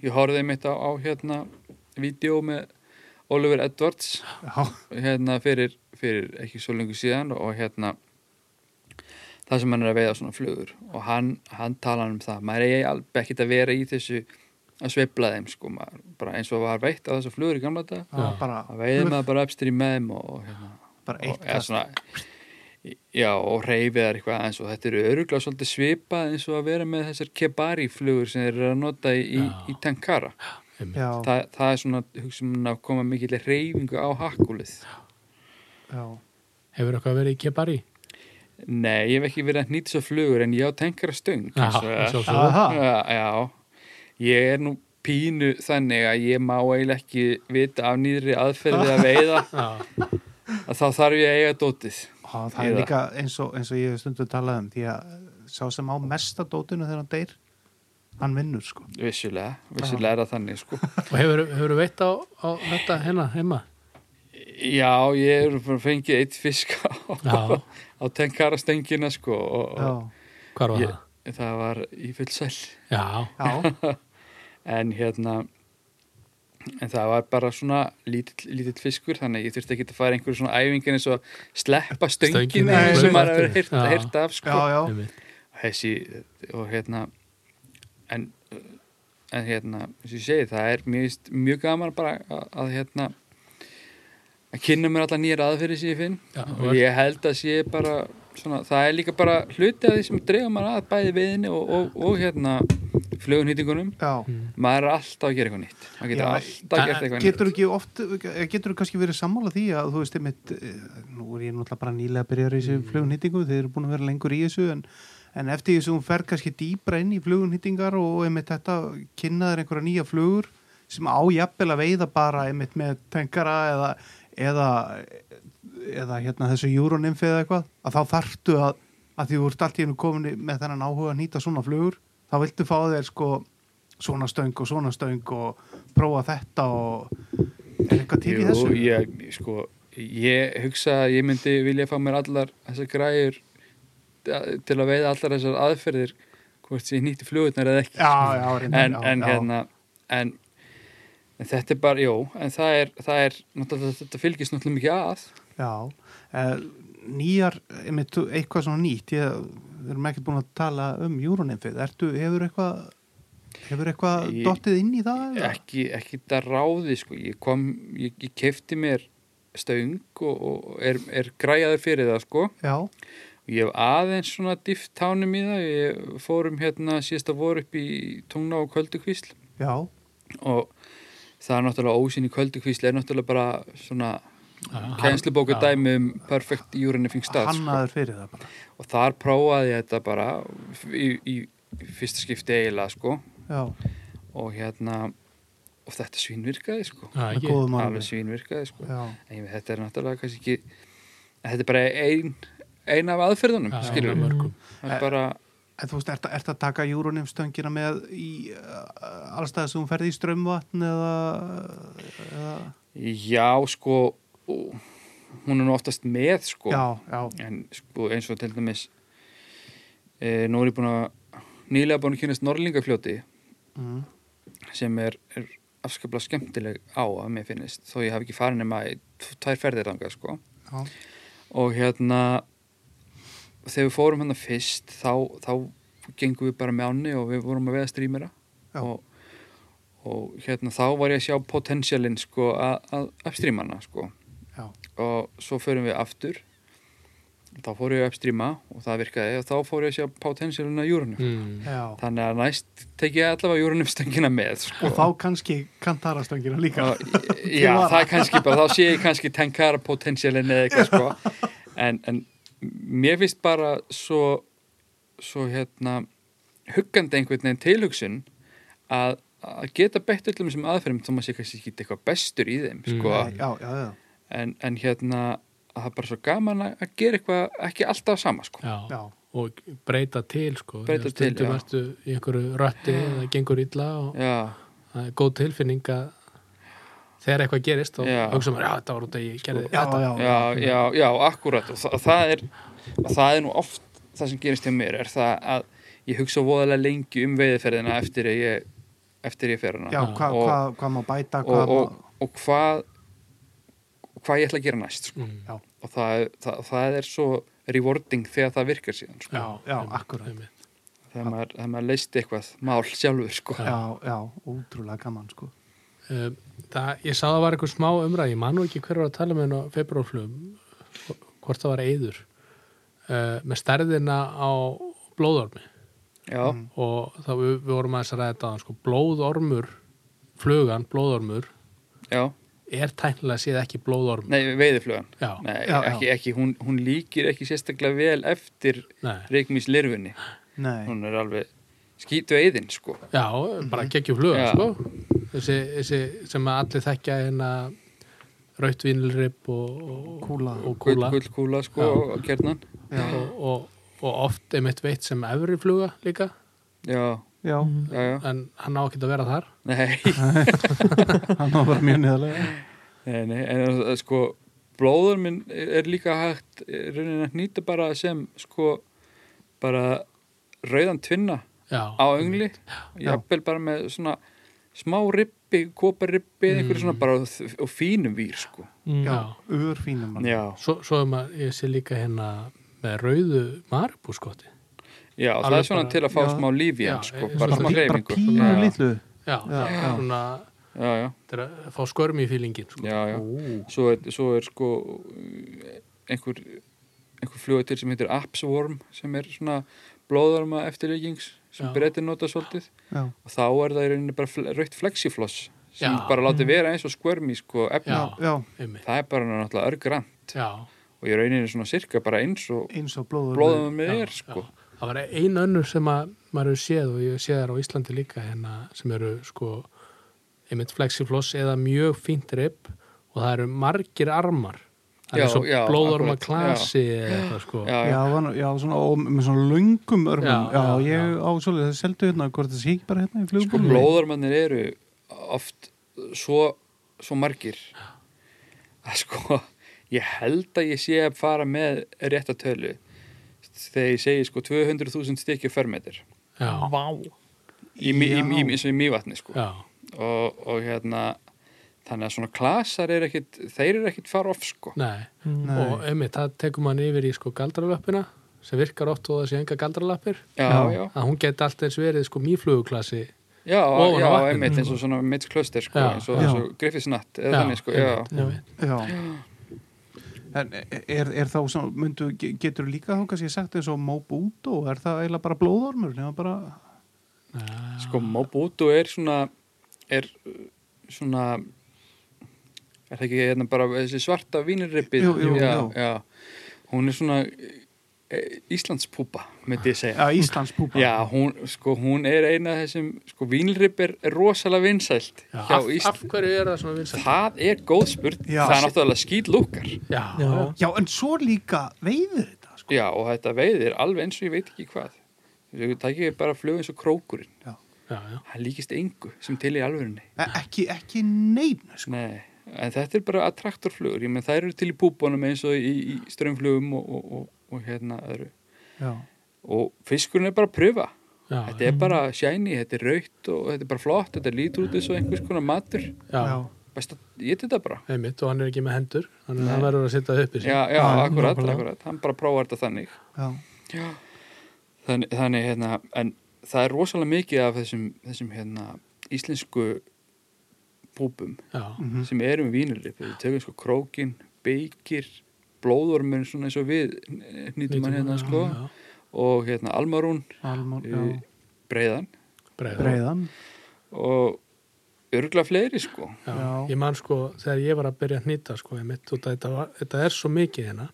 A: ég horfði mitt á, á hérna vídeo með Oliver Edwards
B: já,
A: hérna fyrir, fyrir ekki svo lengur síðan og hérna það sem hann er að veiða svona flugur og hann, hann talar um það maður er alveg ekkert að vera í þessu að sveifla þeim sko maður, bara eins og var veitt á þessu flugur í gamla dag
B: já, bara,
A: að veiði maður bara uppstýri með þeim og, og hérna
B: bara
A: og,
B: eitt
A: eða
B: kast
A: svona, já, og reyfið þar eitthvað eins og þetta eru öruglega svolítið svipað eins og að vera með þessar kebari flugur sem þeir eru að nota í, í,
C: Já.
A: í Tankara
B: já,
A: Þa, það er svona hugsun að koma mikill reyfingu á hakkulið
B: já,
C: hefur eitthvað verið í kebari
A: Nei, ég hef ekki verið að nýta svo flugur en ég á tenkara stöng
C: Já,
A: eins og er.
C: sjálfsögðu.
B: aha,
A: já, já, ég er nú pínu þannig að ég má eiginlega ekki vita af nýðri aðferði að veiða
C: já,
A: að þá þarf ég að eiga dótið
B: Á, það er
A: Eða-
B: líka eins og, eins og ég hef stundu talað um því að sá sem á mesta dótinu þegar hann deyr hann vinnur sko
A: vissulega, vissulega er það þannig sko.
C: og hefur, hefur veitt á, á þetta hérna heima
A: Já, ég er bara að fengið eitt fisk á,
C: Já.
A: á tenkara stöngina sko, og,
B: já,
C: hvað var
A: Ég- og það var í fullsæl
C: það?
B: já,
A: en hérna en það var bara svona lítill, lítill fiskur þannig að ég þurfti ekki að fara einhverju svona æfingin eins og að sleppa stönginu
C: Stöngina,
A: sem
C: hlaupa
A: maður hefur
C: eftir
A: heyrt,
C: henni. Já.
A: heyrt af
B: já,
A: sko.
B: já,
C: já, einmitt.
A: þessi og hérna en, en hérna eins og ég segi það er mjög, mjög gaman bara að, að hérna að kynna mér alla nýjar aðferði sem ég finn
C: Já,
A: og ég held að sé bara svona, það er líka bara hluti af því sem dreifum maður að bæði veiðinni og, og, og hérna flugunhýtingunum
B: já.
A: maður er alltaf að gera eitthvað nýtt maður getur
B: Já,
A: alltaf að
C: en-
A: gera eitthvað nýtt
B: getur ekki oft eh, getur kannski verið sammála því að þú veist einmitt, eh, nú er ég náttúrulega bara nýlega að byrja í þessu flugunhýtingu, þið eru búin að vera lengur í þessu en, en eftir því sem hún fer kannski dýbra inn í flugunhýtingar og einmitt þetta kynnaður einhverja nýja flugur sem ájafnvel að veiða bara einmitt með tengara eða eða, eða hérna þessu júronymfi eða eitthvað að þá þarftu að, að því þú ert allt í hennu komin í- með þennan áhuga að nýta svona flugur þá viltu fá þér sko svona stöng og svona stöng og prófa þetta og er eitthvað til í þessu?
A: ég, sko, ég hugsa að ég myndi vilja fá mér allar þessar græjur eh, til að veiða allar þessar aðferðir hvort sem ég nýtti flugurnar eða ekki sko.
B: Já, já, reyndar,
A: en,
B: já,
A: en
B: já.
A: hérna en, en þetta er bara, jú en það er, það er náttúrulega þetta fylgist náttúrulega mikið að
B: Já, eh, nýjar, einmitt, þú- eitthvað svona nýtt, ég, við erum ekkert búin að tala um júrunimfið, ertu, hefur eitthvað, hefur eitthvað
A: Ég-
B: dottið inn í það? eða?
A: ekki, ekki þetta ráði sko. ég kom, ég, ég kefti mér stöng og, og er, er græjaður fyrir það sko
B: Já,
A: Ég hef aðeins svona dýft tánum í það, ég fórum hérna síðasta voru upp í tungna og kvöldukvísl
B: já,
A: og það er náttúrulega ósinn í kvöldukvísl er náttúrulega bara svona
C: Já,
A: kænslubóka
C: já.
A: dæmi um perfect júrinifing stað sko.
B: hannaður fyrir það bara.
A: og þar prófaði ég þetta bara í, í, í fyrsta skipti eiginlega sko
B: Já,
A: og hérna og þetta svínvirkaði sko,
C: Já,
B: með
C: ekki.
B: góðum
A: alveg
B: ánum.
A: svínvirkaði sko
B: Já,
A: en ég veit, þetta er náttúrulega kannski ekki þetta er bara ein, ein af aðferðunum
C: Já,
A: skilur
C: með
A: við,
C: mörgum.
A: það er bara
B: en þú veist, ert, ert að taka júrunimstöngina með í uh, allstæða sem hún ferði í strömmvatn eða, eða,
A: Já, sko, ó, hún er nú oftast með, sko.
B: já, já,
A: En sko, eins og til dæmis, e, nú eh, er ég búin að, nýlega búin að kynast Norlingafljóti
B: Mm.
A: sem er, er afskaplega skemmtileg á að mér finnist þó ég haf ekki farin nema í t- tvær ferðir þangað sko
B: Já.
A: og hérna þegar við fórum hérna fyrst þá, þá gengum við bara með ánni og við vorum að veða strýmera
B: Já.
A: og, og hérna þá var ég að sjá potentialin sko að, að upstreamana sko
B: Já.
A: og svo förum við aftur þá fór ég að upstreama og það virkaði og þá fór ég að sjá potentialin að júrunum
C: mm.
B: Já.
A: þannig að næst tek ég allavega júrunum stöngina með sko
B: og þá kannski kantarastöngina líka
A: Og- já,
B: vara.
A: það er kannski bara, þá sé ég kannski tenkara potensialin eða eitthvað sko. en, en mér finnst bara svo, svo hérna huggandi einhvern veginn tilhugsun að, að geta beitt öllum þessum aðferðum þó maður sé kannski ekki eitthvað bestur í þeim sko.
B: já, já, já,
A: en, en hérna að það er bara svo gaman að að gera eitthvað ekki alltaf sama sko.
C: já.
B: já,
C: og breyta til sko
A: Breyta til, já.
C: stundum ertu í einhverju rötti eða gengur illa og
A: já,
C: það er góð tilfinning að þegar eitthvað gerist þá
A: Já.
C: hugsa maður, já þetta var út að ég gerði
B: Sko, já,
C: þetta
B: já,
A: já, já, já, akkurat og það, og það er og það er nú oft það sem gerist hjá mér er það að ég hugsa voðalega lengi um veiðiferðina eftir að ég eftir ég fer hana
B: já, hvað
A: Og-
B: hva, hva má bæta,
A: og,
B: hvað
A: og, og hvað hvað ég ætla að gera næst sko.
C: Mm.
B: Já.
A: og það, það, það er svo rewarding þegar það virkar síðan sko.
C: já,
B: já,
C: einmitt,
B: akkurat.
C: einmitt.
A: þegar maður, þegar maður leist eitthvað mál sjálfur sko.
B: já, já, útrúlega gaman sko
C: Uh, það, ég sá það var einhver smá umræð ég manu ekki hver var að tala með henn á februarflugum hvort það var eiður uh, með stærðina á blóðormi
A: já,
B: Mm.
C: og þá við, við vorum aðeins að ræða þetta áðan, sko, blóðormur flugan, blóðormur
A: já,
C: er tæknilega séð ekki blóðormur
A: nei, veiðiflugan
C: já,
A: nei,
B: Já, já.
A: ekki, ekki, hún, hún líkir ekki sérstaklega vel eftir
C: nei,
A: reikmís lirfunni
B: nei,
A: hún er alveg skýtu eiðin sko.
C: já, bara geggjum flugan
A: Já.
C: sko. þessi, þessi sem að allir þekkja hérna rautvinlrip og, og
B: Kúla.
C: og
A: gull,
C: kúla.
A: gull kúla sko
C: Já.
A: og kjarnan
B: já,
C: Og, og, og oft einmitt veitt sem efri fluga líka
A: já,
B: já
D: Mm,
A: já, já,
C: en hann á ekki að vera þar
A: nei,
B: hann var bara mjög niðurlega
A: nei, nei en eh, sko blóður minn er líka hægt eh, raunin að nýta bara sem sko bara rauðan tvinna
C: já,
A: á öngli jafnvel bara með svona smá rippi, kóparrippi mm. einhverju svona bara þ- og fínum vír sko
B: já,
C: já.
B: urfínum mann
A: já,
C: Svo, svo er maður, ég sé líka hérna með rauðu maribúskoti
A: já það
C: Alveg
A: er svona
C: bara-
A: til að fá
B: já.
A: smá líf í
C: Já,
A: hann sko,
C: eh,
A: bara
C: svona
A: smá
B: bara, bara
A: hreyfingu
B: pínu
A: já,
B: litlu
C: já, já,
B: Já.
C: já. Svona,
A: já, já,
C: þetta er að fá skörmi í fílingin sko.
A: já, já.
B: Ó.
A: svo er, svo er sko einhver, einhver flugatir sem heitir Apsworm sem er svona blóðarma eftirleikings sem
C: Já.
A: breytir nota svolítið
B: já,
A: og þá er það í rauninni bara fl- rautt flexifloss sem
C: Já.
A: bara láti vera eins og skvörmi sko efni
B: já, já,
C: einmitt
A: það er bara náttúrulega örgrant
C: já,
A: og í rauninni svona sirka bara eins og
B: eins og blóður
A: blóðarma með
C: já,
A: er sko
C: já. það var ein önnur sem að maður hefur séð og ég sé þær á Íslandi líka hérna, sem eru sko einmitt flexifloss eða mjög fínt rip og það eru margir armar það
A: Já,
C: er eins og
A: já,
C: blóðorma
A: akkurat,
C: klasi eða eitthvað sko
A: já, já,
B: Já, var, já svona, og með svona löngum örmum
C: Já,
B: já,
C: já,
B: ég
C: já.
B: á svolítið, það seldu hérna hvort það sé ekki bara hérna í
A: sko
B: flugbúlunni
A: blóðarmannir eru oft svo, svo margir að sko ég held að ég sé að fara með rétta tölu þegar ég segi sko 200.000 stykki fermetir
C: já,
E: Vá.
A: í, mi- í,
B: Já.
A: í, í, í mývatni sko
C: já,
A: og, og hérna þannig að svona klasar er ekkit þeir eru ekkit fara off sko
C: nei
B: Nei.
C: og einmitt, það tekur mann yfir í sko galdralöppina sem virkar oft og það sé enga galdralappir
A: já,
B: Já.
A: já,
C: að hún geti allt eins verið sko mýfluguklasi
A: já,
C: Ofan á
A: já
C: vatninu,
A: einmitt
C: sko.
A: eins og svona mitt klöster sko
C: Já.
A: eins og,
B: Já.
A: eins og griffisnatt eða þannig sko, já,
C: einmitt, einmitt.
B: Já. En e, er, er þá sem, myndu, getur líka þá kannski sagt eins og Mobuto, er það eiginlega bara blóðormur nema bara,
A: sko Mobutu er svona er uh, svona er það ekki hérna bara þessi svarta vínirrippið
B: Jú, jú,
A: já,
B: jú.
A: já hún er svona eh, Íslandspúpa myndi ég segja
B: já, Íslands púpa
A: já, hún, sko, hún er eina af þessum sko, vínirripp er, er rosalega vinsælt
C: Já,
A: hjá
C: af, af
A: Ísland
C: hverju er það svona vinsælt?
A: það er góð spurt
B: Já.
A: það er náttúrulega skýtlúkar
C: Já,
E: Já.
B: Já, en svo líka veiður þetta sko.
A: já, og þetta veiðir alveg eins og ég veit ekki hvað það ekki bara flug eins og krókurinn
C: já, já.
A: hann líkist engu sem til í alvörunni
B: E- ekki, ekki neinu sko.
A: Nei, en þetta er bara attraktorflugur, ég menn það eru til í púbónum eins og í, í strömmflugum og, og, og, og hérna öðru.
B: já.
A: Og fiskurinn er bara að pröfa
C: já,
A: þetta er bara shiny, þetta er raut og þetta er bara flott, þetta lítur út eins og einhvers konar matur
C: já,
B: já,
A: best að ég þetta bara
C: einmitt og hann er ekki með hendur þannig
A: Nei.
C: að hann verður að setja það upp í sig
A: já, já,
B: Já,
A: akkurat,
D: nákvæmlega.
A: akkurat, hann bara prófar þetta þannig
B: já.
A: þannig, þannig hérna, en það er rosalega mikið af þessum, þessum hérna, íslensku búbum
C: já,
B: mhm.
A: sem eru með vínulip við tökum sko krókin, beikir blóðormur svona eins og við nýtum hann hérna sko
C: já,
A: og hérna almarún
B: Almál, já.
A: í- breiðan
C: breiða.
B: Breiðan
A: og örgla fleiri sko
C: Já.
B: Já.
C: Ég man sko, þegar ég var að byrja að hnýta sko, ég mitt út að þetta, var, þetta er svo mikið hérna.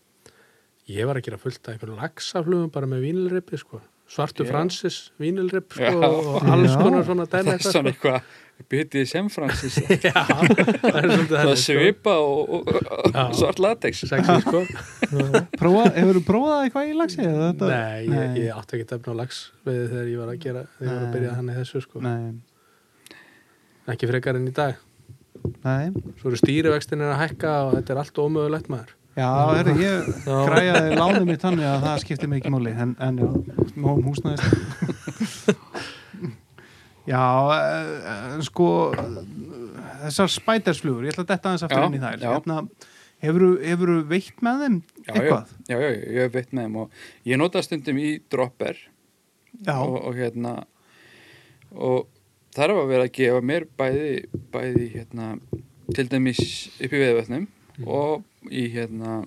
C: Ég var að gera fullt af einhverjum laxaflugum bara með vínilripi sko. Svartu
A: Já.
C: Francis vínilrip sko
A: Já.
C: og alls
B: Já.
C: konar svona
A: það
C: dæla
A: er svona eitthvað byttið sem Francis
C: Já, það er svolítið
A: það
C: þannig,
A: er svipa og, og, og,
C: sko. Já.
A: og svart latex
C: Sexy sko.
B: Prófa, hefur þú prófað eitthvað í lagsi? eða Þetta...
C: Nei, ég, ég átti ekki tefn á lax við þegar ég var að gera, þegar ég var að
B: Nei.
C: byrja hann í þessu sko.
B: Nei,
C: Ekki frekar enn í dag.
B: nei
C: Svo eru stýrivextin er að hækka og þetta er allt ómögulegt maður.
B: Já, herri, ég
C: Já.
B: græjaði lánum mitt þannig að það skiptir mig ekki máli en, en já, um móum húsnæðist Já, eh, eh, sko eh, þessar spædersflugur, ég ætla að detta aðeins aftur
A: Já,
B: inn í þær
A: já.
B: hérna, hefur þú veitt með þeim
A: Já,
B: eitthvað?
A: já, já, já, ég hef veit með þeim og ég nota stundum í dropper
B: Já,
A: og, og hérna og þar var verið að gefa mér bæði, bæði hérna til dæmis upp í veðvötnum
B: Mhm.
A: og í hérna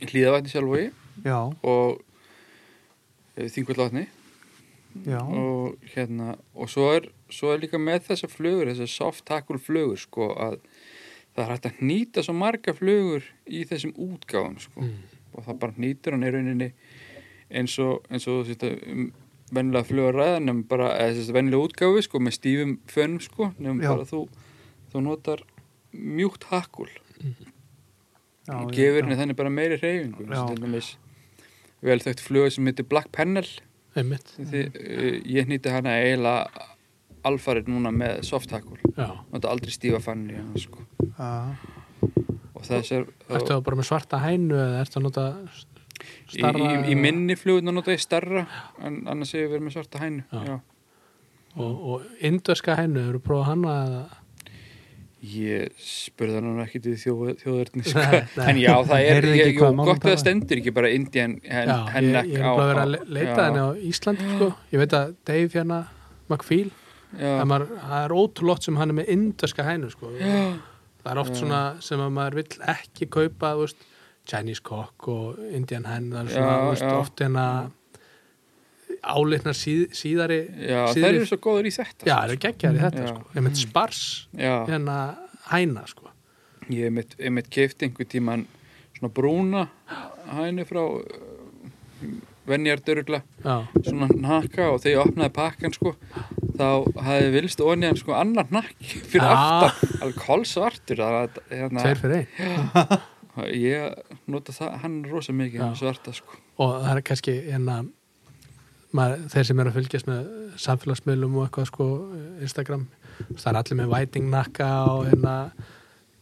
A: hlýðavætni sjálfói
B: já,
A: og þingvöldvatni
B: já,
A: og hérna og svo er, svo er líka með þessar flugur þessar soft tackle flugur sko að það er hægt að nýta svo marga flugur í þessum útgáfum sko og það bara nýtur hann í rauninni eins og, eins og þetta, um, venlega flugur ræðan nefnum bara, eða þessi venlega útgáfi sko með stífum fönum sko nefnum
B: Já.
A: bara þú, þú notar mjúkt hakkul
B: já
A: og
B: ég-
A: gefur
B: já.
A: henni þannig bara meiri reyfingu
B: Já.
A: til dæmis vel þögt flugur sem heitir Black Panel
C: Einmitt,
B: Mm.
A: Því, uh, ég hnýtti hana eiginlega alfarið núna með softhakul
C: já.
A: þetta aldrei stífa fann í hana sko.
B: Já.
A: og þessar
C: Ertu það bara með svarta hænu eða ertu að nota
A: í, í,
C: starra
A: í minni fluguna nota ég starra en annars hefur verið með svarta hænu
C: Já.
A: já.
C: og, og indverska hænu, eru prófað hana eða
A: ég spurði hann ekki til þjóð, þjóðurni sko.
C: Nei, nei.
A: en já það er
B: Heyrðu
A: ég,
B: ekki
A: jú,
B: hvað mamma
A: gott að
B: talaði?
A: það stendur ekki bara indian hen,
C: já, ég,
A: hennek
C: ég er
A: á-
C: bara að vera
A: á-
C: að le- leita
A: já,
C: henni á Ísland sko. ég veit að Dave hérna McPhil,
A: já,
C: það maður- það er ótrúlótt sem hann er með indverska hænu sko. það er oft svona sem að maður vill ekki kaupa þú veist, Chinese cock og Indian hen það er svona
A: Já,
C: þú veist,
A: já.
C: oft hérna álitnar síð, síðari
A: já þeir
C: síðri-
A: eru svo góður í þetta
C: já,
A: sko.
C: það eru geggjari þetta
A: Já.
C: sko. ég með spars
A: já.
C: hérna hæna sko.
A: Ég hef mitt, hef mitt keift einhver tíman svona brúna hænu frá venjardörugla,
C: já,
A: svona hnakka og þegar ég opnaði pakkan sko þá hafði vilst onni hann sko annar hnakki fyrir
C: Ah.
A: aftan, alveg kolsvartur þannig að hérna,
C: tveir fyrir einn
A: ég nota það, hann er rosa mikið hann svarta sko
C: og það er kannski hérna maður, þeir sem eru að fylgjast með samfélagsmiðlum og eitthvað sko Instagram, þú veist, það er allir með vætingnakka og hérna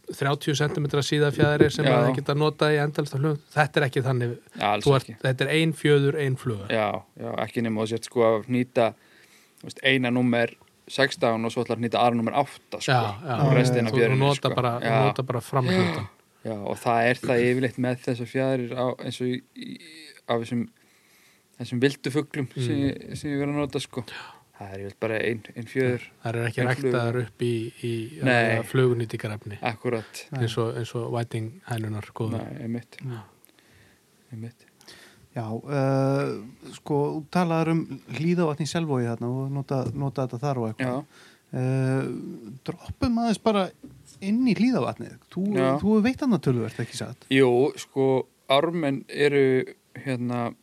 C: 30 cm síða fjæðri sem
A: Já.
C: að þeir geta notað í endalsta flugum þetta er ekki þannig,
A: ja, alls
C: þú ert,
A: ekki
C: þetta er ein fjöður ein fluga,
A: já, já, ekki nema þú sért sko að nýta þú veist, eina nummer 16 og svo ætlar að nýta aðra nummer 8 sko,
C: Já, já.
A: og restina
C: þú þú
A: fjörinu
C: nota bara, þú nota bara framhjóttan
A: Já, og það er það yfirleitt með þessar fjæðir á, eins og í, í, af þessum, þessum vildu fuglum
C: Mm.
A: sem, ég- sem ég verið að nota sko. Það er yfirleitt bara ein, ein fjöður,
C: það er ekki
A: En
C: ræktaðar upp í, í
A: Nei.
C: flugunýtíkarafni
A: akkurat.
C: eins og, eins og væting hænunar góða
A: Nei, einmitt.
C: Já.
A: Einmitt.
B: Já, uh, sko, þú talaður um hlýðavatni í selvói þarna og nota, nota þetta þar og eitthvað.
A: Já,
B: uh, droppum aðeins bara inn í hlýðavatnið þú,
A: Já.
B: þú veit annað tölvöld ekki satt
A: jú, sko, ármenn eru hérna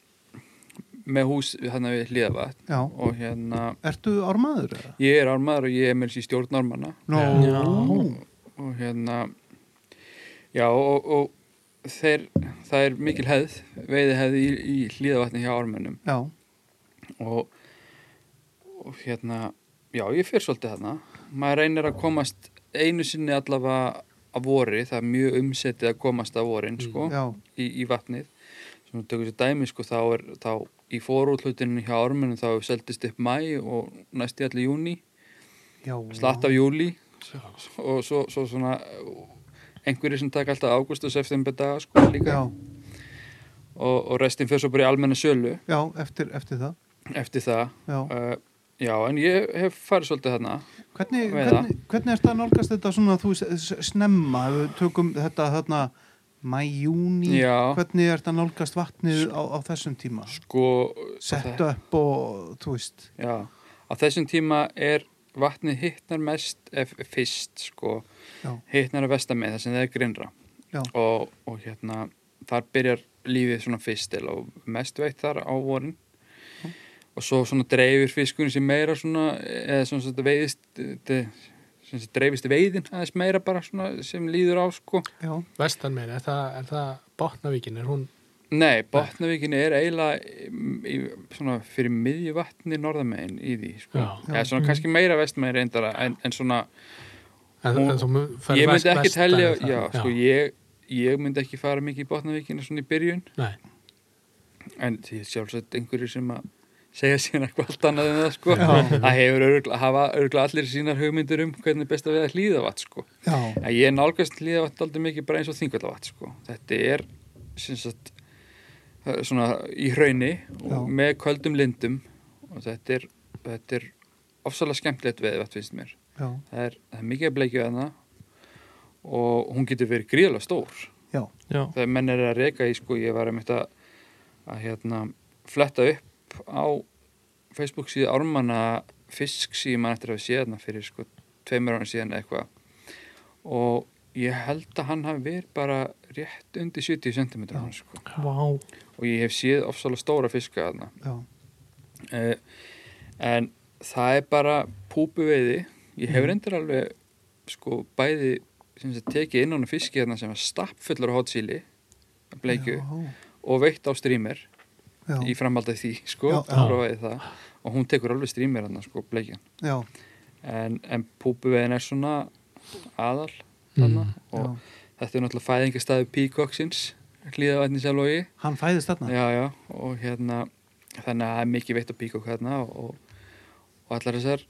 A: með hús hérna við hliðavatn
B: já,
A: og hérna,
B: ertu ármaður? eða?
A: ég er ármaður og ég er með þessi stjórnarmanna
B: Nó,
C: Já.
A: og hérna já og, og þeir, það er mikil hefð veiði hefð í, í hlýðavatni hjá ármennum
B: já,
A: og, og hérna já ég fyrir svolítið þarna maður reynir að komast einu sinni allavega að vori það er mjög umsetið að komast að vorin sko,
B: já,
A: í, í vatnið sem við tökum sér dæmi sko þá er þá í forútlutinu hjá ármunum þá seldist upp mæ og næst í allir júni
B: Já,
A: slatt af júli og svo, svo svona einhverjir sem taka alltaf águst og september daga sko líka
B: já,
A: og, og restin fyrir svo bara í almenna sölu
B: já eftir, eftir það
A: eftir það
B: já.
A: uh, já en ég hef farið svolítið þarna
B: Hvernig,
A: Veiða.
B: hvernig, hvernig er þetta að nálgast þetta svona þú s- s- snemma ef við tökum þetta þarna mæjúni,
A: Já.
B: hvernig er þetta að nálgast vatnið á, á þessum tíma?
A: sko
B: Sett
A: það-
B: upp og þú veist
A: já, á þessum tíma er vatnið hittnar mest ef, fyrst sko
B: Já.
A: hittnar að vesta með það sem það er grinnra
B: Já.
A: og, og hérna þar byrjar lífið svona fyrst til og mest veitt þar á vorin og svo svona dreifir fiskunni sem meira svona eða svona þetta veiðist þetta, sem þetta dreifist veiðin aðeins meira bara svona sem líður á sko
B: Já,
C: vestan meira, er það, er það botnavíkin, er hún
A: Nei, Botnavíkinni er eiginlega mm, í, svona fyrir miðju vatni norðamegin í því sko.
C: Já.
A: Eða svona kannski meira vestmegin reyndara en, en svona,
C: en,
A: Hún-
C: en þú ferð
A: ég
C: vest-
A: myndi ekki
C: vestan
A: telja
C: er það.
A: já, sko, ég, ég myndi ekki fara mikið í Botnavíkinni svona í byrjun
C: Nei,
A: en því er sjálfsagt einhverju sem að segja sína eitthvað allt annað en það sko
B: Já.
A: það hefur örgla, hafa örgla allir sínar hugmyndir um hvernig er best að við að hlýða vatn sko
B: já,
A: að ég nálgast hlýðavatt aldrei mikið bara eins og þingvallavat sko. þetta er sem sagt, það er svona í hrauni og
B: Já.
A: með köldum lindum og þetta er, þetta er ofsalega skemmtilegt veðvatt finnst mér
B: já,
A: það er, það er mikið að bleikju að og hún getur verið gríðlega stór
B: já,
E: já,
A: þegar menn er að reka í sko ég var einmitt að, að hérna, fletta upp á Facebook síðu ármanna fisk síðan mann eftir að við séð hérna fyrir sko tveimur ára síðan eða eitthvað og ég held að hann hafi verið bara rétt undir 70 cm hann, sko.
E: vá
A: og ég hef séð ofsalega stóra fiska þarna
B: já,
A: uh, en það er bara púpuveiði ég hef reyndar alveg sko bæði sem sagt tekið innan á fiski hérna sem var stappfullur á hotsíli bleikju og veitt á streamer
B: já,
A: í framhaldið því sko,
B: Já, já.
A: prófaði það og hún tekur alveg streamer hérna sko bleikjan
B: já,
A: en, en púpuveiðin er svona aðal þarna
C: Mm.
A: og
B: já.
A: þetta er náttúrulega fæðingastæðu Peacocksins hlýðavætni sjálfógi
B: Hann fæðist þarna?
A: já, já, og hérna þannig að það er mikið veitt að píka og hérna og, og allar þessar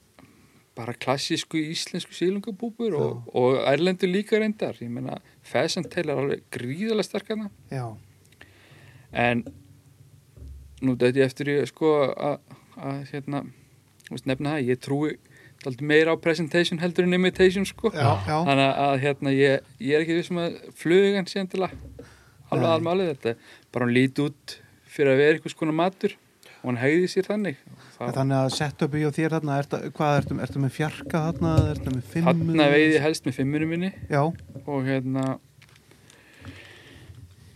A: bara klassísku íslensku sílungabúbur og, og erlendur líka reyndar ég meina, fesantel er alveg gríðalega sterk hérna
B: Já,
A: en nú dæti ég eftir ég sko að að, hérna, þú veist nefna það ég trúi alltaf meira á presentation heldur en imitation sko
B: já, já,
A: þannig að hérna ég, ég er ekki vissum að flugan sé endilega alveg
B: Nei.
A: almálið þetta bara hún líti út fyrir að vera einhvers konar matur og hann hegði sér þannig
B: En
A: þannig
B: Þannig að setja upp í og þér þarna, ertu, hvað ertu, ertu með fjarka þarna, ertu með fimmu?
A: hann veiði ég helst með fimmunum minni
B: Já,
A: og hérna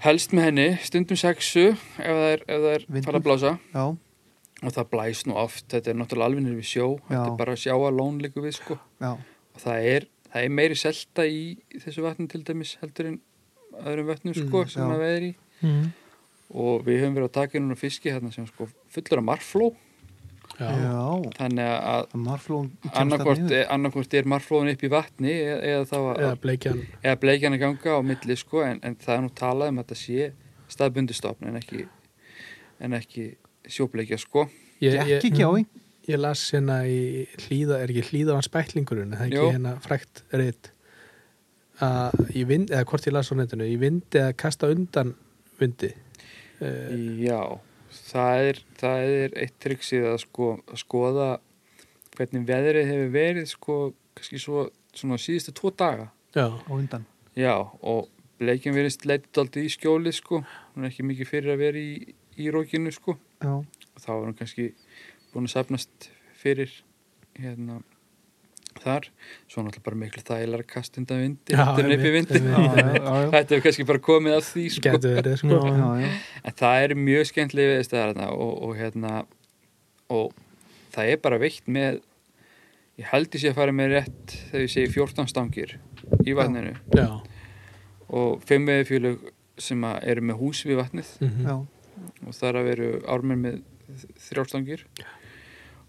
A: helst með henni stundum sexu ef það er, ef það er
B: Vindur.
A: fara að blása
B: já,
A: og það blæs nú oft, þetta er náttúrulega alveg nýr við sjó þetta
B: Já.
A: er bara að sjáa lónleiku við sko
B: já,
A: og það er, það er meiri selta í þessu vatni til dæmis heldur en öðrum vötnum sko
C: Mm,
A: sem
B: já.
A: að veðir í
E: mm.
A: og við höfum verið að taka inn núna fiski hérna sem sko fullur af marfló
C: já, já.
B: já.
A: þannig að
B: Marflón kemst
A: annarkvort,
B: niður.
A: annarkvort er marflóðin upp í vatni eða, eða, þá að,
C: eða bleikjan
A: eða bleikjana ganga á milli sko en, en það er nú talað um að þetta sé staðbundistofn en ekki, en ekki sjóbleikja sko
C: ég,
B: Gekk
C: ég,
B: ekki á því?
C: ég las hérna í hlýða, er ekki hlýða hans bæklingurinn, það er ekki
A: Jú.
C: hérna frækt reitt að ég vind, eða hvort ég las á netinu ég vindi að kasta undan vindi uh,
A: já, það er, það er eitt triksið að sko að skoða hvernig veðrið hefur verið sko kannski svo svona síðustu tvo daga
C: já,
B: Á undan.
A: Já, og bleikjum verist leitt aldrei í skjóli, sko. Hún er ekki mikið fyrir að vera í, í rókinu, sko.
B: Já,
A: Og þá er hún kannski búin að safnast fyrir hérna þar. Svo er náttúrulega bara miklu þægilega að kasta undan vindi.
C: Já,
A: Þetta er upp í
C: einmitt,
A: vindi.
B: já, já, já, já,
A: Þetta er kannski bara komið af því, sko.
C: getur verið sko
E: Já.
B: já, já,
A: En það er mjög skemmtilega við þarna og, og hérna og það er bara veikt með ég held ég sé að fara með rétt þegar ég segi 14 stangir í vatninu
C: já,
A: og fimm veðifjölug sem að eru með hús við vatnið
C: mhm,
B: já,
A: og þar að veru ármenn með þrjárstangir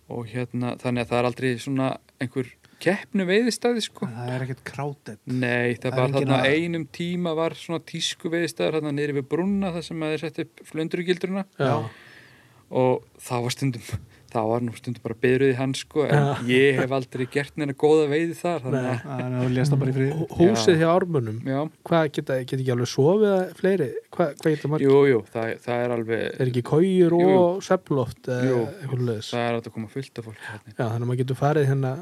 A: og hérna þannig að það er aldrei svona einhver keppnu veiðistæði sko
B: það er ekkert krátið.
A: nei það,
B: Það er
A: var
B: engin
A: þarna
B: að-
A: einum tíma var svona tísku veiðistæðar þarna niður við brunna þar sem að þeir sett upp flundrugildruna
C: já,
B: Já.
A: og það var stundum það var nú stundum bara byrjuði hans sko en ég hef aldrei gert neina góða veiði þar þannig að,
B: Það er að lesta bara í frið
C: Hú- Húsið hjá ármönnum
A: já,
C: Hvað geta, geta ekki alveg sofið að fleiri? Hvað, hvað geta margir?
A: jú, jú, það, það er alveg
C: Er ekki kójur
A: Jú, jú.
C: og svefloft eða
A: Jú.
C: eitthvað leðis? Já,
A: það er átt að koma fullt af fólki hérna
C: þannig að maður getur farið hérna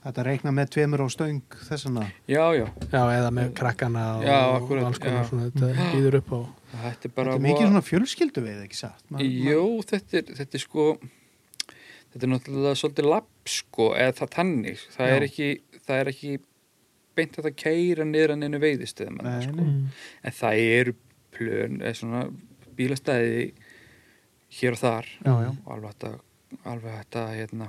B: Þetta reikna með tveimur á stöng þessana
A: já, já,
C: Já, eða með krakkana og,
A: Mm. Já,
C: og
A: akkurat,
C: alls konar
A: já. Mm.
C: svona Þetta býður upp á
A: þetta er
B: Þetta
A: bara
B: er mikið svona fjölskyldu við, ekki satt? Ma- ma-
A: Jó, þetta er, þetta er sko þetta er náttúrulega svolítið lapp sko, eða það tannig það
B: Já.
A: er, ekki, það er ekki beint að það keira niður að neinu veiðistöðum
B: Nei,
A: sko.
B: nei.
A: en það eru plön eða svona bílastæði hér og þar
B: Já, já.
A: og alveg hægt að, alveg hægt að hérna,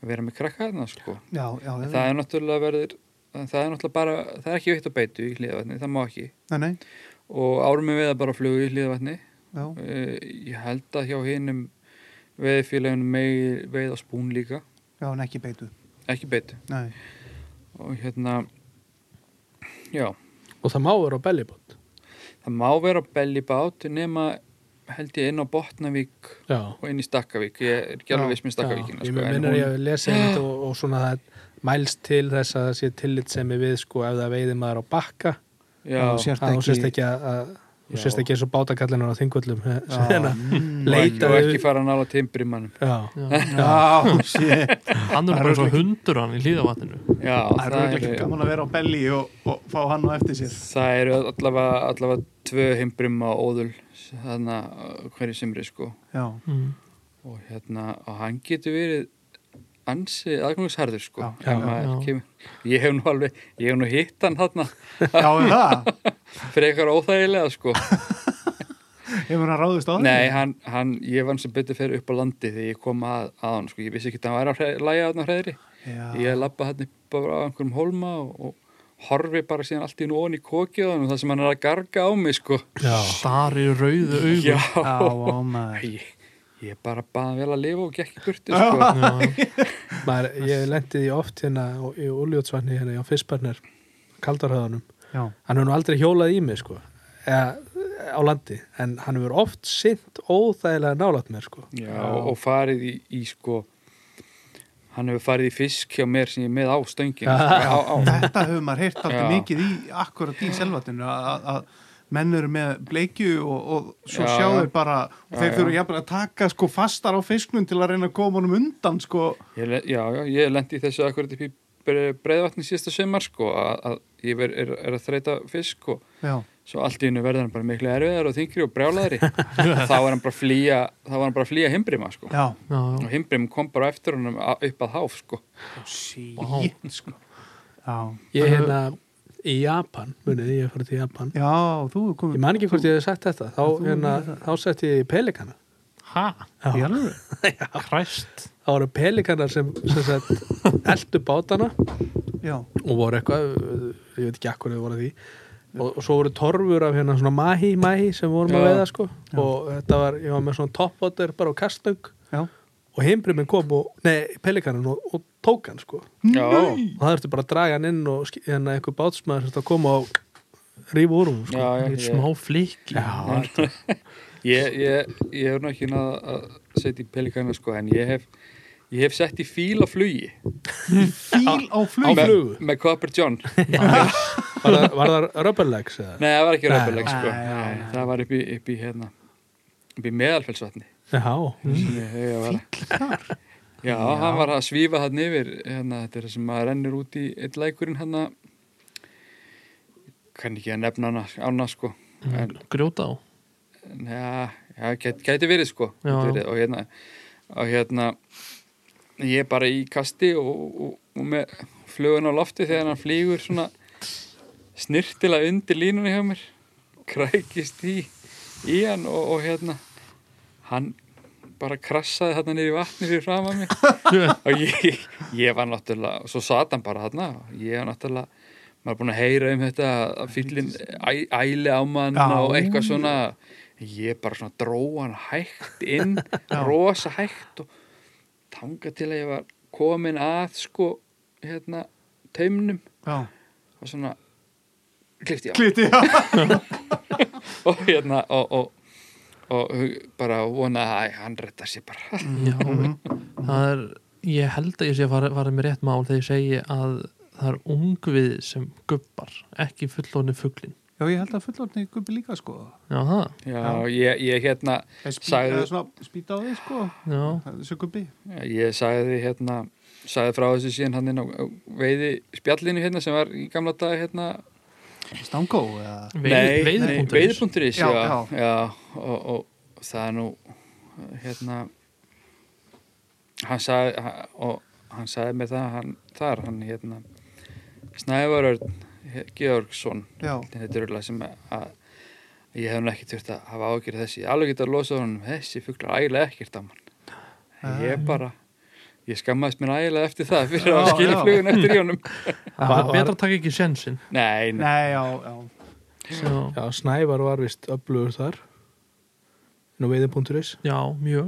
A: vera með krakka þarna sko.
B: Já, já,
A: En
B: já.
A: það er náttúrulega verður en það er náttúrulega bara, það er ekki veitt að beitu í hliðavatni, það má ekki
B: Nei, nei,
A: og árum við að bara flugu í hliðavatni
B: já,
A: uh, ég held að hjá hinnum veðfélagunum megi veið á spún líka
B: já, en ekki beitu.
A: ekki beitu
B: Nei,
A: og hérna já,
C: Og það má vera á bellibot
A: það má vera bellibát nema held ég inn á Botnavík
C: Já,
A: og inn í Stakkavík ég er ekki
C: Já,
A: alveg viss með
C: já.
A: Stakkavíkina
C: Ég
A: sko, en
C: minnur
A: hún-
C: ég að lesa þetta og, og svona það mælst til þess að það sé tillitsemi við sko ef það veiði maður á bakka
B: Já,
A: já,
B: sér- Sért
C: að hún
B: ekki-
C: sést ekki að- að hún
A: Já.
C: sést ekki eins og bátakallinar á þingvöllum
B: já.
C: hérna
B: mm.
A: og
C: leitaðu-
A: ekki fara að nála timbrimannum
C: Já,
B: Já, sé.
D: hann er bara svo hundur hann í hlýðavatninu
A: já,
B: Það er auðvitað gaman að vera á belli og, og fá hann á eftir sér.
A: það eru allavega, allavega tvö himbrim á óðul þarna á hverju simri sko
B: Já,
D: mm.
A: og hérna, og hann getur verið ansi aðgangsharður sko
B: Já,
A: Þegar
C: já,
A: maður
D: já.
A: kemur- ég hef nú alveg, ég hef nú hitt hann þarna
B: já, er það.
A: frekar óþægilega sko
B: Hefur hann ráðist á það?
A: nei, hann, hann, ég var hann sem betur fyrir upp á landi þegar ég kom að, að hann sko ég vissi ekki að hann væri að hre- lægja hann á hreðri
B: Já,
A: ég lappa hann upp bara á einhverjum hólma og, og horfi bara síðan allt í nú ofan í kokið á hann og það sem hann er að garga á mig sko
C: já,
D: stari rauðu augun
A: já,
B: já, á maður.
A: ég, ég bara baða vel að lifa og gekk í burti
B: Já.
A: sko
C: maður, ég lendi því oft hérna og- í Úljótsvanni hérna hjá fyrstbarnar kaldarhöðunum,
B: Já,
C: hann hefur nú aldrei hjólað í mig sko, eða eh, á landi en hann hefur oft sint óþægilega nálat mér sko
A: Já, og farið í, í sko hann hefur farið í fisk hjá mér sem ég er með á stöngin á, á.
B: þetta hefur maður heyrt alltaf
A: Já.
B: mikið í, akkurat í selvatinu, að- að- að menn eru með bleikju og, og svo
A: Já,
B: sjáu
A: já.
B: bara,
A: Já,
B: þeir
A: já.
B: þurfa jafnvel að taka sko fastar á fisknum til að reyna að koma honum undan sko.
A: Ég, le- já, já, ég lendi í þessu akkurat upp í breiðvatni síðasta sömar sko að, að ég ver, er, er að þreita fisk og
B: Já,
A: svo allt í hennu verður hann bara miklu erfiðar og þingri og brjálaðari þá er hann bara að flýja þá var hann bara að flýja himbrima sko
B: já.
D: já, já.
A: og himbrim kom bara á eftir hann upp að háf sko
B: Sýtt, sko. Já,
C: ég hérna í Japan, munið ég fyrir til Japan
B: já, þú er
C: ég
B: komið.
C: man ekki hvort ég hef sagt þetta þá, hérna, þá setti ég pelikana
D: ha,
B: Í alveg?
D: hræst
C: þá voru pelikanar sem, sem sagt, eldu bátana
B: Já,
C: og voru eitthvað, ég veit ekki akkur þau voru að því og, og svo voru torfur af hérna svona mahi, mahi sem vorum að
A: Já.
C: veiða sko og þetta var, ég var með svona toppvotter bara á kastung
B: já.
C: og heimbrimin kom og, nei, pelikaninn og, og tók hann sko og
A: já,
C: það þurfti bara að draga hann inn og ski- hérna einhver bátsmaður sem þetta kom og rífa úr hún
A: já,
C: sko
A: já
D: yeah. smá
A: ég,
D: flikki
C: Já,
A: ég, ég, ég hef nú ekki náð að setja í pelikana sko en ég hef ég hef sett í fíl á flugi
B: Fíl á flug.
C: Á
A: með,
C: flugu?
A: með Copper John
C: var það, var það rubberlegs eða?
A: Nei, það var ekki
C: Nei.
A: ræðbjörleik sko.
B: Nei,
A: Nei, Það var upp í, upp í hérna upp í meðalfellsvatni
C: Já,
A: sem ég hef að vara. Já, hann var að svífa hann yfir hérna, þetta er það sem að rennur út í eitt lækurinn hann kann ekki að nefna hana, ána sko
D: Mm.
A: en
D: grjóta á
A: já, já gæti, gæti verið sko
D: Já.
A: gæti verið. og hérna og hérna ég er bara í kasti og, og, og með flugun á lofti þegar hann flýgur svona snirtilega undir línunni hjá mér krækist í, í hann og, og hérna hann bara krassaði hérna niður í vatni fyrir fram að mig og ég, ég var náttúrulega svo sat hann bara hérna ég var náttúrulega maður er búin að heyra um þetta að fyllin æ, æli á mann
B: Já.
A: og eitthvað svona ég bara svona dró hann hægt inn rosa hægt og tanga til að ég var komin að sko hérna taumnum
B: Já,
A: og svona klifti á
B: klítið, já.
A: og hérna og, og, og hug- bara vona að æ, hann rettar sér bara
D: Já,
B: Mhm.
D: það er ég held að ég sé að fara, fara með rétt mál þegar ég segi að það er ungvið sem gubbar, ekki fullóni fuglin.
B: Já, ég held að fullorðni gubbi líka sko
D: Já, það,
A: já, ég, ég hérna
B: Það er spýt-
A: Sagði-
B: það er svona spýta á þig sko
D: já,
B: Þessu gubbi
A: ég sagði hérna sagði frá þessu síðan hann inn á á veiði spjallinu hérna sem var í gamla dag hérna
B: Stangó eða
A: Nei,
D: veiðipunktur.
A: nei, veiðipunkturins,
B: Já,
A: já, já.
B: já.
A: og, og það er nú hérna hann sagði ha- og hann sagði með það hann, þar hann hérna Snævarörn Georgsson
B: Já,
A: þetta er öll sem að, að ég hef nú ekki þurft að hafa ágjörð þessi ég alveg geta að losa honum þessi fuglar ægilega ekkert á mann
B: Ah.
A: ég bara ég skammaðist mér ægilega eftir það fyrir að
B: Já,
A: skilja
B: já.
A: flugun eftir í honum
D: Það var betra að taka ekki sjensin.
A: nei, nei,
B: nei, já, já
D: Já,
C: Já, Snævar var vist öflugur þar nú veiði.is
D: já, mjög.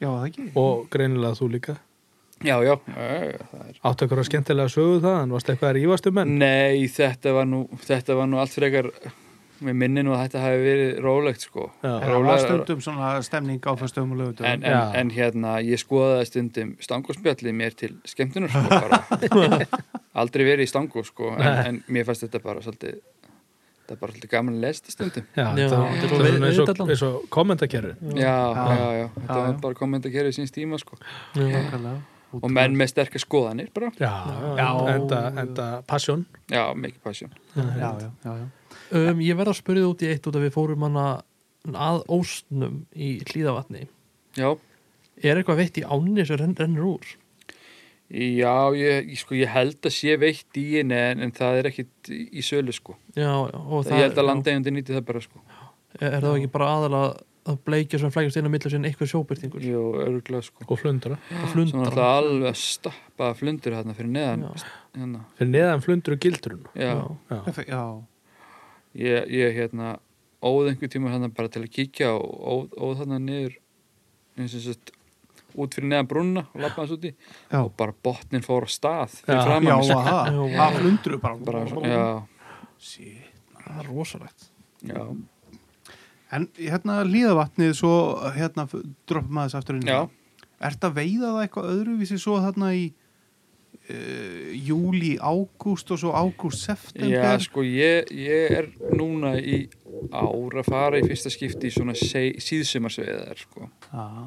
B: Já, það ekki
C: og greinilega þú líka
A: já, já, já, já það er
C: áttu eitthvað skemmtilega sögu það en varst eitthvað að rífast um menn
A: Nei, þetta var nú, þetta var nú allt frekar með minni nú að þetta hafi verið rólegt sko.
C: Já.
B: Það var
A: Rólegra-
B: stundum svona stemning á fyrstum og lögutum
A: En, en,
C: Já.
A: en hérna, ég skoðaði stundum stangospjallið mér til skemmtunar sko bara. Aldrei verið í stango sko, en,
C: Nei.
A: en mér fannst þetta bara svolítið, þetta er bara svolítið gaman að lesta stundum.
C: Já,
D: Já,
C: það
D: þetta
C: það er
D: er veiði-
C: eins og,
D: veiðidallan.
C: eins og kommentakerfin
A: Já, já, já, þetta
B: Já,
A: var
B: já.
A: bara kommentarkerfið síns tíma sko.
D: Já,
A: Og menn með sterkar skoðanir bara.
C: Já, já. Enda, enda passion
A: Já, mikið passjón.
B: Já, já, já, já.
D: um, ég verð að spyrja þig út í eitt út að við fórum hana að óstnum í hlýðavatni.
A: Já,
D: Er eitthvað veitt í ánni sem renn, rennur úr?
A: já, ég, ég- sko, ég held að sé veitt í henni en, en það er ekkit í í sölu sko.
D: Já, já. og
A: ég held að
D: já.
A: landegjandi nýti það bara sko
D: Er, er það ekki bara aðalega að bleikja sem flækjast inn á millu sinni eitthvað sjóbyrtingur
A: Jú, örgulega sko
C: og flundra
D: og
A: Svo
D: flundra?
A: náttúrulega alveg að stappa flundur hérna fyrir neðan
D: Já.
A: hérna.
C: fyrir neðan flundru gildrun
A: Já,
C: já.
B: Perfekt, já.
A: Ég, ég hérna óð einhver tíma hérna bara til að kíkja og óð, óð þarna niður eins og sett út fyrir neðan brunna og lappa hans úti
B: Já.
A: og bara botnin fór á stað
C: Já.
A: fyrir
B: Já,
A: framann
B: að það,
D: Já.
B: að flundru bara,
A: bara, svona, já,
B: Sí.
D: Það er rosalegt.
A: já,
B: En hérna líðavatnið svo hérna f- droppum maður þess aftur inn í
A: já
B: það. Ertu að veiða það eitthvað öðruvísi svo þarna í uh, júli, ágúst og svo ágúst,
A: Já,
B: september?
A: sko, ég, ég er núna í ár að fara í fyrsta skipti í svona se- síðsumarsveiðar, sko.
B: Ah,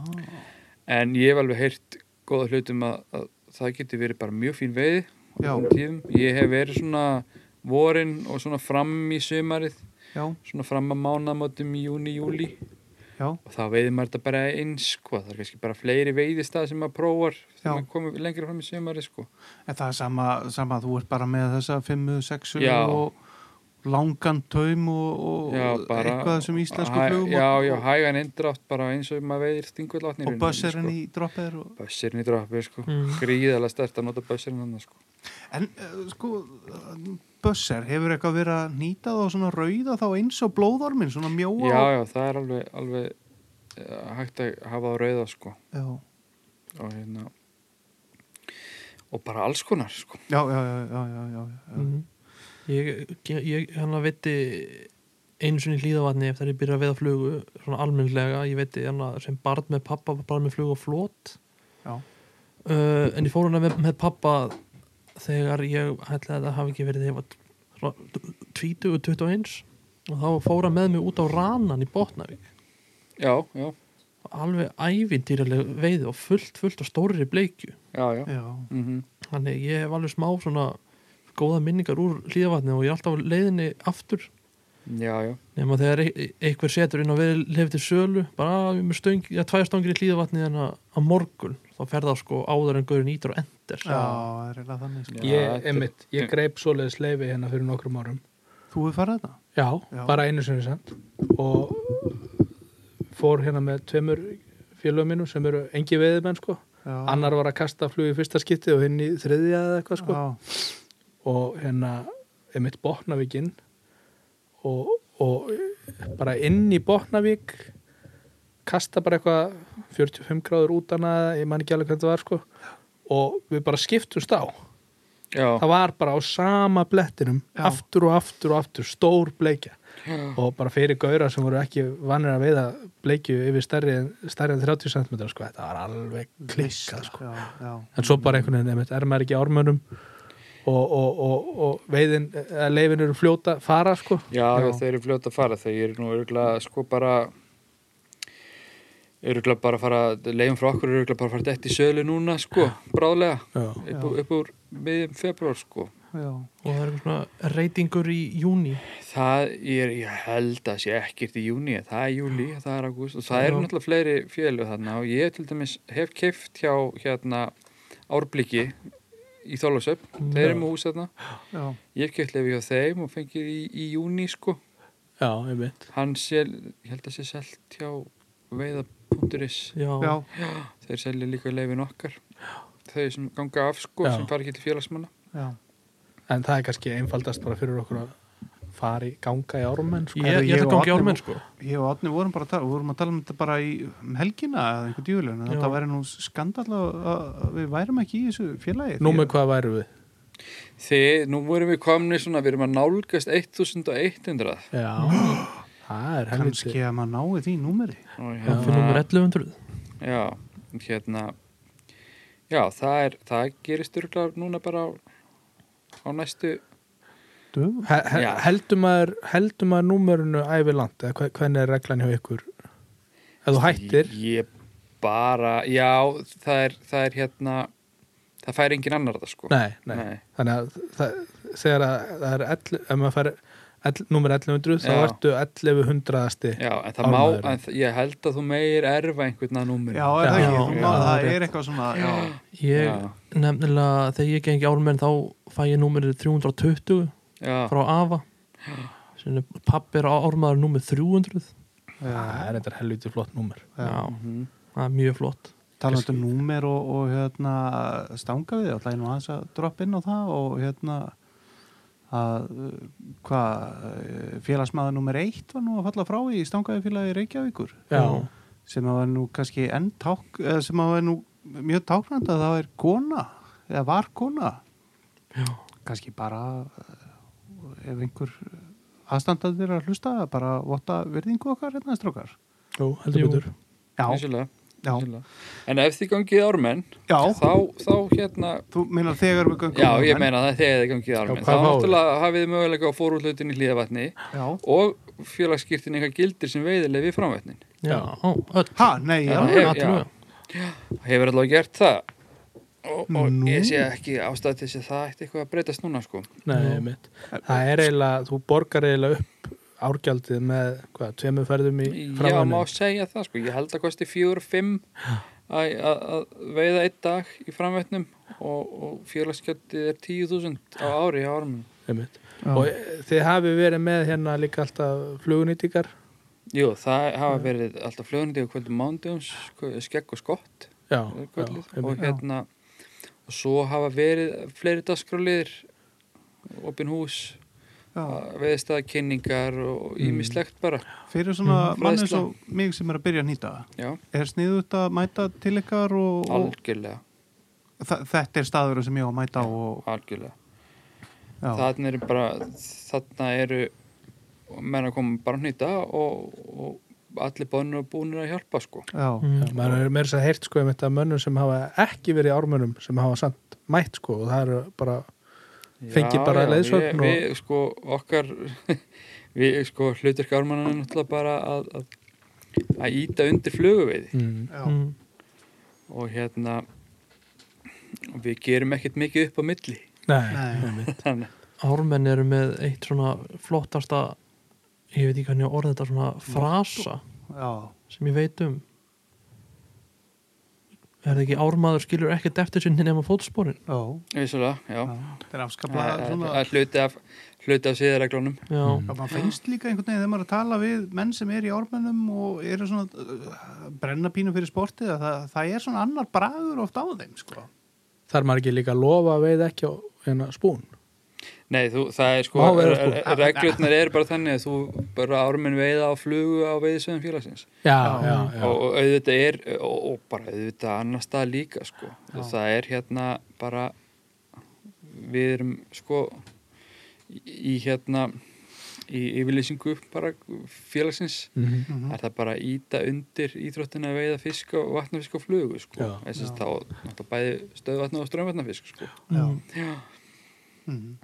A: En ég hef alveg heyrt góða hlutum að, að það getur verið bara mjög fín veiði á
B: Já.
A: þessum tíðum. Ég hef verið svona vorin og svona fram í sömarið,
B: já,
A: svona fram að mánamótum í júni, júli
B: já,
A: og þá veiðir maður þetta bara eins, sko. Það er kannski bara fleiri veiðistað sem maður prófar
B: Já.
A: þegar maður komið lengra fram í sömarið, sko.
B: en það er sama, sama þú ert bara með þessa fimmu, sexu
A: Já.
B: og langan taum og, og
A: Já, bara...
B: eitthvað sem íslensku
A: Hæ-
B: flugum
A: Já,
B: og,
A: já, hægan inndrátt bara eins og maður veiðir stingullátni.
B: og
A: sko.
B: bösserinn í droppeður og
A: Bössirinn í drappi, sko.
D: Mm.
A: Gríðalega stert að nota bössirinn hann, sko.
B: En uh, sko, uh, Bösser, hefur eitthvað verið að nýta þá svona rauða þá eins og blóðormin, svona mjóa?
A: Já, já, það er alveg, alveg eh, hægt að hafa á rauða, sko.
B: Já,
A: Og hérna, og bara alls konar, sko.
B: já, já, já, já, já, já, já.
D: Mm. Ég, ég, ég hann að veiti einu sinni í hlýðavatni eftir að ég byrja að veiða flugu svona almennlega, ég veiti hann að sem barn með pappa, barn með flugu og flót
B: Já.
D: uh, en ég fór hann með, með pappa þegar ég ætla að það hafi ekki verið þegar ég var 20 og 21 og þá fór hann með mig út á ranan í Botnavík
A: Já, já,
D: alveg ævindýraleg veiði og fullt, fullt og stórri bleikju
A: já, já.
B: Já,
A: Mm
D: Þannig ég hef alveg smá svona góða minningar úr hlýðavatni og ég er alltaf á leiðinni aftur
A: Já, já,
D: nema þegar e- e- einhver setur inn og við lefið til sölu bara að við með stöng, já, tvær stöngir í hlýðavatni en
E: hérna
D: að, að morgun þá fer það sko áður en gaurin ítur og endur
B: já, það er eiginlega þannig.
A: Já.
B: Sko.
C: ég,
A: þetta-
C: einmitt, ég greip svoleiðis leifi hérna fyrir nokkrum árum
B: Þú hefur farið þetta?
C: já,
B: Já.
C: bara einu sinni samt og fór hérna með tveimur félögum mínum sem eru engi veiðimenn sko
B: Já.
C: annar var að kasta flug í fyrsta skipti og hinn í þriðja eða eitthvað sko
B: Já,
C: og hérna einmitt Botnavíkinn og, og bara inn í Botnavík kasta bara eitthvað 45 gráður út hana, ég man ekki alveg hvernig það var sko og við bara skiptumst á
A: já,
C: það var bara á sama blettinum
B: Já.
C: aftur og aftur og aftur, stór bleikja og bara fyrir gauðra sem voru ekki vannir að veiða bleikju yfir stærri en, stærri en 30 cm sko, þetta var alveg klikkað sko.
B: já, já,
C: en svo bara einhvern veginn, einmitt, er maður ekki ármönum og, og, og, og veiðin eh, leifin eru fljóta fara sko
A: já, já, þau eru fljóta að fara þau eru nú örgulega sko bara örgulega bara að fara leiðum frá okkur örgulega bara að fara dætt í sölu núna sko, bráðlega
C: Já.
A: upp, úr- upp úr miðjum februar sko
B: já.
E: og það er eitthvað svona reytingur í júni
A: það er, ég held að sé ekkert í júni, það er júli, það er ágúst og það eru náttúrulega fleiri fjölu þarna og ég til dæmis hef keift hjá hérna Árbliki í Þólasöp, þeir eru með hús þarna
B: já.
A: ég hef keift lefi hjá þeim og fengið í, í júni sko,
C: já, einmitt
A: hann sel ég held að sé selt hjá veiða.is,
E: já,
B: já.
A: þeir selja líka lefin okkar þau sem ganga af sko,
C: Já.
A: sem fara ekki til félagsmanna
B: já.
C: en það er kannski einfaldast bara fyrir okkur að fara í ganga í ármenn sko.
E: ég,
B: Herru,
E: ég
B: ég
E: ætla
B: og
E: að gangi
B: Árni
E: ármenn sko
B: Ég og Átni vorum bara að tala, vorum að tala um þetta bara í um helgina eða einhvern djúlun
E: Já.
B: þetta væri nú skandal að að við værum ekki í þessu félagi
C: nú með
B: Því-
C: hvað væru við
A: þið, nú vorum við komni svona, við erum að nálgast 1100
C: já, það er helviti
B: kannski að maður nái því númeri
A: og hérna,
E: já. fyrir nummer 1100
A: Já, hérna Já, það er það gerist örgulega núna bara á, á næstu
B: Döfum.
C: He- he-
A: Já.
C: heldur maður, heldur maður númerinu æfi langt eða hve- hvernig er reglan hjá ykkur ef þú hættir
A: Ég bara, já, það er, það er hérna það fær engin annar það sko
C: nei, nei. þannig að það, þegar að það er ell, ef maður fær ell, númer 1100 þá
A: Já.
C: ertu 1100asti
A: Já, en það má,
C: Ánægður.
A: en þ- ég held að þú meir erfa einhvern að númur
B: já, er það
E: Já.
B: ekki, þú
E: Já.
B: maður, það
E: Já.
B: er eitthvað svona já,
E: ég nefnilega þegar ég gengi ármenn þá fæ ég númerið 320
A: já,
E: frá Ava sem er pappi er ármaður númer 300
C: það er þetta helviti flott númer
B: Já.
E: já,
A: mhm.
E: það er mjög flott
B: talandi um númer og, og hérna, stanga við, alltaf einu aðeins að droppa inn á það og hérna að uh, hvað uh, félagsmaður nummer eitt var nú að falla frá í stangaði félagi Reykjavíkur
C: já,
B: sem að var nú kannski enn ták eða sem að var nú mjög táknandi að það er kona eða var kona
E: Já.
B: kannski bara eh, ef einhver aðstandandir að hlusta bara votta virðingu okkar hérna strókar
C: Jú, heldur
E: Jú.
C: betur
B: já,
A: vissulega,
B: já,
A: vissulega En ef þið gangið ármenn
B: já
A: þá, þá hérna
B: þú meinar þegar við göngum hérna,
A: Já,
B: á
A: ég
B: menn.
A: meina það þegar þið gangið ármenn þá
C: hvað máli?
A: náttúrulega hafið þið möguleika á fórúllutin í hlíðavatni
B: já.
A: og félagskirtin eitthvað gildir sem veiðilegi framvætnin
E: já,
C: Já.
E: Ó, öll
B: ha, nei, já,
A: Já,
E: alveg,
A: hef-
E: allavega.
A: hefur allavega gert það og, og
B: Nú.
A: ég sé ekki ástæð til þess að það eitt eitthvað að breytast núna sko
C: nei, einmitt. það er eiginlega, þú borgar eiginlega upp árgjaldið með hvað, tveimur ferðum í
A: já, má
C: framhannu
A: segja það sko, ég held að kosti fjögur og fimm að að veiða einn dag í framvætnum og, og félagskjöldið er tíu þúsund á ári á árum
C: og eh, þið hafi verið með hérna líka alltaf flugunýtingar
A: jú, það hafa verið alltaf flögundi og kvöldum mándjóns, skegg og skott
C: já,
A: er
C: já,
A: kölluð,
C: einmitt.
A: og hérna og svo hafa verið fleiri dagskráliðir opin hús
B: já.
A: veðistæða kynningar og ímislegt bara
B: fyrir svona
A: Mm.
B: mann eins
A: Fræðsla.
B: og mig sem er að byrja að nýta það.
A: já,
B: er sniðut að mæta til ykkar og, og
A: algjörlega,
B: þa- þetta er staður sem ég á að mæta á og,
A: algjörlega
B: já,
A: þarna eru bara þarna eru menn að koma bara að nýta og, og allir bónir og búnir að hjálpa sko
B: já,
E: Mm.
C: Já, maður er meira þess að heyrt sko um þetta mönnum sem hafa ekki verið í ármönnum sem hafa samt mætt sko og það eru bara Fengið bara leiðsögn
A: og...
C: og-
A: við sko okkar við sko hlutur gármannan er náttúrulega bara að, að, að íta undir fluguveiði
B: já.
E: Mm.
A: og hérna við gerum ekkert mikið upp á milli
C: Nei,
B: Nei.
C: einmitt.
A: þannig
E: ármenn eru með eitt svona flottasta ég veit ekki hvernig ég orði þetta svona frasa
B: já.
E: sem ég veit um er það ekki ármaður skilur ekkert eftir sinni nema fótsporin
B: Já,
A: vissulega, já,
B: já. það er afskaplega
A: Það
B: svona,
A: er hluti af, hluti af síðareglunum
E: já,
A: Mm.
B: Já, maður finnst líka einhvern veginn þegar maður er að tala við menn sem er í ármennum og eru svona uh, brenna pínu fyrir sportið að það, það er svona annar bragur oft á þeim sko.
C: þar maður ekki líka að lofa að veið ekki á hérna, spún
A: Nei, þú, það er sko,
C: Má vera sko.
A: re- re- reglurnar eru bara þannig að þú bara árminn veiða á flugu á veiðisveðum félagsins
C: Já, já, já,
A: og, og auðvitað er, og, og bara auðvitað annar stað líka sko, það er hérna bara við erum sko í í hérna í yfirlýsingu bara félagsins
C: Mhm.
B: Mhm.
A: er það bara að íta undir íþróttina að veiða fisk og vatnafisk og flugu sko.
C: Já.
A: þess að þá náttúrulega bæði stöðvatna og strömvatnafisk sko.
B: Já.
A: Já.
B: Mm.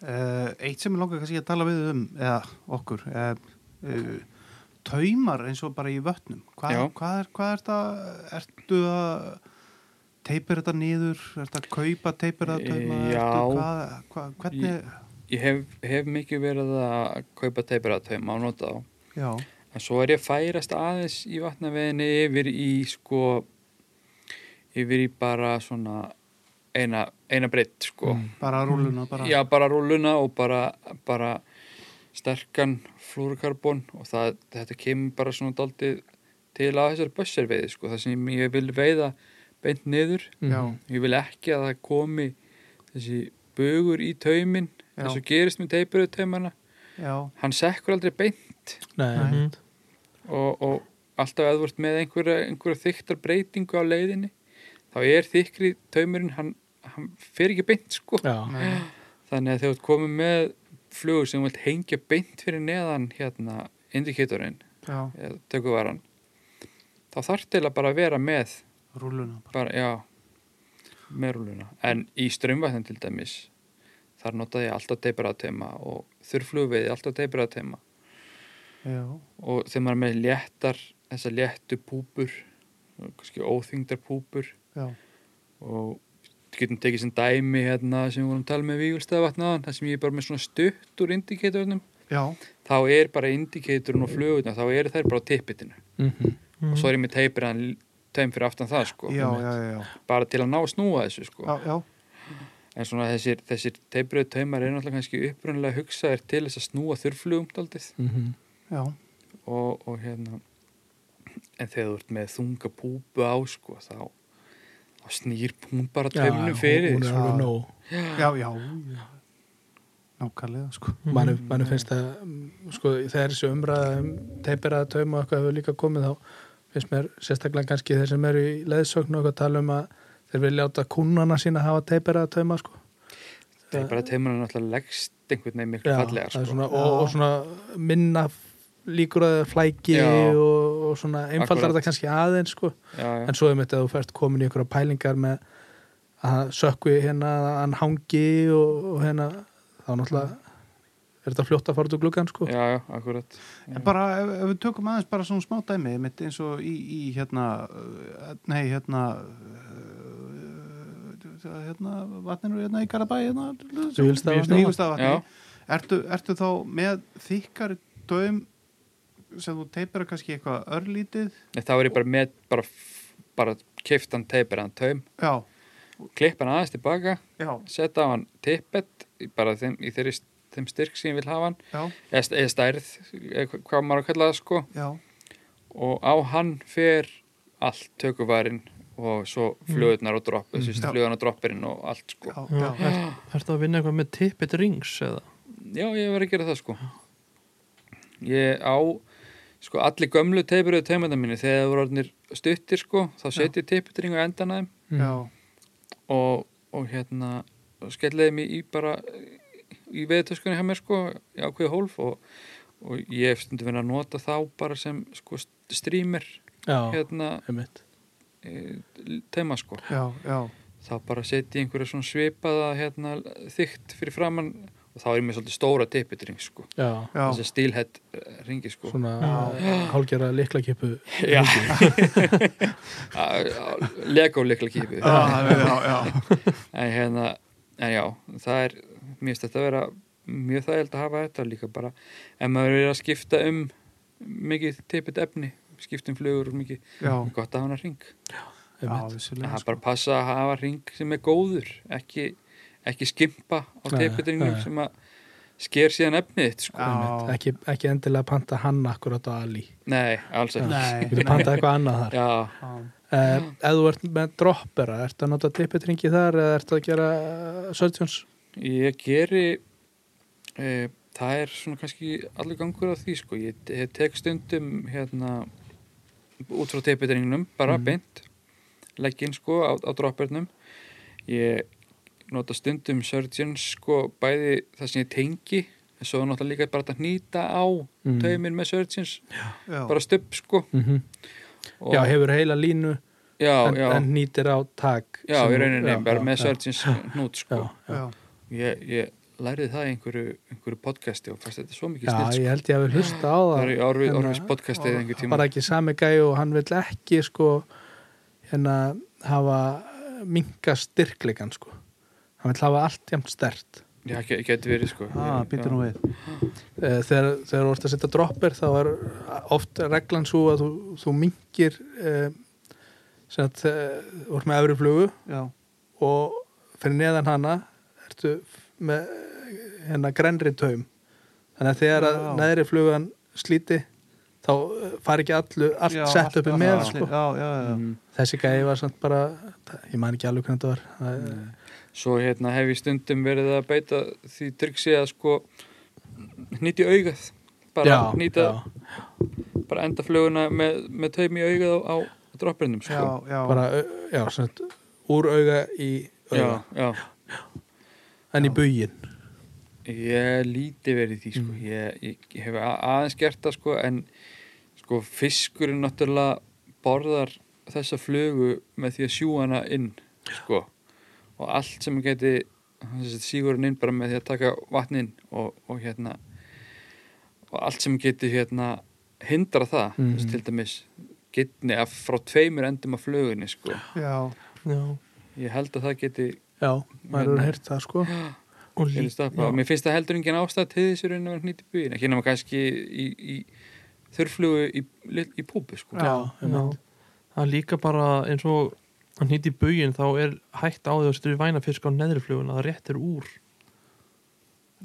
B: Uh, eitt sem ég langar kannski að tala við um eða okkur uh, uh, taumar eins og bara í vötnum hvað,
A: Já.
B: hvað, er, hvað er þetta ertu að teipir þetta niður, ertu að kaupa teipir þetta tauma,
A: Já.
B: ertu hvað, hvað, hvernig
A: ég hef, hef mikið verið að kaupa teipir að tauma og nota þá
B: já,
A: en svo er ég að færast aðeins í vatnaveginni yfir í sko yfir í bara svona eina, eina breytt sko
C: Mhm.
B: bara rúluna Mm, bara,
A: Já, bara rúluna og bara, bara sterkan flúrkarbon og það, þetta kemur bara svona daldið til að þessar bösserveiði sko, það sem ég vil veiða beint niður,
B: já,
C: Mhm.
A: ég vil ekki að það komi þessi bugur í taumin,
B: Já.
A: eins og gerist með teipurðu taumana,
B: já,
A: hann sekkur aldrei beint
C: Nei,
D: Mhm.
B: Nei.
C: einmitt.
A: og, og alltaf eða vart með einhverja, einhverja þyktar breytingu á leiðinni, þá er þykri taumurinn, hann, hann fer ekki beint sko
C: Já,
B: nei,
A: Þannig að þegar þú ert komið með flugur sem þú vilt hengja beint fyrir neðan hérna indikatorinn,
B: já,
A: eða tökuvaran, þá þarf til að bara vera með,
B: rúluna
A: bara,
B: bara.
A: já, með rúluna. En í strömmvæðin til dæmis, þar notaði ég alltaf teipur að teima og þurrflugveiði alltaf teipur að teima.
B: já,
A: Og þegar maður er með léttar, þessar léttu púpur, kannski óþyngdar púpur,
B: já,
A: og við getum tekið sem dæmi hérna sem við vorum að tala með Vígulstaðavatnaðan þar sem ég er bara með svona stutt úr indikatornum
B: já,
A: þá er bara indikatorn og flugurna þá eru þær bara á tippitinu
C: Mhm.
D: Mhm.
A: og svo er ég með teipir hann teim fyrir aftan það sko
B: já, já, já, já,
A: bara til að ná að snúa þessu sko
B: já, já.
A: en svona þessir, þessir teipiröðu taumar er náttúrulega kannski upprunnilega hugsaðir til þess að snúa þurrflugum daldið
C: Mhm.
B: já.
A: og, og hérna en þegar þú ert með þunga púpu á sko þá, þá snýr hún bara tauminu fyrir þig,
C: hún er
A: sko.
C: alveg
B: Já.
C: nóg
B: já, já, já. nákvæmlega sko
D: Mhm.
C: mann man finnst að mm, sko, þegar þessi umræða um teipir að tauma og eitthvað hefur líka komið þá finnst mér sérstaklega kannski þeir sem eru í leðsögn og eitthvað tala um að þeir vilja láta kúnana sína hafa teipir að tauma sko.
A: Teipara teimur er náttúrulega leggst einhvern veginn miklu
C: Já,
A: fallegar
C: það er
A: sko.
C: svona, og, og svona minna líkur að það er flæki
A: Já.
C: og, og svona einfaldar
A: Akkurat.
C: þetta kannski aðeins sko.
A: já, já.
C: en svo er mitt að þú fært komin í einhverja pælingar með að hann sökvi hérna að hann hangi og, og hérna þá náttúrulega er þetta fljótt að fara út úr gluggan sko
A: já, já, akkurat
B: En bara ef, ef við tökum aðeins bara svona smá dæmi mitt eins og í, í hérna uh, nei hérna uh, hérna vatninu hérna í Garabæ hérna
C: Vífilsstaðavatni.
B: Vífilstaðavatni.
A: Já.
B: ertu, ertu þá með þykkar döm sem þú teipir að kannski eitthvað örlítið
A: Nei, þá er ég bara með bara, bara kiftan teiparan taum
B: já,
A: klippa hann aðeins tilbaka
B: já,
A: setja á hann tippet í bara þeim, í þeirri, st- þeim styrk sem ég vil hafa hann
B: já,
A: eða, st- eða stærð, eða hva- hvað maður á að kalla það sko
B: já
A: og á hann fer allt tökuvarinn og svo flöðunar og droppið, mm.
B: Já.
A: flöðunar og droppirinn og allt sko
B: já, já, já.
E: Ertu að vinna eitthvað með tippet rings eða?
A: Já, ég var að gera það sko Ég á sko allir gömlu teipuröðu teimanda mínu þegar það voru orðinir stuttir sko þá setjum ég teiputring á endan að þeim
B: já.
A: og, og hérna og skelliði mig í bara í veðutöskunni hjá mér sko í ákveði hólf og, og ég hef stundum verið að nota þá bara sem sko st- streamer
C: já,
A: hérna
C: einmitt
A: e, teima sko
B: já, já.
A: þá bara setjum ég einhverja svona svipaða hérna þygt fyrir framann og þá er ég með svolítið stóra teiputring sko
C: já,
B: Já.
A: þessi stílhett ringi sko
C: svona hálgjara liklakipu
A: Já Lego líkla kýpið
B: Já, já, já,
A: En hérna, en já það er, mér finnst þetta að vera mjög þægild að hafa þetta líka bara en maður er að skipta um mikið teipið efni, skipta um flugur og mikið,
B: já,
A: gott að hafa hana ring
B: já,
C: einmitt.
A: en
B: vissulega
A: það er
B: sko.
A: bara að passa að hafa ring sem er góður, ekki ekki skimpa á
C: Nei,
A: teipitringum
C: nei.
A: sem að sker síðan efnið þitt, sko.
B: Já,
C: ekki, ekki endilega panta hann akkurat á Ali
A: Nei, alls ekki
B: Nei.
C: við panta eitthvað annað þar
A: Já,
B: já.
C: uh, ef þú ert með droppera, ertu að nota tippetringi þar eða ertu að gera uh, surgeons
A: Ég geri e, það er svona kannski allir gangur á því sko, ég te- tek stundum hérna út frá
C: Mhm.
A: teipitringnum, bara beint legginn sko á, á droppernum ég nota stundum surgeons sko bæði það sem ég tengi en svo náttúrulega líka bara að nýta á
C: Mhm.
F: Mm.
A: taumin með surgeons
B: já,
A: bara stupp sko
F: Mhm.
A: og,
C: já, hefur heila línu
A: já,
C: en,
A: já,
C: en nýtir á tak
A: já,
C: sem-
A: í rauninni
C: já,
A: bara
C: já,
A: með
C: já,
A: surgeons nút sko
C: já, já.
B: já.
A: ég, ég lærið það í einhverju, einhverju podcasti og fannst þetta svo mikið
C: já,
A: snill sko.
C: ég held ég að við hlusta á
A: það
C: það
A: er í orfið,
C: hérna,
A: orfiðs podcasti eða einhver
C: Það er
A: tíma
C: bara ekki sami gæi og hann vill ekki sko hérna hafa minka styrkleikan sko hann vill hafa allt jæmt stert
A: já, get, geti verið sko
B: Ah, býttu nú við
C: Eh, þegar, þegar þú ert að setja droppir þá er oft reglan svo að þú, þú minkir eh, sem að eh, þú ert með efri flugu
B: já,
C: og fyrir neðan hana ertu f- með eh, hérna grenri taum þannig að þegar að
B: Já.
C: neðri flugan slíti þá eh, fari ekki allu, allt
B: já,
C: sett
B: allt-
C: uppi
B: allt-
C: með
B: allt-
C: sko.
B: já, já, já,
A: Mm.
C: þessi gæði var samt bara ég man ekki alveg hvernig þetta var
B: Mm.
C: Það-
A: svo hérna hef ég stundum verið að beita því tryggsi að sko nýti augað bara
C: Já,
A: nýta,
C: já,
A: bara enda fluguna með, með taumi augað á, á droppirinnum sko
B: já, já.
C: bara, ö- já, svona úr auga í
A: já,
C: auga,
A: já.
C: en í bugin
A: Ég líti verið í því sko. ég, ég, ég hef a- aðeins gert það sko en sko fiskurinn náttúrulega borðar þessa flugu með því að sjú hana inn sko og allt sem geti sígur hann inn bara með því að taka vatn inn og, og hérna og allt sem geti hérna hindra það,
C: Mhm.
A: þess, til dæmis getni að frá tveimur endum af flugunni sko,
B: já,
C: já,
A: ég held að það geti
C: já, maður
A: Hérna.
C: hefur heyrt það sko
D: og lí-
A: Elías Dappa.
D: já.
A: og mér finnst það heldur engin ástæð til þessu raun að vera hnýtt í byggjina ekki nema kannski í, í þurflugu í, lit- í púbu sko.
C: já,
D: Já. það er líka bara eins og hann hýtti í bugin þá er hægt á því að stuði vænafisk á neðrifluguna það réttir úr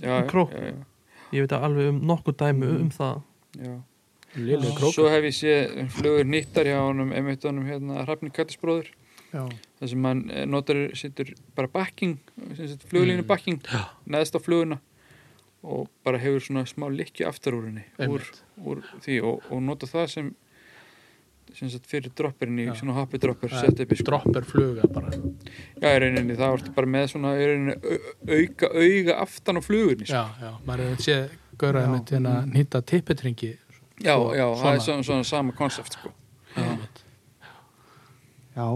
A: já,
D: En krók?
A: já, já,
D: ég veit að alveg um nokkuð dæmi
B: Mm.
D: um það
A: já.
C: lili
A: svo hef ég séð flugur nýttar hjá honum einmitt honum hérna Hrafni Kattisbróður
B: já,
A: þar sem hann eh, notar setur bara backing, sem sagt, fluglínu backing neðst á fluguna og bara hefur svona smá likju aftar úr henni úr,
C: Einmitt.
A: úr því og, og nota það sem sem sagt fyrir dropperinn í
C: Já.
A: svona hoppi dropper setupi, sko.
C: dropp er fluga bara
A: Já, í rauninni, það vartu bara með svona í rauninni au- auka, auka aftan á flugunni sko.
C: já, já, maður hefur séð gauraði
B: Já.
C: með til að nýta tippitringi
A: Já, já,
C: Svo-
A: það er
C: svona.
A: svona, svona sama konsept sko.
B: já.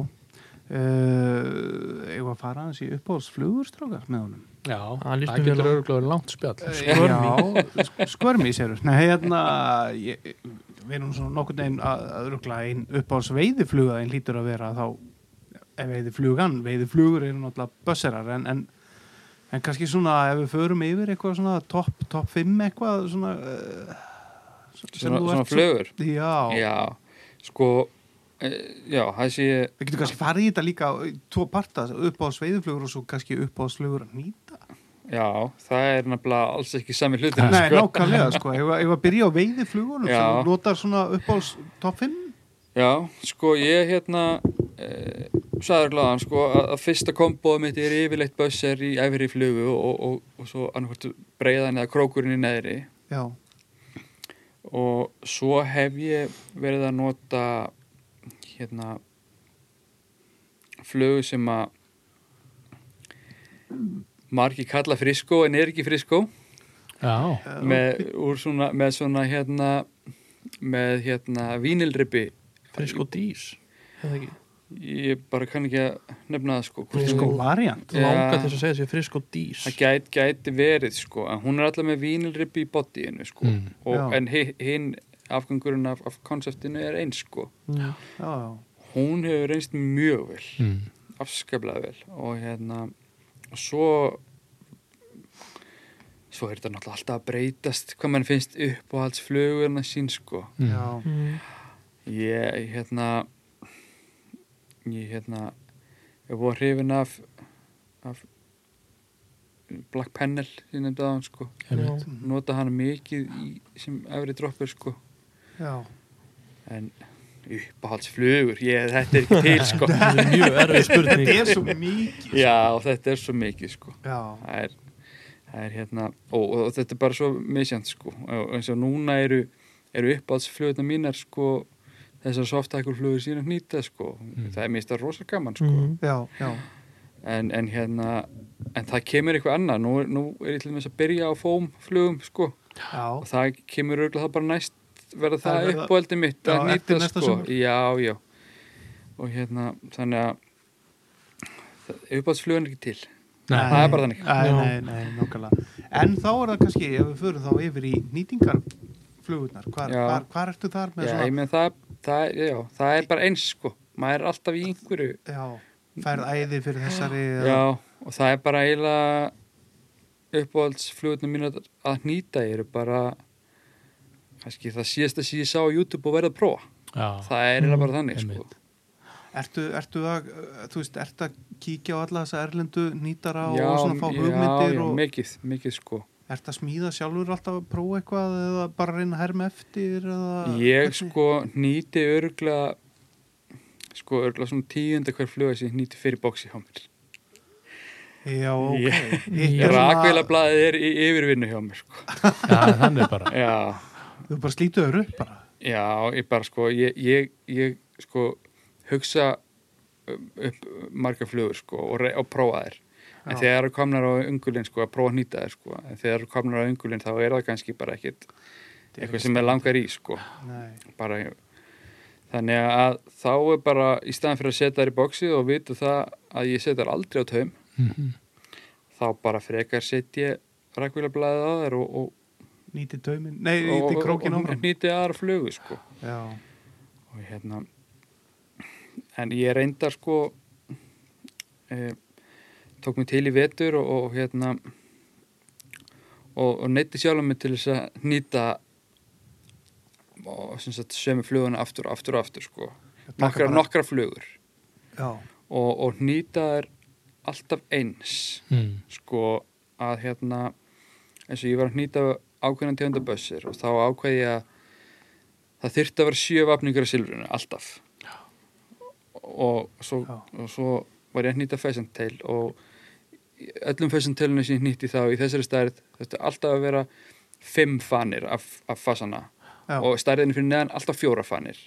B: Uh, eigum við að fara aðeins í uppáhaldsflugurstrákar með honum
C: já,
D: Það
C: það
D: líst mér
C: getur
D: vel á.
C: örgulega verið langt spjall
B: Skvörmi Já, skvörmi sér Nei, hérna ég, við erum svona nokkurn veginn að, að rugla einn uppáhalds veiðifluga einn lítur að vera þá en veiðiflugan, veiðiflugur eru náttúrulega bösserar en, en, en kannski svona ef við förum yfir eitthvað svona topp top 5 eitthvað svona uh,
A: Svona, svona flugur
B: Já,
A: Já, sko e, Já, það sé ég
B: við getum kannski farið í þetta líka í tvo parta, uppáhalds veiðiflugur og svo kannski uppáhaldsflugur að nýta
A: Já, það er nefnilega alls ekki sami hlutir
B: Nei,
A: sko.
B: nákvæmlega sko, ef við að byrja á veiðiflugunum
A: Já.
B: sem notar svona uppáhalds topp 5
A: Já, sko ég hérna e, sagður gláðan sko að, að fyrsta komboð mitt er yfirleitt bösser í æfri flugu og, og, og svo annarkvært breiðan eða krókurinn í neðri
B: Já,
A: og svo hef ég verið að nota hérna flugu sem að margi kalla friskó en er ekki friskó
C: já,
A: með, úr svona, með svona hérna með hérna vínilripi
D: frisk og dís eða ekki
A: ég bara kann ekki að nefna það sko hvort
B: Sko variant
A: Já.
D: langa til að segja sér frisk og dís
A: það gæti gæti verið sko en hún er alltaf með vínilripi í bodyinu sko
C: Mm.
A: og,
B: Já.
A: en hi- hinn afgangurinn af, af konseptinu er eins sko
B: Já, já,
A: hún hefur reynst mjög vel
C: Mm.
A: afskaplega vel og hérna og svo svo er þetta náttúrulega alltaf að breytast hvað mann finnst upp og alls flugurna sín sko
C: Mm.
B: já,
A: ég hérna ég hérna ég voru hrifin af, af Black Panel ég nefndi að hann sko
C: einmitt.
A: nota hana mikið í, sem efri droppur sko
B: já.
A: en uppáhaldsflugur ég, þetta er ekki til sko
D: það er mjög erfið spurning
B: Þetta er svo mikið
A: já, þetta er svo mikið sko
B: Já,
A: það er, það er hérna og, og, og þetta er bara svo misjant sko og eins og núna eru, eru uppáhaldsflugurna mínar sko
B: Mm.
A: þessar softakulflugur sína hnýta sko það er mista rosa gaman sko
D: Mhm.
B: já, já
A: en, en hérna en það kemur eitthvað annað nú, er- nú er ég til þess að byrja á fómflugum sko.
B: Já,
A: og það kemur auðvitað það bara næst verða
B: Það
A: það
B: verða-
A: uppáhaldið mitt
B: Já,
A: að
B: eftir
A: nýta
B: næsta
A: sko
B: sumar.
A: já, já og hérna, þannig að uppáhaldsflugan er ekki til
C: Nei.
A: það er bara þannig.
B: Nei,
C: Já.
B: nei, nei, nákvæmlega. En þá er það kannski, ef við förum þá yfir í nýtingarflugurnar, hvar,
A: Já.
B: hvar, hvar ertu þar með
A: já, ég
B: svona,
A: meina það, það, er- já, það er bara eins sko maður er alltaf í einhverju
B: já, færð æði fyrir þessari,
A: já, og það er bara eiginlega uppáhaldsflugunum mín að, að nýta eru bara kannski það síðasta sem ég sá á YouTube og verða að prófa
E: já,
A: það er eiginlega bara þannig sko.
E: einmitt.
B: ertu, ertu að, uh, þú veist, ertu að kíkja á alla þessa erlendu nýtara
A: já,
B: og svona fá
A: já,
B: hugmyndir
A: já,
B: og
A: mikið, mikið sko
B: ertu að smíða sjálfur alltaf að prófa eitthvað eða bara reyna að herma eftir eða?
A: Ég
B: hvernig?
A: sko nýti örgla sko örgla svona tíunda hver fluga sem ég nýti fyrir bóksi hjá mér
B: Já, ok.
A: Ég-
B: Hitt er
A: Rakveila
B: svona-
A: blaðið er í yfirvinnu hjá mér sko
E: já, þannig bara
A: Já,
B: Þú bara slítu öru upp bara.
A: já, ég bara sko ég, ég, ég sko hugsa um, upp marga flugur sko og, re- og prófa þær en
B: Já.
A: þegar eru komnar á ungulinn sko að prófa að nýta þær sko en þegar eru komnar á ungulinn þá er það kannski bara ekkit
B: er
A: eitthvað sem er langar í sko
B: Nei.
A: bara þannig að þá er bara í staðan fyrir að setja þær í bóksið og vita það að ég setja þær aldrei á taum
B: Mhm.
A: þá bara frekar setja rækvílablaðið á þær og, og,
B: Nýti taumin, nei,
A: og,
B: nýti
A: og,
B: krókin
A: og
B: áfram.
A: nýti aðra flugu sko
B: Já,
A: og hérna en ég reyndar sko e, tók mig til í vetur og, og hérna og, og neytti sjálfum mig til þess að nýta og sem sagt sömu fluguna aftur og aftur og aftur sko nokkra,
B: bara-
A: nokkra flugur
B: já,
A: og, og nýta þær alltaf eins
E: mm.
A: sko að hérna eins og ég var að hnýta ákveðna
B: Mm.
A: tegunda bössir og þá ákveði ég að það þyrfti að vera sjö vapningur af silfrinu, alltaf og svo,
B: Já.
A: og svo var ég að hnýta fesentel og í öllum fesentelinu sem ég hnýtti þá í þessari stærð þetta alltaf að vera fimm fanir af, af fasana
B: já.
A: og stærðinu fyrir neðan alltaf fjóra fanir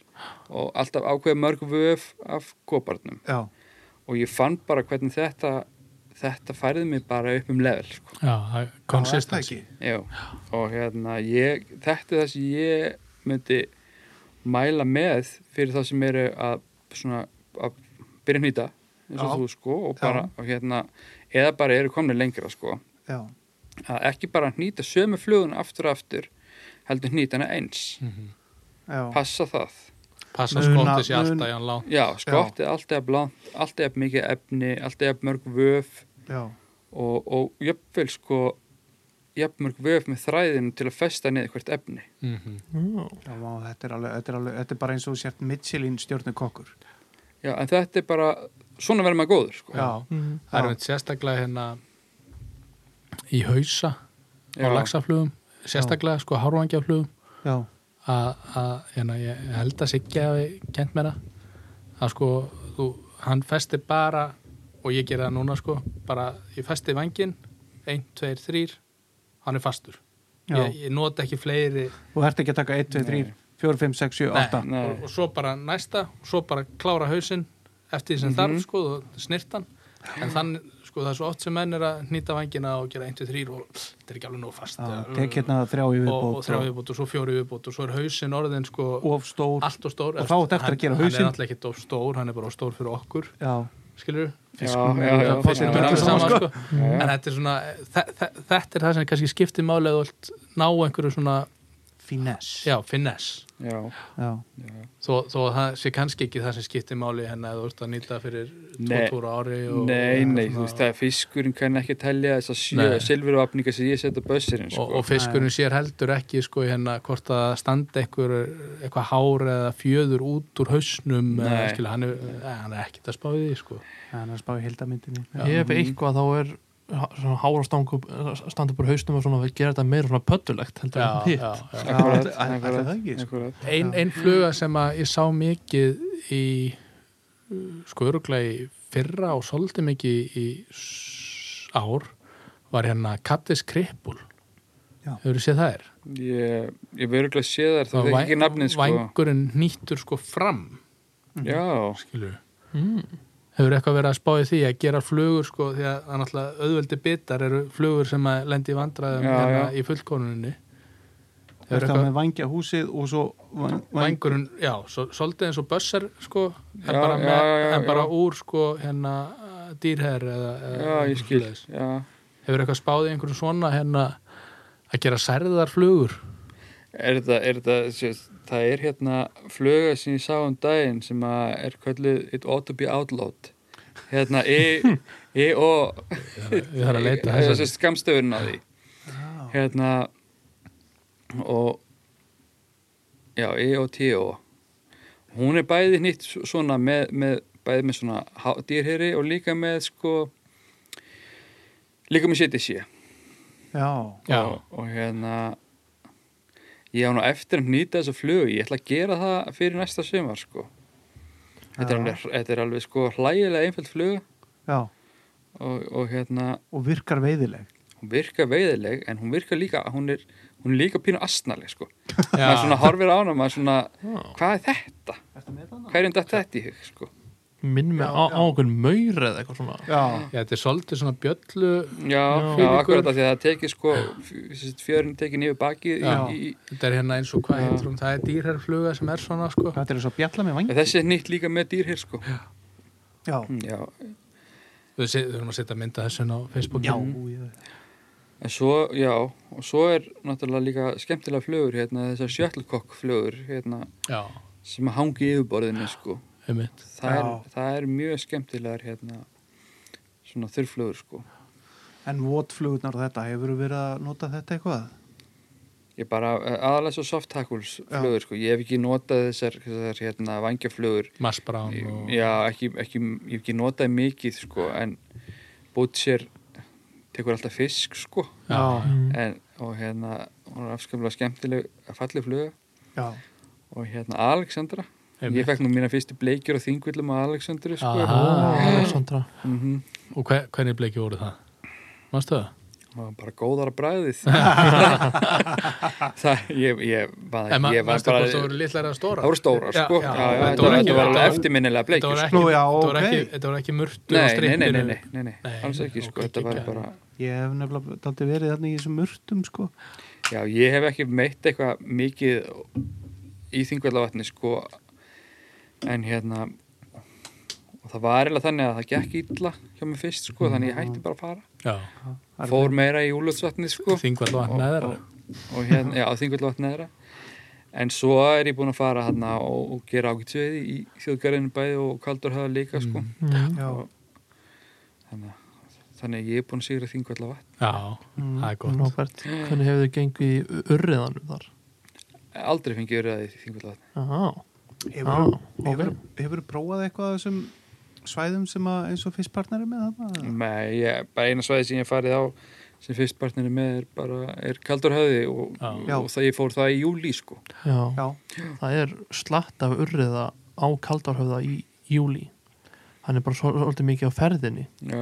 A: og alltaf ákveða mörg vöf af koparnum
B: já.
A: og ég fann bara hvernig þetta þetta færði mig bara upp um level sko.
E: já,
B: Já,
E: konsistensi
B: er það ekki?
A: Já, og hérna ég, þetta er það sem ég myndi mæla með fyrir þá sem eru að, svona, að byrja að nýta eins og
B: Já.
A: þú sko og
B: Já.
A: bara, og hérna, eða bara eru komni lengra sko
B: Já,
A: að ekki bara nýta sömu flugun aftur og aftur heldur nýta hana eins
B: já.
A: passa það
C: Passa
B: Muna-
C: skottið sér
B: mun-
C: alltaf í hann lá
A: já, skottið alltaf jafn langt, alltaf jafn mikið efni alltaf jafn mörg vöf
B: já,
A: og, og jöfnvel sko jöfnmörg vöf með þræðinu til að festa niður hvert efni
E: mm -hmm.
B: já, vá, þetta er alveg, þetta er alveg, þetta er bara eins og þú sért Michelin stjórnu kokkur.
A: já, en þetta er bara, svona verður maður góður sko.
B: Já,
D: Mm.
C: Það er
B: Já.
C: einmitt sérstaklega hérna í hausa
A: Já.
C: og laxaflugum sérstaklega sko hárvangjaflugum
B: já,
C: að að, hérna, ég held að Siggi hafi kent mér það að sko þú, hann festi bara og ég gera það núna sko bara ég festi vangin 1, 2, 3 hann er fastur
B: já.
C: ég, ég nota ekki fleiri
B: Þú ert ekki að taka 1, 2, 3, 4, 5, 6, 7, 8.
A: Nei.
C: og, og svo bara næsta og svo bara klára hausinn eftir því sem þarf sko og snirtan en þann sko það er svo oft sem menn er að hnýta vangina og gera 1-3 og þetta er ekki alveg nóg fast
B: Já,
C: og,
B: tek hérna þrjá í
C: og, og
B: viðbót
C: þrjá viðbót og svo fjóri viðbót og svo er hausinn orðin sko
B: of stór.
C: allt og stór
B: Og þá átti eftir að
C: Hann-
B: gera
C: hann
B: hausinn.
C: er alltaf ekki of stór, hann er bara of stór fyrir okkur
B: Já,
C: skilur
A: já, já, já,
B: það
A: fiskur er
B: er alveg
A: alveg
B: sama,
A: saman
C: sko. en þetta er svona þe þe þetta er það sem kannski skiptir máli að þú vilt ná einhverju svona
B: finess.
C: já, finess
A: já,
B: já.
C: þó, þó að það sé kannski ekki það sem skiptir máli hérna að þú ert að nýta fyrir
A: Nei.
C: 2-2 ári og,
A: nei, nei,
C: og,
A: þú veist það er fiskurinn kann ekki að telja þess að sjö
C: Nei.
A: silfurvapninga sem ég setja bössirinn sko.
C: og, og fiskurinn sér heldur ekki sko hérna hvort að það standi einhver eitthvað hár eða fjöður út úr hausnum
A: Nei.
C: eða, skilur, hann, er, eh, hann er ekkit að spá við því sko
B: Það er að spá í heldamindinni.
D: Ef eitthvað þá er ha- svona hárastangu standa bara haustum og svona við gera þetta meira svona pöttulegt heldur en hitt.
C: já.
A: Akkúrat,
B: ætli- ætli
A: akkúrat,
B: það ekki, sko.
A: akkúrat.
C: Ein, ein fluga sem að ég sá mikið í uh, sko öruglega í fyrra og svolítið mikið í s- ár var hérna Kattis Krippul
B: Já.
C: hefur séð það er
A: ég, ég verður ekki að sé þar það er ekki nafnið sko.
C: vængurinn nýttur sko fram
A: Mhm. já,
C: skilur
D: Mm.
C: Hefur eitthvað verið að spáði því að gera flugur sko því að það er náttúrulega auðveldi bitar eru flugur sem að lendi í vandræðum
A: Já, já.
C: hérna í fullkonuninni
B: Það
C: Hefur
B: er
C: eitthvað
B: með vangja húsið og svo væng, væng,
C: vængurinn, já, svo, svolítið eins og bössar sko, en
A: Já,
C: bara,
A: já,
C: með,
A: já, já,
C: en bara
A: já.
C: úr sko hérna dýrherr eða, eða
A: já, ég
C: eitthvað
A: skil
C: svoleiðis.
A: já.
C: Hefur eitthvað spáði einhverjum svona hérna að gera særðar flugur
A: Er þetta, er þetta, sést, það er hérna fluga sem ég sá um daginn sem að er kallið It Ought to be Outlawed hérna E, e og
C: Ég þarf að leita
A: þess
C: þess
A: að skamstöfun á því hérna og já, E og T og hún er bæði nýtt svona með, með bæði með svona dýrheri og líka með sko líka með setið sé
B: já,
C: Já,
A: og, og hérna ég á nú eftir að nýta þessu flugu ég ætla að gera það fyrir næsta sumar sko. þetta, er
B: Já.
A: alveg, þetta er alveg sko hlægilega einföld fluga
B: já
A: og, og hérna
B: og virkar veiðileg
A: hún virkar veiðileg en hún virkar líka hún er, hún er líka pínu astnaleg sko. maður
C: já,
A: svona horfir á hana maður svona, hvað er þetta? hverjum datt þetta í hug? Sko?
D: minn með á ákveðin maur eða eitthvað svona
B: já,
C: já, þetta er svolítið svona bjöllu
A: já, já
C: Fylgur.
A: akkurat af því að það tekið sko fjörun tekið niður bakið í,
C: Já.
A: í,
C: Þetta er hérna eins og hvað
A: Já.
C: heitir hún, það er dýrherrfluga sem er svona sko
B: hvað er þess að bjalla með vang
A: þessi er nýtt líka með dýr hér sko. Mm,
B: já,
A: já,
C: Við se- við þurfum að setja mynda þessu á Facebook
B: já, ég-
A: En svo, já, og svo er náttúrulega líka skemmtilega flugur hérna, þessar shuttlecock flugur hérna,
C: já
A: sem hangi í yfirborðinu, sko.
C: einmitt.
A: Það er,
B: Já.
A: það er mjög skemmtilegar, hérna, svona þurrflugur, sko.
B: en votflugurnar og þetta hefur verið að nota þetta eitthvað
A: Ég bara, eh, aðalega svo soft tackles flugur, sko. Ég hef ekki notað þessar, þessar hérna, vangjaflugur.
C: Mars Brown og...
A: Já, ekki, ekki, ég hef ekki notað mikið, sko, en Butcher tekur alltaf fisk, sko.
B: já,
C: Mm.
A: En, og hérna, hún er afskaplega skemmtileg að falli fluga.
B: já,
A: og hérna Alexandra
C: Einmitt.
A: ég fekk nú mína fyrstu bleikjur og þingvillum á Alexandru sko.
C: Aha.
D: Alexandra
A: mm
C: og hver, hvernig bleiki voru það? Mástu það?
A: og bara góðara bræðið það ég, ég, bara,
C: En ma-
A: ég var
C: manstu
A: bara
C: hvort það voru litlar eða stóra?
A: það voru stórar
C: Já,
A: sko
C: já.
A: já, já,
C: Þetta
A: þetta
C: voru
A: var-
C: ekki-
A: þetta var alveg
C: þetta voru-
A: eftirminnilega
C: Þetta
A: bleikjur
C: voru
A: sko.
C: ekki,
B: Nú, já,
C: þetta voru
B: ok.
C: ekki, þetta voru ekki murtur á
A: nei, nei,
C: strippinu
A: nei, nei, nei, nei,
C: Nei,
A: alls ekki sko
C: ok,
A: þetta var
C: geggjað.
A: bara
B: ég hef nefnilega taldi verið þarna í þessum mörtum sko
A: já, ég hef ekki meitt eitthvað mikið í þingvallavatni sko en hérna og það var eiginlega þannig að það gekk illa hjá mér fyrst sko, þannig ég hætti bara að fara
C: Já,
B: Það er
A: fór meira í úlöfsvatni sko
C: þingvall og annað er
A: og hérna, já, þingvöldvatn neðra en svo er ég búin að fara hérna og, og gera ágætsveið í þjóðgarðinu bæði og kaldur hafa líka
C: Mm.
A: sko.
B: já,
A: þannig, að- þannig að ég er búin að sigra þingvöldvatn
C: Já, það er gott
D: Robert, hvernig hefur þið gengið í urriðanum þar?
A: aldrei fengið verið að þingvöldvatn
D: Já,
B: hefur,
D: ok.
B: hefur, hefur prófað eitthvað á þessum svæðum sem að eins og fyrstpartnari með þarna
A: Nei, ég, bara eina svæði sem ég hef farið á sem fyrstpartneri með er bara er kaldur hafi og,
C: Já.
A: og það ég fór það í júli sko.
D: já,
B: já,
D: það er slatt af urriða á kaldarhöfða í júli hann er bara svol- svolítið mikið á ferðinni
A: já,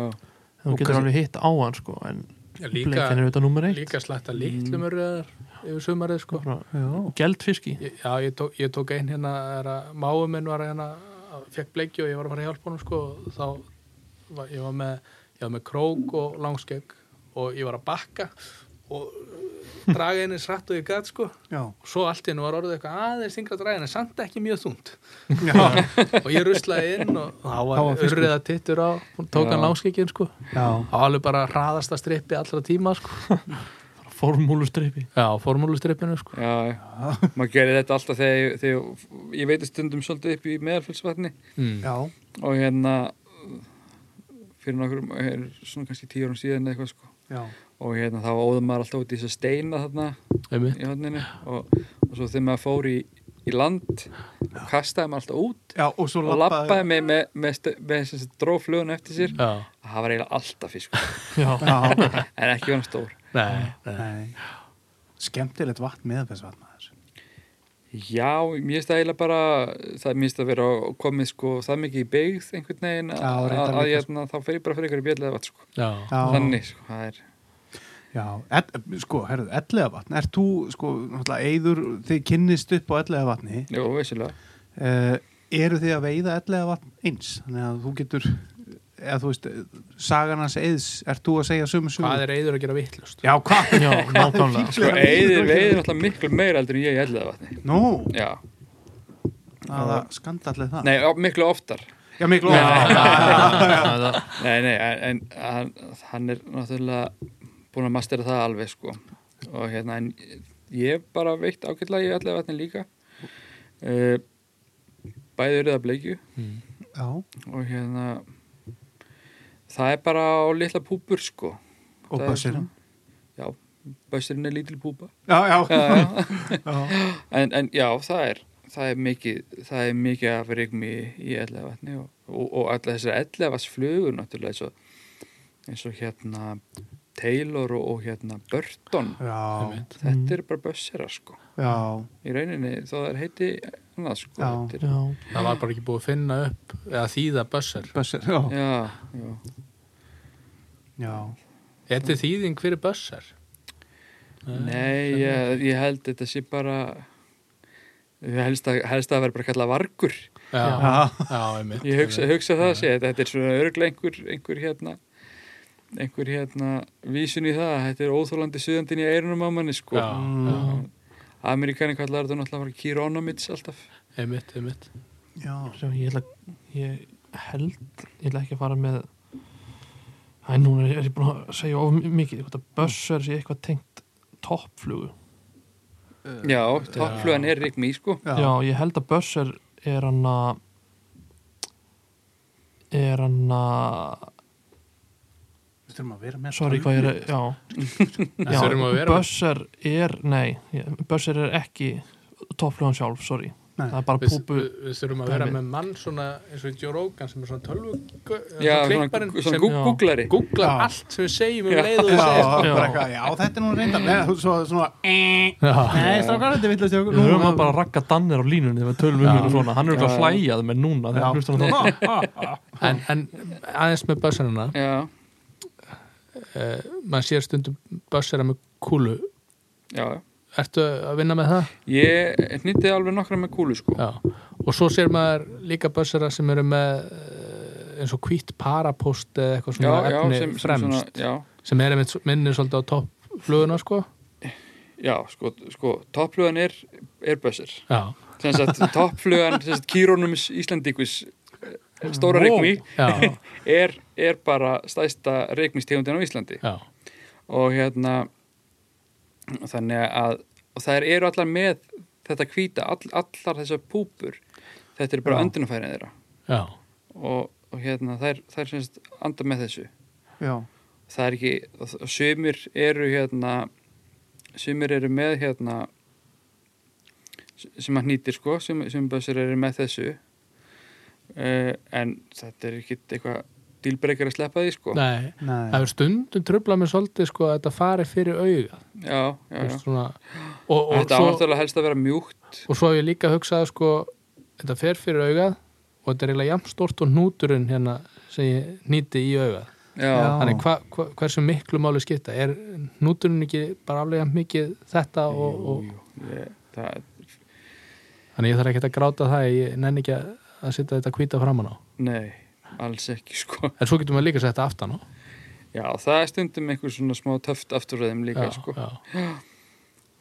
D: þú
C: Og
D: getur
C: kannski-
D: alveg hitt á hann sko en
C: Já,
D: bleikin er
C: Líka,
D: auðvitað nummer eitt
C: líka
B: Mm.
C: slætt að litlum eru yfir sumarið sko
B: já,
D: geldfiski
C: Ég- Já, ég tók, ég tók einn hérna er að máu minn var hérna fekk bleiki og ég var að fara að hjálpa honum sko og þá var ég var með ég var með krók og langskegg og ég var að bakka og draga henni srætt og ég gæt sko og
B: já,
C: svo allt í henni var orðið eitthvað aðeins þingra að draga henni samt ekki mjög þungt
B: já,
C: og ég ruslaði inn og þá
B: Þá var
C: var
B: fiskur.
C: urriða tittur á tók hann
A: Já.
C: langskekkin sko
B: já.
C: á alveg bara hraðasta strippi allra tíma sko
D: formúlustripi
C: já, formúlustrippinu sko
A: já, maður gerir þetta alltaf þegar, ég- þegar ég veit stundum svolítið upp í meðalfjölsvatni
C: mm.
B: Já,
A: og hérna fyrir nokkrum, er svona kannski tíu árum síðan eða eitthvað sko
B: já,
A: og hérna þá óðum maður alltaf út í þess að steina þarna
C: einmitt.
A: í hodninu og, og svo þegar maður fór í, í land kastaði maður alltaf út
B: já, og svo
A: og lappaði með, með, með, st- með sem sagt dró flugun eftir sér
C: já,
A: það var eiginlega alltaf fiskur
B: Já,
A: en ekki var hann stór
C: nei, nei.
B: nei Skemmtilegt vatn meðfæðsvatn maður
A: Já, mér finnst það eiginlega bara það mér finnst það vera komið sko það mikið í byggð einhvern veginn
B: Já,
A: að,
B: reyndar
A: að, að
B: líka, sko.
A: hérna, þá fer ég bara fyrir ykkur í bjöllið sko.
C: Já.
B: Já,
A: þannig sko, það er
B: já et, sko, herðu, ellega vatn Ert þú, sko, náttúrulega eyður þið kynnist upp á ellega vatni
A: jú, vissulega
B: uh, eru þið að veiða ellega vatn eins þannig að þú getur eða þú veist, sagan hans eðs ert þú að segja sömu sömu
C: Hvað er reyður að gera vittlust?
B: Já, hvað?
D: Já, nákvæmlega,
B: fíknilega?
D: sko.
A: Sko, Eiðir veiðir alltaf miklu meira heldur en ég í eldaða vatni.
B: Nú,
A: Já,
B: það er skandallið það
A: nei, á- miklu oftar.
B: Já, miklu ofar
A: Nei, nei, en, en hann, hann er náttúrulega búin að mastera það alveg, sko. Og hérna, en ég hef bara veitt ágætlega í eldaða vatni líka. Uh, bæði eru það bleikju
B: Já,
A: og hérna, það er bara á litla púpur, sko.
B: og
A: Það er
B: bössir
A: svona- Já, bössurinn er lítil púpa.
B: Já, já,
A: Já, já.
B: já
A: en, en já, það er það er mikið, það er mikið af rigmi í ellavatni og, og, og alla þessar ellavatsflugur náttúrulega eins og, eins og hérna Taylor og, og hérna Burton
B: Já,
A: þetta er bara bössera sko
B: já,
A: í rauninni þó það er heiti annað sko
B: Já.
A: Þetta er-
D: já,
C: Það var bara ekki búið að finna upp eða þýða bössar.
B: bössir Já,
A: já, já.
B: já,
C: Er
B: Mm.
C: þetta þýðing fyrir bössar?
A: Nei, ég, ég held þetta sé bara helst að, helst að vera bara kallað vargur
C: Já, já,
B: já.
C: einmitt.
A: ég hugsa, hugsa það sé, þetta er svona örglega einhver, einhver hérna einhver hérna vísun í það þetta er óþólandi suðandinn í eirunum á manni sko
C: Já, já,
A: Amerikanin kallar þetta náttúrulega bara kýrónomids alltaf
C: einmitt, einmitt.
B: já.
D: sem ég ætla ég held, ég ætla ekki að fara með Æ, núna er ég búin að segja of mikið, þetta bössur sé eitthvað tengt toppflugu
A: já, toppflugan er rigmi sko
B: Já.
D: Já, ég held að Bösser er hann að er hann að
B: Við þurfum að vera með
D: sorry hvað ég er að- já,
C: Það
D: já
C: þurfum að vera með-
D: Bösser er, nei Bösser er ekki topplugan sjálf, sorry
B: Nei.
D: það er bara
C: Við,
D: púpu
C: við, við þurfum að vera
D: dæmi.
C: með mann svona eins og Joe Rogan sem er svona tölvu
A: já, svona, svona gú,
D: já.
A: googlari
C: googlar
B: Já.
C: allt sem við segjum um
A: Já.
C: leið
B: Já,
C: og við segjum
B: bara
D: Já.
B: eitthvað, já, þetta er nú reynda Nei, svo, svona, eh. Nei, strákar, þetta er villast hjá okkur
D: við höfum
B: Nú-
D: að bara rakka Danner á línunni þegar við tölum um hérna svona, hann er eitthvað
A: Já.
D: að hlæjað með núna þegar
B: Já.
D: hann hlustar á það
C: en, en aðeins með bössarina
A: já,
C: maður sér stundum bössara með kúlu
A: já,
C: ertu að vinna með það?
A: ég hnýtti alveg nokkra með kúlu sko já,
C: Já. og svo sér maður líka bössara sem eru með eh, eins og hvitt parapost eða eitthvað
A: já,
C: svona
A: sem,
C: efni
A: sem
C: fremst
A: svona,
C: sem,
A: já,
C: er einmitt minnir svolítið á toppfluguna sko
A: já, sko, sko toppflugan er, er bössir
C: já,
A: sem sagt, toppflugan, sem sagt, kýrónomids íslandíkvis stóra rigmi
C: já,
A: er, er bara stæsta reikmistegundin á Íslandi
C: já,
A: og hérna þannig að og þær eru allar með þetta hvíta all, allar þessar púpur þetta er bara öndunafærið þeirra
C: já.
A: og, og hérna þær, þær semst anda með þessu
B: Já,
A: það er ekki, og og sumir eru hérna sumir eru með hérna sem að nýtir sko, sum, sumbössur eru með þessu uh, en þetta er ekki eitthvað dýlbreykar að sleppa því sko
C: Nei,
B: nei
C: það er stundum tröfla með svolítið sko að þetta fari fyrir auga
A: já, já, já.
C: svona, og, og,
A: þetta svo...
C: svo,
A: ánáttúrulega helst að vera mjúkt
C: og svo hef ég líka hugsað sko, þetta fer fyrir augað og þetta er eiginlega jafn stort og núturinn hérna sem ég nýti í augað
A: já,
B: Já.
C: þannig hva, hva, hversu miklu máli skipta er núturinn ekki bara aflega mikið þetta og,
A: Jú,
C: og
A: jú, ég, það,
C: þannig ég þarf ekki að gráta það ég nenni ekki að að setja þetta hvíta framan á
A: nei, alls ekki sko.
C: en svo getum við líka að setja aftan á
A: já, það er stundum einhver svona smá töft afturröðum líka sko.
C: já,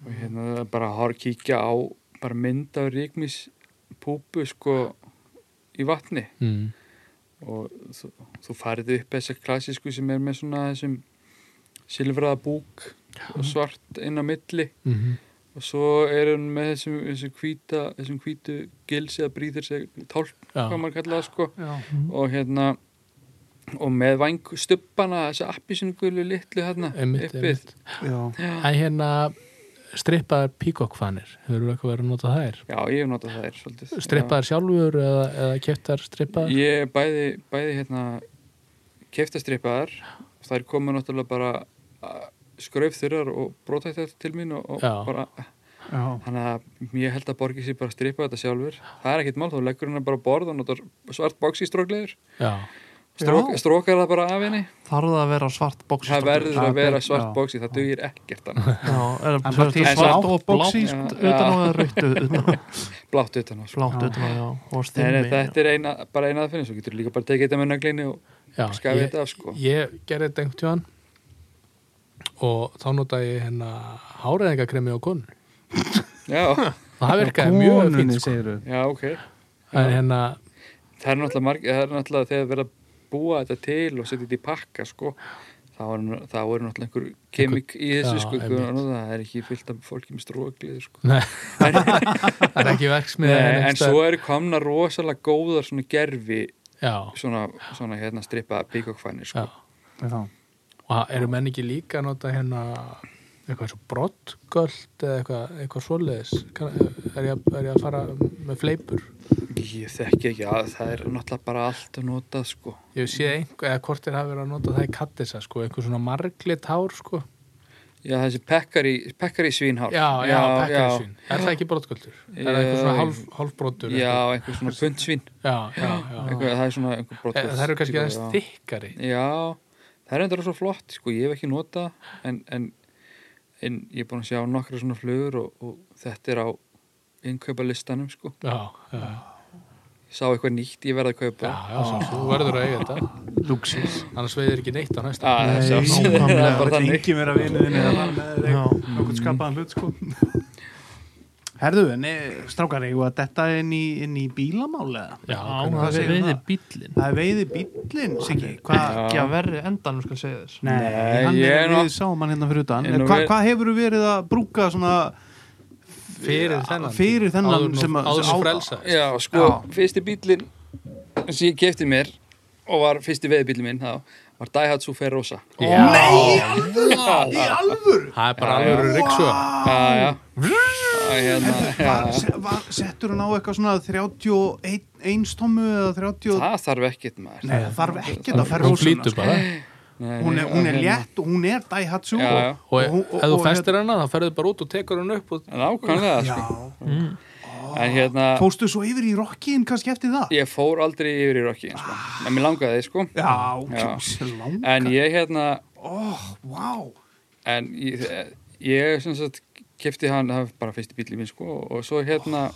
A: og hérna það er bara að horf kíkja á bara mynd af ríkmis púpu sko í vatni
C: mm.
A: og þú, þú farið upp þessa klassísku sem er með svona þessum silfraða búk og svart inn á milli
C: Mm
A: og svo er hann með þessum, þessum, hvíta, þessum hvítu gils eða brýður sig tólk, hvað
C: já.
A: maður kallaða sko
B: Já,
A: og hérna og með vangstubbana þessa appisungulu litlu hérna
C: Einmitt,
A: uppið.
C: einmitt.
B: já
C: en hérna strippaðar píkokkfanir hefur þú eitthvað verið að nota þær
A: já ég hef notað þær svolítið
C: strippaðar sjálfur eða, eða keftar
A: Já.
C: strippaðar
A: ég er bæði, bæði hérna keftastrippaðar þær komu náttúrulega bara skröfþurrar og brótættar til mín og, og
C: Já.
A: bara
B: Já,
A: þannig að ég held að borgi sér bara að strippa þetta sjálfur það er ekkit mál, þú leggur hennar bara á borð og notar svart bóksi strókleður
C: já,
A: Strók, strókar það bara af henni
E: þarf það að vera svart bóks
A: það verður
B: Já,
A: að vera
B: já.
A: svart bóksi það dugir ekkert annað.
B: Hann bara til
E: svart
B: svart
E: og blátt
B: boxi,
A: sko.
E: utan á það rautt utan á
A: blátt utan á sko.
E: blátt
B: Já.
E: utan á já og
A: Nei, nei,
E: stimmi
A: þetta er eina, bara eina að finna svo getur líka bara tekið þetta með nöglinni og
C: Já,
A: skafið
C: ég,
A: þetta af sko
C: ég gerði þetta einhvern tjóðan og þá notaði ég hennar háræðingakremi á konun
A: já,
C: það virkaði mjög fínt sko.
B: segir þau
A: já, ok
C: en hérna,
A: það er náttúrulega, marg, það er náttúrulega þegar verið að búa þetta til og setja þetta í pakka sko þá er, nú- þá er náttúrulega einhver kemik í þessu
C: Já,
A: sko einhver,
C: einmitt.
A: annað, það er ekki fyllt af fólki með stróklið sko.
C: nei það er ekki hérna
A: Nei,
C: verksmiða
A: en svo eru komna rosalega góðar svona gerfi
C: já,
A: svona, svona hérna strippa píkokfænir
C: já
A: sko.
B: Já.
C: og það eru menn ekki líka að nota hérna eitthvað svo brottgöld eða eitthvað, eitthvað svoleiðis Kann- er ég, að- er ég að fara með fleipur
A: ég þekki ekki að það er náttúrulega bara allt að nota sko.
C: ég hef séð einhver, eða hvort er hafa verið að nota það í kattisa sko, eitthvað svona marglit hár sko
A: já þessi pekkari, pekkari svínhár
C: já, já, já
A: já.
C: pekkarsvín, er það ekki brottgöldur er það eitthvað svona
A: Já,
C: hálf, hálfbrottur
A: já,
C: eitthvað?
A: einhver svona puntsvín
C: já, já, já.
A: eitthvað, það er svona einhver
C: E,
A: brotur
C: það eru kannski aðeins
A: Já.
C: þykkari
A: Já, það er endur svo flott sko, ég hef ekki nota en, en, en ég er búin að sjá nokkra svona flugur og, og þetta er á innkaupa listanum sko
C: já, já,
A: ég sá eitthvað nýtt ég verð að
C: já,
A: kaupa
C: já sem, þú verður að eiga þetta
B: Luxus
C: annars veiðir ekki neitt á næsta
A: Ah,
E: Nei,
A: sjá- það er
E: nákvæmlega.
A: bara þannig
B: Engi vera vinuðin eða var með
E: Já.
B: þig Nókvæmt skapaðan hlut sko Herðu, ne, strákar, eigum við að detta inn í, inn í bílamál eða?
E: já
B: Hvað
E: það er
B: segir
E: veiði
B: það?
E: bíllinn
B: Það er veiði bíllinn, Siggi Hvað?
E: ekki að verri endanum skal segja þess
B: Nei,
A: Nei,
B: hann
A: ég er
B: er,
A: nú-
B: við sáum hann hérna fyrir utan
A: Ég er nú
B: Hva,
A: ver-
B: Hvað hefur verið að brúka svona
C: fyrir þennan
B: fyrir þennan
C: áður, nú-
B: sem að-
C: áður sem
B: á-
C: frelsa
A: Já, sko, fyrsti bílinn sem ég kefti mér og var fyrsti veðbílinn minn þá var Daihatsu Ferrosa
B: í
C: Nei,
B: alvöru?
C: það er bara alveg riksu
A: Já, Ah, já Það er hérna,
B: Var, se- var, settur hann á eitthvað svona 31 stommu eða 30
A: Það þarf ekkert maður
B: Nei, það þarf ekkert að færa
C: hún
B: rósuna
C: flýtur
B: sko.
C: bara
A: Nei,
B: hún, er,
A: já,
B: hún er
A: hérna.
B: létt og hún er Daihatsu
A: Já, já.
C: og
B: hún-
C: ef þú festir
B: hérna-
C: hana þá ferðu bara út og tekur hann upp og
A: Nákvæmlega,
B: Já.
A: sko En hérna
B: Fóstu svo yfir í rockin kannski eftir það?
A: Ég fór aldrei yfir í rockin sko. En mér langaði sko
B: Já,
A: Já.
B: kjósi lang
A: En ég hérna
B: Oh, wow
A: En ég, ég sem sagt Kefti hann, það var bara fyrsti bíl í minn sko Og svo hérna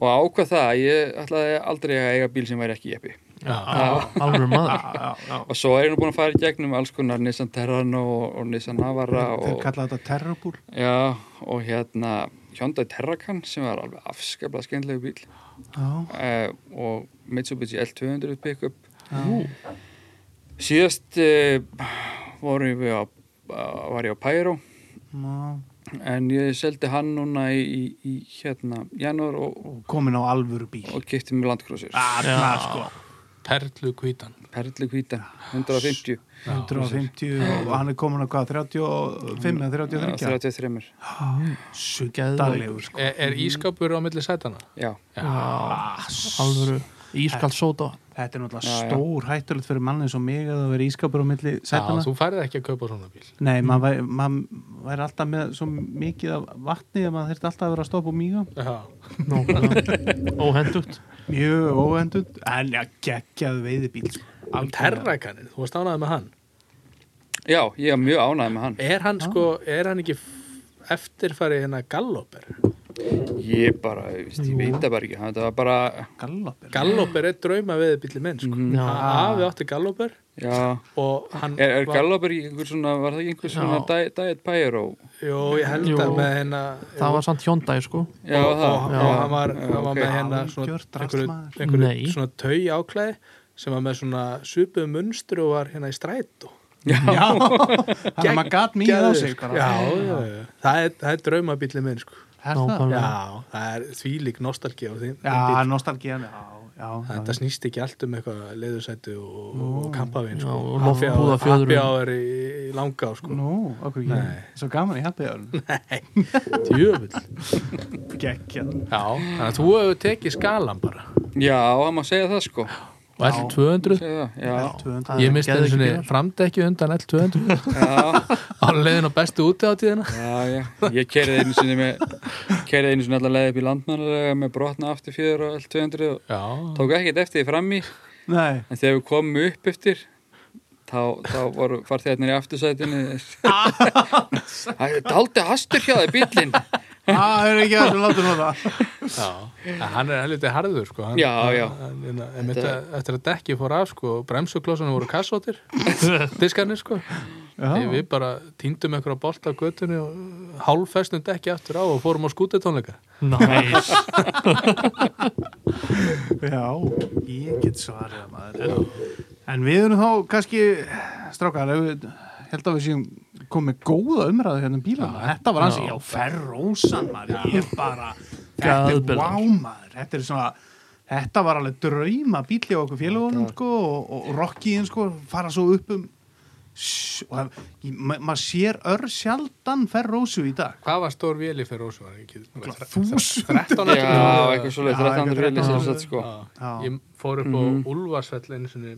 A: Og ákvað það, að ég ætlaði aldrei að eiga bíl sem væri ekki jeppi
E: alveg maður
B: já, já.
A: Og svo er ég nú búin að fara í gegnum alls konar Nissan Terrano og, og Nissan Navara
B: Þeir
A: og,
B: kalla þetta terrorbúl
A: Já, og hérna Hyundai Terracan sem var alveg afskaplega skemmtilegu bíl
B: Já,
A: uh, og Mitsubishi L200 pickup
B: já.
A: síðast uh, voru við á, á- var ég á Pyro
B: Ná,
A: en ég seldi hann núna í, í, í hérna janúar og,
B: og komin á alvöru bíl
A: og kipti mig landkrossir
B: Alla sko
C: perlu kvítan
A: perli hvítan, 150
B: 150 og hann er komin á hvað 35 eða 33
A: 33
B: Suttalegur sko
C: er, er ískapur á milli sætana
A: já,
E: alveg ískald sóta
B: Þetta er náttúrulega
A: Já, já.
B: stór hættulegt fyrir manni eins og mig að það veri ískapur á milli
C: Já,
B: sætana
C: þú færið ekki að kaupa svona bíl
B: Nei, maður væri mað alltaf með svo mikið af vatni að maður þurfti alltaf að vera að stoppa og mýga
C: já,
E: óhendugt
B: Mjög óhendund En já, geggjað veiðibíl sko.
C: terrakanin, þú varst ánæðið með hann
A: já, ég er mjög ánægð með hann
C: er hann sko, er hann ekki f- eftirfari hérna galloper
A: ég bara, ég veist, ég veit það bara ekki það var bara,
B: Gallopin
C: galloper er drauma við bíli minn sko. mm,
B: Ah.
C: afi átti galloper
A: já
C: og hann
A: er, er
C: var-
A: Gallop ekki einhver svona, var það ekki einhver svona diet, diet Pyro
C: jú, ég held
E: Jú.
C: að með hérna
E: það var samt hjóndæg sko
A: já,
C: og,
A: það,
C: og,
A: já,
C: og hann var,
A: já,
C: hann var
A: ok.
C: með hérna svona,
B: Algjört drasl,
C: einhverju,
B: maður.
E: Nei.
C: einhverju svona tau áklæði sem var með svona svipuð munstru og var hérna í strætó
B: Já, hann er maður gatt mýga á
C: Geðveik,
B: sig
C: sko.
B: bara.
C: já, já, já. það er, það er draumabíli minn sko.
B: Er það?
E: Nákvæmlega.
C: já, það er þvílík nostalgi á þeim
B: Já, nostalgían Já, já,
C: Þetta snýst ekki allt um eitthvað leðursættu og, og kampavín sko.
E: Já, og
C: Happy hour-
E: loftbúðafjöðrum.
C: happy hour í, í langa sko.
B: Nú, okkur
C: Nei.
B: ekki Svo gaman í happy hour
C: Jöfull
B: Geggjað
C: Já, þannig að þú hefur tekið skalan bara
A: já, hann má segja það sko
C: og L200
A: segja það, já
B: L200.
C: Ég misti
E: Geðveikir
C: einu sinni
E: bílar.
C: framdekki undan L200
A: Já,
C: á leiðin á bestu úti á tíðina
A: já, já, ég kerði einu sinni með, kerði einu sinni allar leið upp í landmannalega með brotna afturfjöður og L200 og
C: Já,
A: tók ekkert eftir því fram í
B: Nei.
A: en þegar við komum upp eftir þá, þá voru farþegarnir í aftursætinu það er daldi hastur hjá það bílinn
B: Ah, Það er ekki að þessu látum á það.
C: Já, en hann er helviti harður sko hann,
A: Já, já.
C: hann, hann, hann, þetta... Eftir að dekki fór af sko bremsuklossanum voru kassóttir diskarnir sko Þegar
B: Já.
C: við bara týndum einhverja bolt á götunni og hálffestum dekki aftur á og fórum á skútetónleika
D: Næs
B: Já, ég get svarið að maður. En við erum þá kannski, strákar, ef við held að við séum komið góða umræðu hérna um bílana. Þetta var hans, já, ferrósan maður, ég bara, þetta er
D: Gæðbelgur.
B: wow maður, þetta er svona, þetta var alveg drauma bíl hjá okkur félagunum sko og, og rockiðin sko, fara svo upp um, Sss, og það- ég- ma- maður sér ör sjaldan ferrósu í dag.
C: Hvað var stór véli fyrir Rósu? var ekki-
B: Þúsund.
C: 13
A: já, eitthvað
C: eftir-
A: svolítið
B: Já,
A: 13
B: eitthvað
A: reyli
B: 13.
A: sem sagt sko
B: Já.
C: Já. Ég fór upp á mm
A: Mhm.
C: einu sinni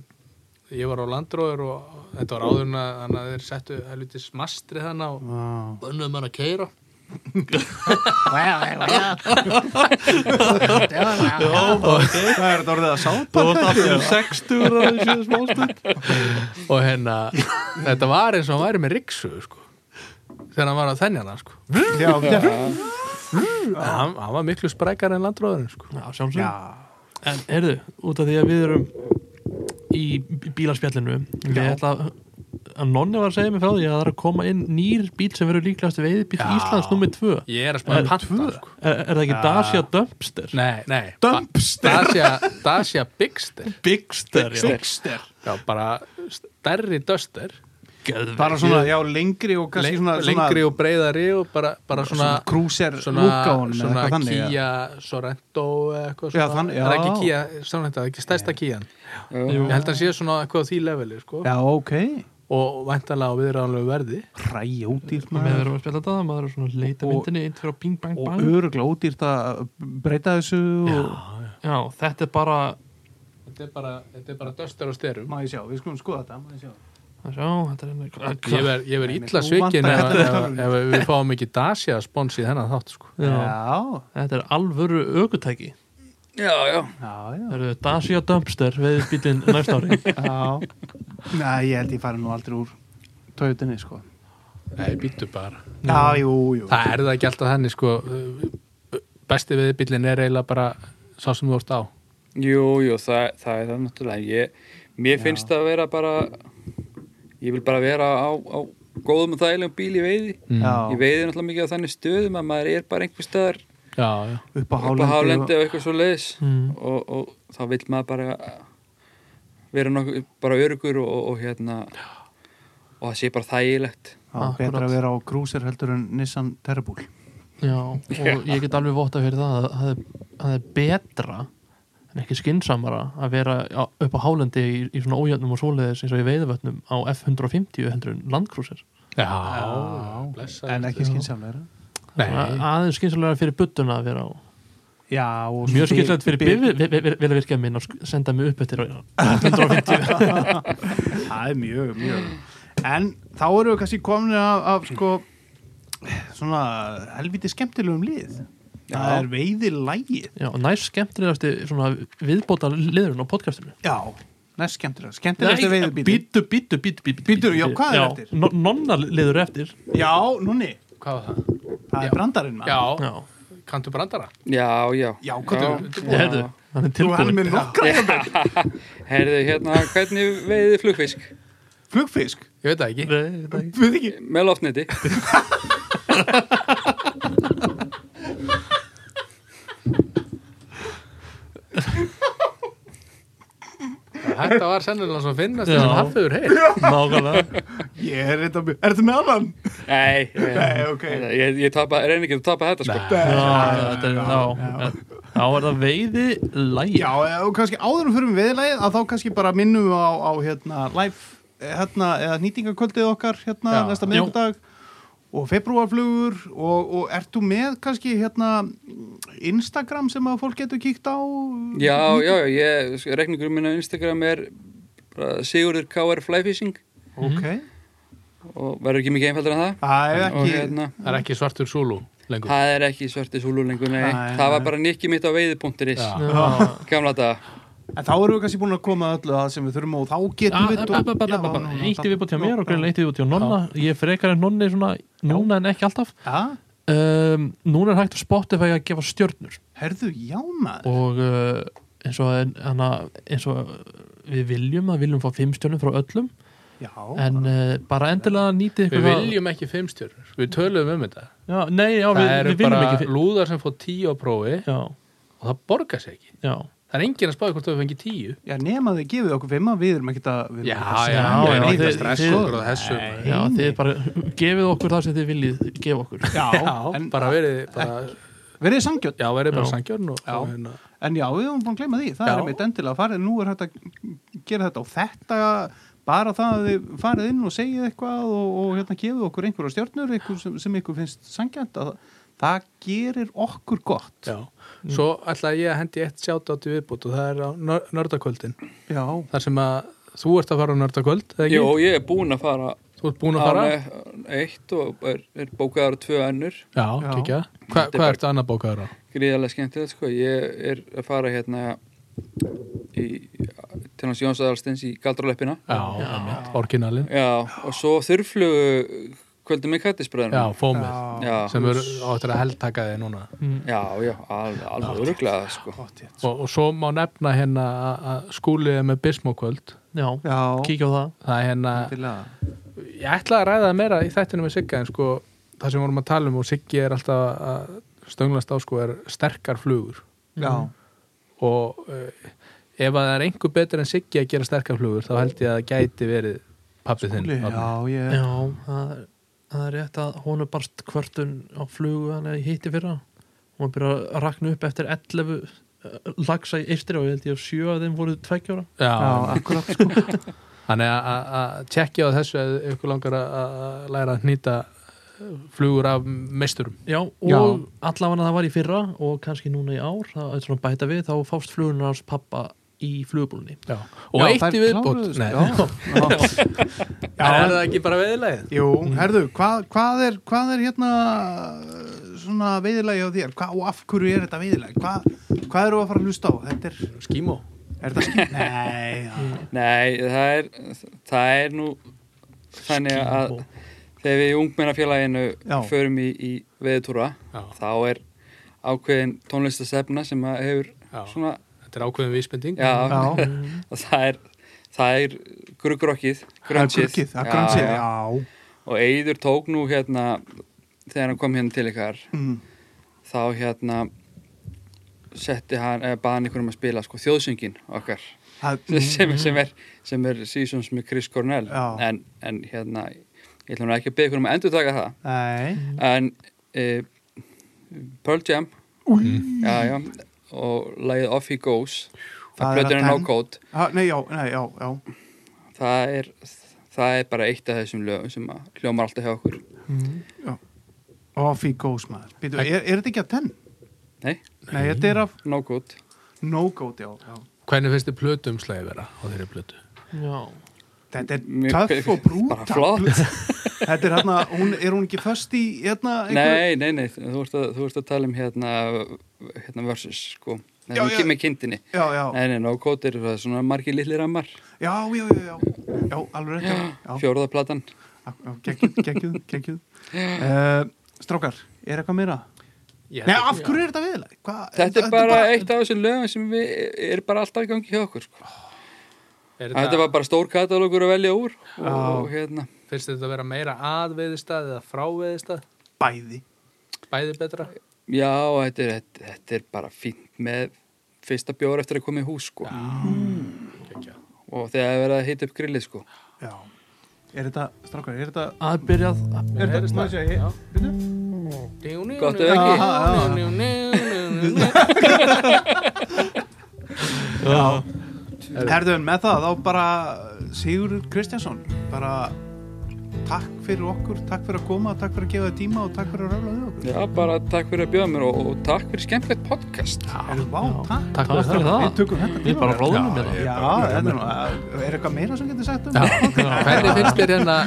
C: Ég var á landróður og þetta var áður en að þannig að þeir settu helviti smastri þannig og
B: Vá.
C: bönnuðum hann að keira
B: Það er þetta orðið að sápa
D: Það var það fyrir 60 ára þessi smástund
C: og hérna, þetta var eins og hann væri með riksu sko. þegar hann var að þennja hann sko.
B: Já, já,
C: En hann, hann var miklu sprækar en landróðurinn sko.
D: Já, sjálfsög
B: já.
D: En heyrðu, út af því að við erum í bí- bílaspjallinu ég ætla að að Nonni var að segja mér frá því að það er að koma inn nýr bíl sem verður líklegast veiðbíl
C: Já.
D: Íslands nummer 2 er,
C: ég er að spara panta sko.
D: er það ekki Dacia Dumpster?
C: nei, nei
B: Dumpster.
C: Dacia, Dacia Bigster
D: Bigster,
B: Dumpster.
C: já, bara stærri döster
B: Bara svona, já, lengri og kannski
C: Leng,
B: svona,
C: lengri
B: svona,
C: og breiðari og bara, bara svona
B: krúser lúka
C: svona,
B: honum eða
C: svona
B: eitthvað þannig, já.
C: Kia Sorento eða eitthvað
B: Já,
C: svona
B: þannig-
C: það
B: já.
C: er ekki Kia Sorento, það er ekki stærsta Kian
A: Jú.
C: ég held að hann sé svona eitthvað á því leveli sko.
B: Já, ok.
C: og væntanlega á viðræðanlegu verði
B: Hræja ódýrt
D: Með
B: maður.
D: erum að spjalla þetta, maður er svona að leita
B: Og-
D: myndinni inn fyrir að bing bang
B: Og
D: bang
B: öruglega ódýrt að breyta þessu og...
D: Já, þetta er bara
C: þetta er bara, þetta er bara döster og styrum
B: Má ég sjá, við skulum skoða þetta, má ég sjá.
D: Sjá, þetta er hérna
C: ég
D: einhver
C: verð ég verð
B: Nei,
C: illa
B: þú
C: svikin
B: vantar
C: ef,
B: þetta
C: ef,
B: tölvu.
C: ef við fáum ekki Dacia spons í þennan þátt sko.
D: Já,
B: Já,
D: Þetta er alvöru ökutæki
A: já, já,
B: já, já.
D: Það eru Dacia Dumpster veiðbílinn næst ári
B: Já. Næ, ég held ég fari nú aldrei úr tautinni, sko.
C: nei, býttu bara
B: Já, jú, jú.
C: það er það ekki alltaf þannig sko. besti viðbillin er eiginlega bara sá sem þú ert á
A: jú, jú það, það er það náttúrulega ég, mér finnst það að vera bara ég vil bara vera á, á góðum og þægilegum bíl í veiði
B: Já.
A: ég veiði náttúrulega mikið á þannig stöðum að maður er bara einhver staðar
C: já, já,
B: Upp á
A: upp á hálendi
B: hálendi. Mm.
A: og eitthvað svo leiðis og, og þá vil maður bara vera nokkuð bara örugur og, og hérna og það sé bara þægilegt
B: Já, betra að vera á krúser heldur en Nissan Terrabúl.
D: Já, og ég get alveg votta fyrir það að það er- það er betra en ekki skinsamara að vera á- upp á hálendi í, í svona ójöfnum og svoleiðis eins og í veiðvötnum á F-150 heldur en landkrúsir
C: já. blessaður.
B: En ekki skynnsamlega.
C: Nei.
D: aðeins skinsamlega fyrir buttuna að vera á
B: Já, og
D: mjög skinsamlega fyrir viljavirkja minn að sk- senda mig upp eftir á 150
B: Það er mjög, mjög En þá eru við kannski komin af, af sko, svona helviti skemmtilegum lið Það er veiði lægið
D: Já, og næst skemmtilegasti svona viðbóta liðurinn á podcastinu
B: Já, næst skemmtilega Skemmtilegasti veiðibíti
D: Bítu, bítu, bítu, bítu
B: Bíddu, já, hvað er eftir?
D: Nonna liður eftir
B: Já, núni,
C: hvað var það?
B: það
C: Já.
B: er brandarinn maður.
C: já,
D: Já,
C: kanntu brandara
A: já, já
B: Já, hvað
D: ég hefðu, hann
B: Þú
D: er
B: er
D: tilbúin
B: með nokkra
A: herðu hérna hvernig veiðið flugfisk
B: flugfisk
C: ég veit það ekki
D: Nei, þetta ekki.
B: Við ekki
A: með loftneti
C: þetta var sennilega svo að finnast
D: Já.
C: sem hafður heil
D: Nákvæmlega
B: Ég er þetta mjög Er þetta með annan?
A: nei,
B: Nei, ok.
A: ég, ég tapa, reyni ekki að tapa þetta sko
D: Já, þetta er þá Þá er það veiði lægi
B: Já, og kannski áður en fyrir við veiðilægið að þá kannski bara minnum við á, á hérna, live hérna, eða nýtingarkvöldið okkar hérna
C: Já.
B: næsta
D: Jú.
B: miðvikudag og februarflugur og, og ert þú með kannski hérna Instagram sem að fólk getur kíkt á
A: já, já, já, ég, sko, rekningur minn á Instagram er bara Sigurður KR Flyfishing
B: ok,
A: og verður ekki mikið einfaldur en það
B: það er ekki
A: og hérna
C: það er ekki svartur súlu lengur
A: Það er ekki svarti súlu lengur, nei.
B: Nei,
A: það var
B: nei.
A: bara nikki mitt á veiði.is
C: Já.
D: Já.
A: gamla daga.
B: En þá erum við kannski búin að koma að öllu að sem við þurfum og þá getum við dó- Já, nú, nú,
D: Eitt er viðbútt hjá mér og
B: já.
D: greinlega eitt er viðbútt hjá nonna Ég er frekar en nonni svona núna en ekki alltaf
B: Já,
D: um, Núna er hægt að Spotify að gefa stjörnur
B: herðu, já maður
D: og uh, eins og, hana, eins og við viljum að viljum fá fimm stjörnur frá öllum
B: Já,
D: en uh, bara endilega nýtið
C: Við
D: ykkur það-
C: viljum ekki fimmstjörnur, við töluðum um þetta
D: Já, nei, já,
C: Það
D: við,
C: eru
D: við viljum
C: bara
D: ekki
C: lúðar sem fór tíu á prófi
D: Já,
C: og það borgar sér ekki
D: já
C: Það er enginn að spáði hvort þau fengið tíu
B: já nema þið gefið okkur fimm að við erum ekkert að við erum ekkert að
D: já,
B: semja,
D: já,
B: við erum ekkert að
D: þið-
B: stressa
D: þið-
B: okkur og-
C: þessu
B: Nei.
D: Já, þið bara gefið okkur það sem þið viljið gefa okkur
B: Já,
C: Já,
B: en
C: bara verið bara,
B: verið sangjörn
C: Já, verið bara
D: Já.
C: sangjörn og,
B: Já.
C: og hérna
B: En já, við erum búin að gleyma því, það
C: Já.
B: er einmitt endilega að farið Nú er hægt að gera þetta og þetta bara það að þið farið inn og segið eitthvað og, og hérna gefið okkur einhverja stjórnur ykkur sem, sem ykkur finnst sangjant að það gerir okkur gott
C: Já, svo ætlaði ég að hendi eitt sjátt átti viðbútt og það er á nör- nördakvöldin
B: Já,
C: þar sem að þú ert að fara á nördakvöld eða ekki?
A: Jó, ég er búin að fara
C: Þú ert búin að fara?
A: á ne- eitt og er, er bókaðar á tvö önnur
C: Já,
B: Já.
C: kekja Hva,
A: Þetta er
C: Hvað
A: bara-
C: ertu annað bókaður á?
A: gríðarlega skemmtilegt sko. ég er að fara hérna í, til hans Jóns Aðalstins í Galdraleppina
C: Já, já. orginalin
A: já, og svo þurflugu kvöldum í
C: Já,
A: kattisbræðinu
C: fómið
A: já,
C: sem eru áttur að heldtaka þig núna
D: Mm,
A: já, já, alveg, alveg öruglega sko.
B: gott ég
C: og, og svo má nefna hérna að- að skúlið er með Bismokvöld
D: Já,
B: Já,
D: kíkja á það
C: það er hérna
B: endilega
C: ég ætla að ræða það meira í þættinu með Sigga en sko það sem við vorum að tala um og Siggi er alltaf að stönglast á sko er sterkar flugur
B: Já,
C: og uh, ef að það er einhver betur en Siggi að gera sterkar flugur þá held ég að það gæti verið pappið þinn
B: Óli,
C: Árni.
B: já, ég
D: Já, það er, það er rétt að hún er barst kvörtun á flugu hann er í hitti fyrra hún er byrjað að rakna upp eftir 11 eh, lagsa í eistri og ég held ég að sjö af þeim voru tveggjóra
B: Já,
C: já,
B: akkurat sko
C: þannig að- að- að tjekkja á þessu ef ykkur langar að- að læra að nýta eh, flugur af meisturum
D: Já, og
B: Já.
D: allavega það var í fyrra og kannski núna í ár, það er svona að bæta við þá fást flugunar hans pappa í flugubúlunni
C: já. og
B: Já,
C: eitt
B: þær
C: í viðbót
B: kláruðust,
C: Nei.
B: já.
C: En er það ekki bara veðilegið?
B: Jú, herðu, hvað, hvað, er, hvað er hérna uh, svona veiðilegi á þér? Hva, og af hverju er þetta veiðilegi? Hva, hvað eru að fara að hlusta á? Þetta er,
C: skímó
B: er þetta skil? Nei, já.
A: nei, það er það er nú þannig að þegar við í ungmennafélaginu
B: Já.
A: förum í, í veðutúra
C: Já.
A: þá er ákveðin tónlistasefna sem að hefur
C: Já.
A: svona
C: þetta er ákveðin vísbending
A: já,
B: Já.
D: Mm,
A: og það er það er gruggrokkið grunchið.
B: Það er grunchið,
A: Já, já.
B: já.
A: og Eidur tók nú hérna þegar hann kom hérna til ykkar
B: Mm.
A: þá hérna setti hann, eða baðan ykkur um að spila sko, þjóðsöngin okkar
B: Það,
A: sem, sem er, sem er seasons með Chris Cornell
B: Mhm. Já.
A: en, en hérna ég ætlum ekki að beða ykkur um að endur taka það
B: nei.
A: en e, Pearl Jam já, já, og lagið Off He Goes
B: Það
A: það
B: er
A: plötur
B: að
A: er no
B: ten.
A: code
B: Ha, nei, já, nei, já, já.
A: það er, það er bara eitt af þessum lögum sem að hljómar alltaf hjá okkur
B: Mm. Off he goes, maður. Býtu, er, er þetta ekki að tenn?
A: nei,
B: Nei, þetta er af
A: no code
B: no-goat, já, já.
C: hvernig finnst þið plötumslæði vera á þeirri plötu?
D: Já,
B: Þetta er
A: Mjög-
B: töff og brúta
A: bara flott.
B: Þetta er hérna, hún, er hún ekki föst í hérna einhverju-
A: nei, nei, nei, þú ert að, þú ert að tala um hérna, hérna versus sko,
B: Já,
A: það er
B: já.
A: ekki með kindinni
B: Já, já,
A: nei, nei, no code er það svona margi lillir ammar
B: já, já, já, já Já, alveg rétt, já, já.
A: fjóraða platan
B: Ak- já Gekkjuð, gekkjuð, gekkjuð uh, Strákar, er eitthvað meira? Nei, af hverju er þetta viðlega? Hva,
A: þetta er bara eitt af þessum lögum sem við er bara alltaf í gangi hjá okkur sko.
C: Er
A: þetta var bara stór katalógur að velja úr og,
B: Já.
A: og hérna
C: Finnst þetta að vera meira að veiðistað eða frá veiðistað?
B: Bæði
C: Bæði betra?
A: Já, þetta er, þetta, þetta er bara fínt með fyrsta bjór eftir að koma í hús sko.
C: Kekja.
A: og þegar það er verið að hita upp grillið sko.
B: Já Er þetta, strákar, er þetta
D: að byrjað að
B: Er þetta, maður sé, ég- byrju?
A: gott ef ekki
B: Herðun, með það, þá bara Sigurður Kristjánsson bara takk fyrir okkur, takk fyrir að koma takk fyrir að gefa þér tíma og takk fyrir að röfla við okkur
A: Já, bara takk fyrir að bjóða mér og, og takk fyrir skemmtilegt podcast
B: Herðu, vá, takk
D: Takk fyrir það.
B: Við tökum þetta
D: við bara róðum með
B: Já, þetta er nú, er eitthvað meira sem getur sagt um
C: Hvernig finnst þér hérna?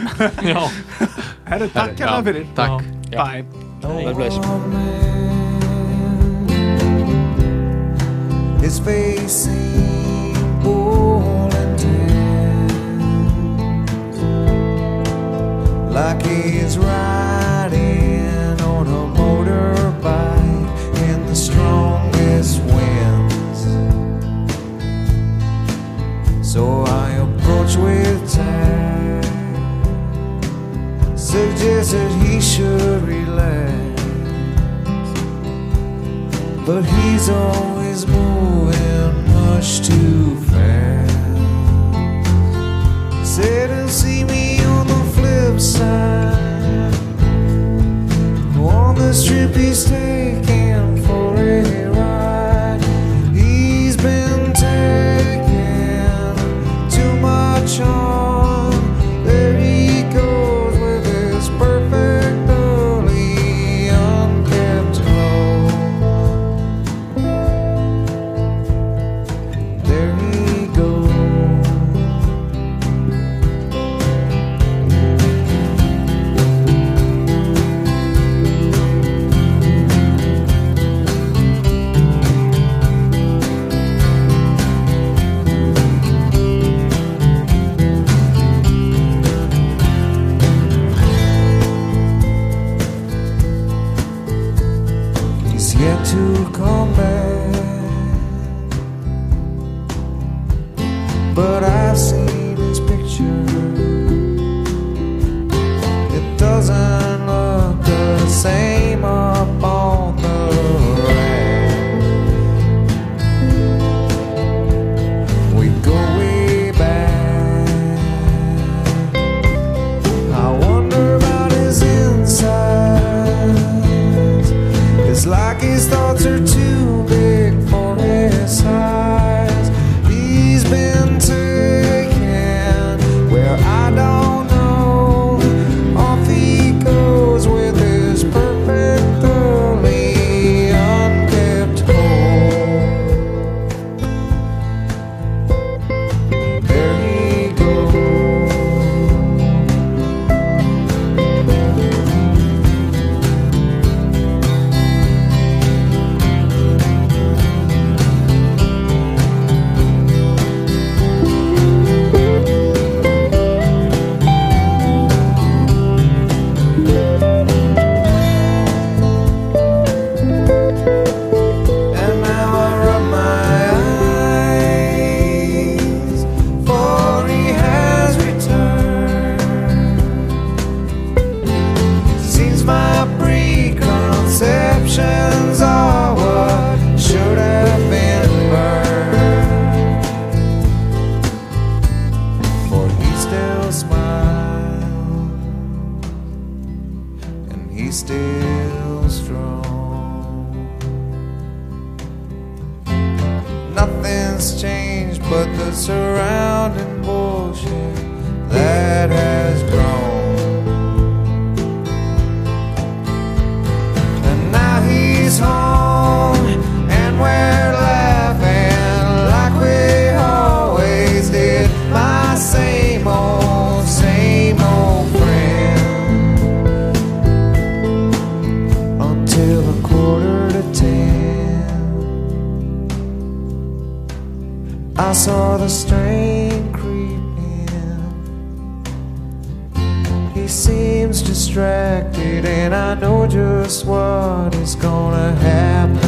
B: Herru, takk hérna fyrir
C: Takk.
B: Bye
A: Það bless
F: His face seemed is riding on a motorbike in the strongest winds. So I approach with tact, suggested he should relax. But he's always moving much too fast. Said he'll see me on the flip side. On this trip he's taking for a ride. He's been taking too much on. There he goes with his perfectly unkept clothes. There he goes. He's yet to come back. But I've seen his picture. It doesn't look the same up on the rack. We go way back. I wonder about his insides. It's like his thoughts are too big for his size. He's been taken where I don't know. Off he goes with his perfectly unkept home. There he goes. And now I rub my eyes, for he has returned. Seems my preconceptions are what should have been burned. For he still smiles, and he's still strong. Nothing's changed but the surrounding bullshit that has grown. And now he's home, and we're laughing like we always did. My same old, same old friend. Until a quarter to ten. I saw the strain creep in. He seems distracted, and I know just what is gonna happen.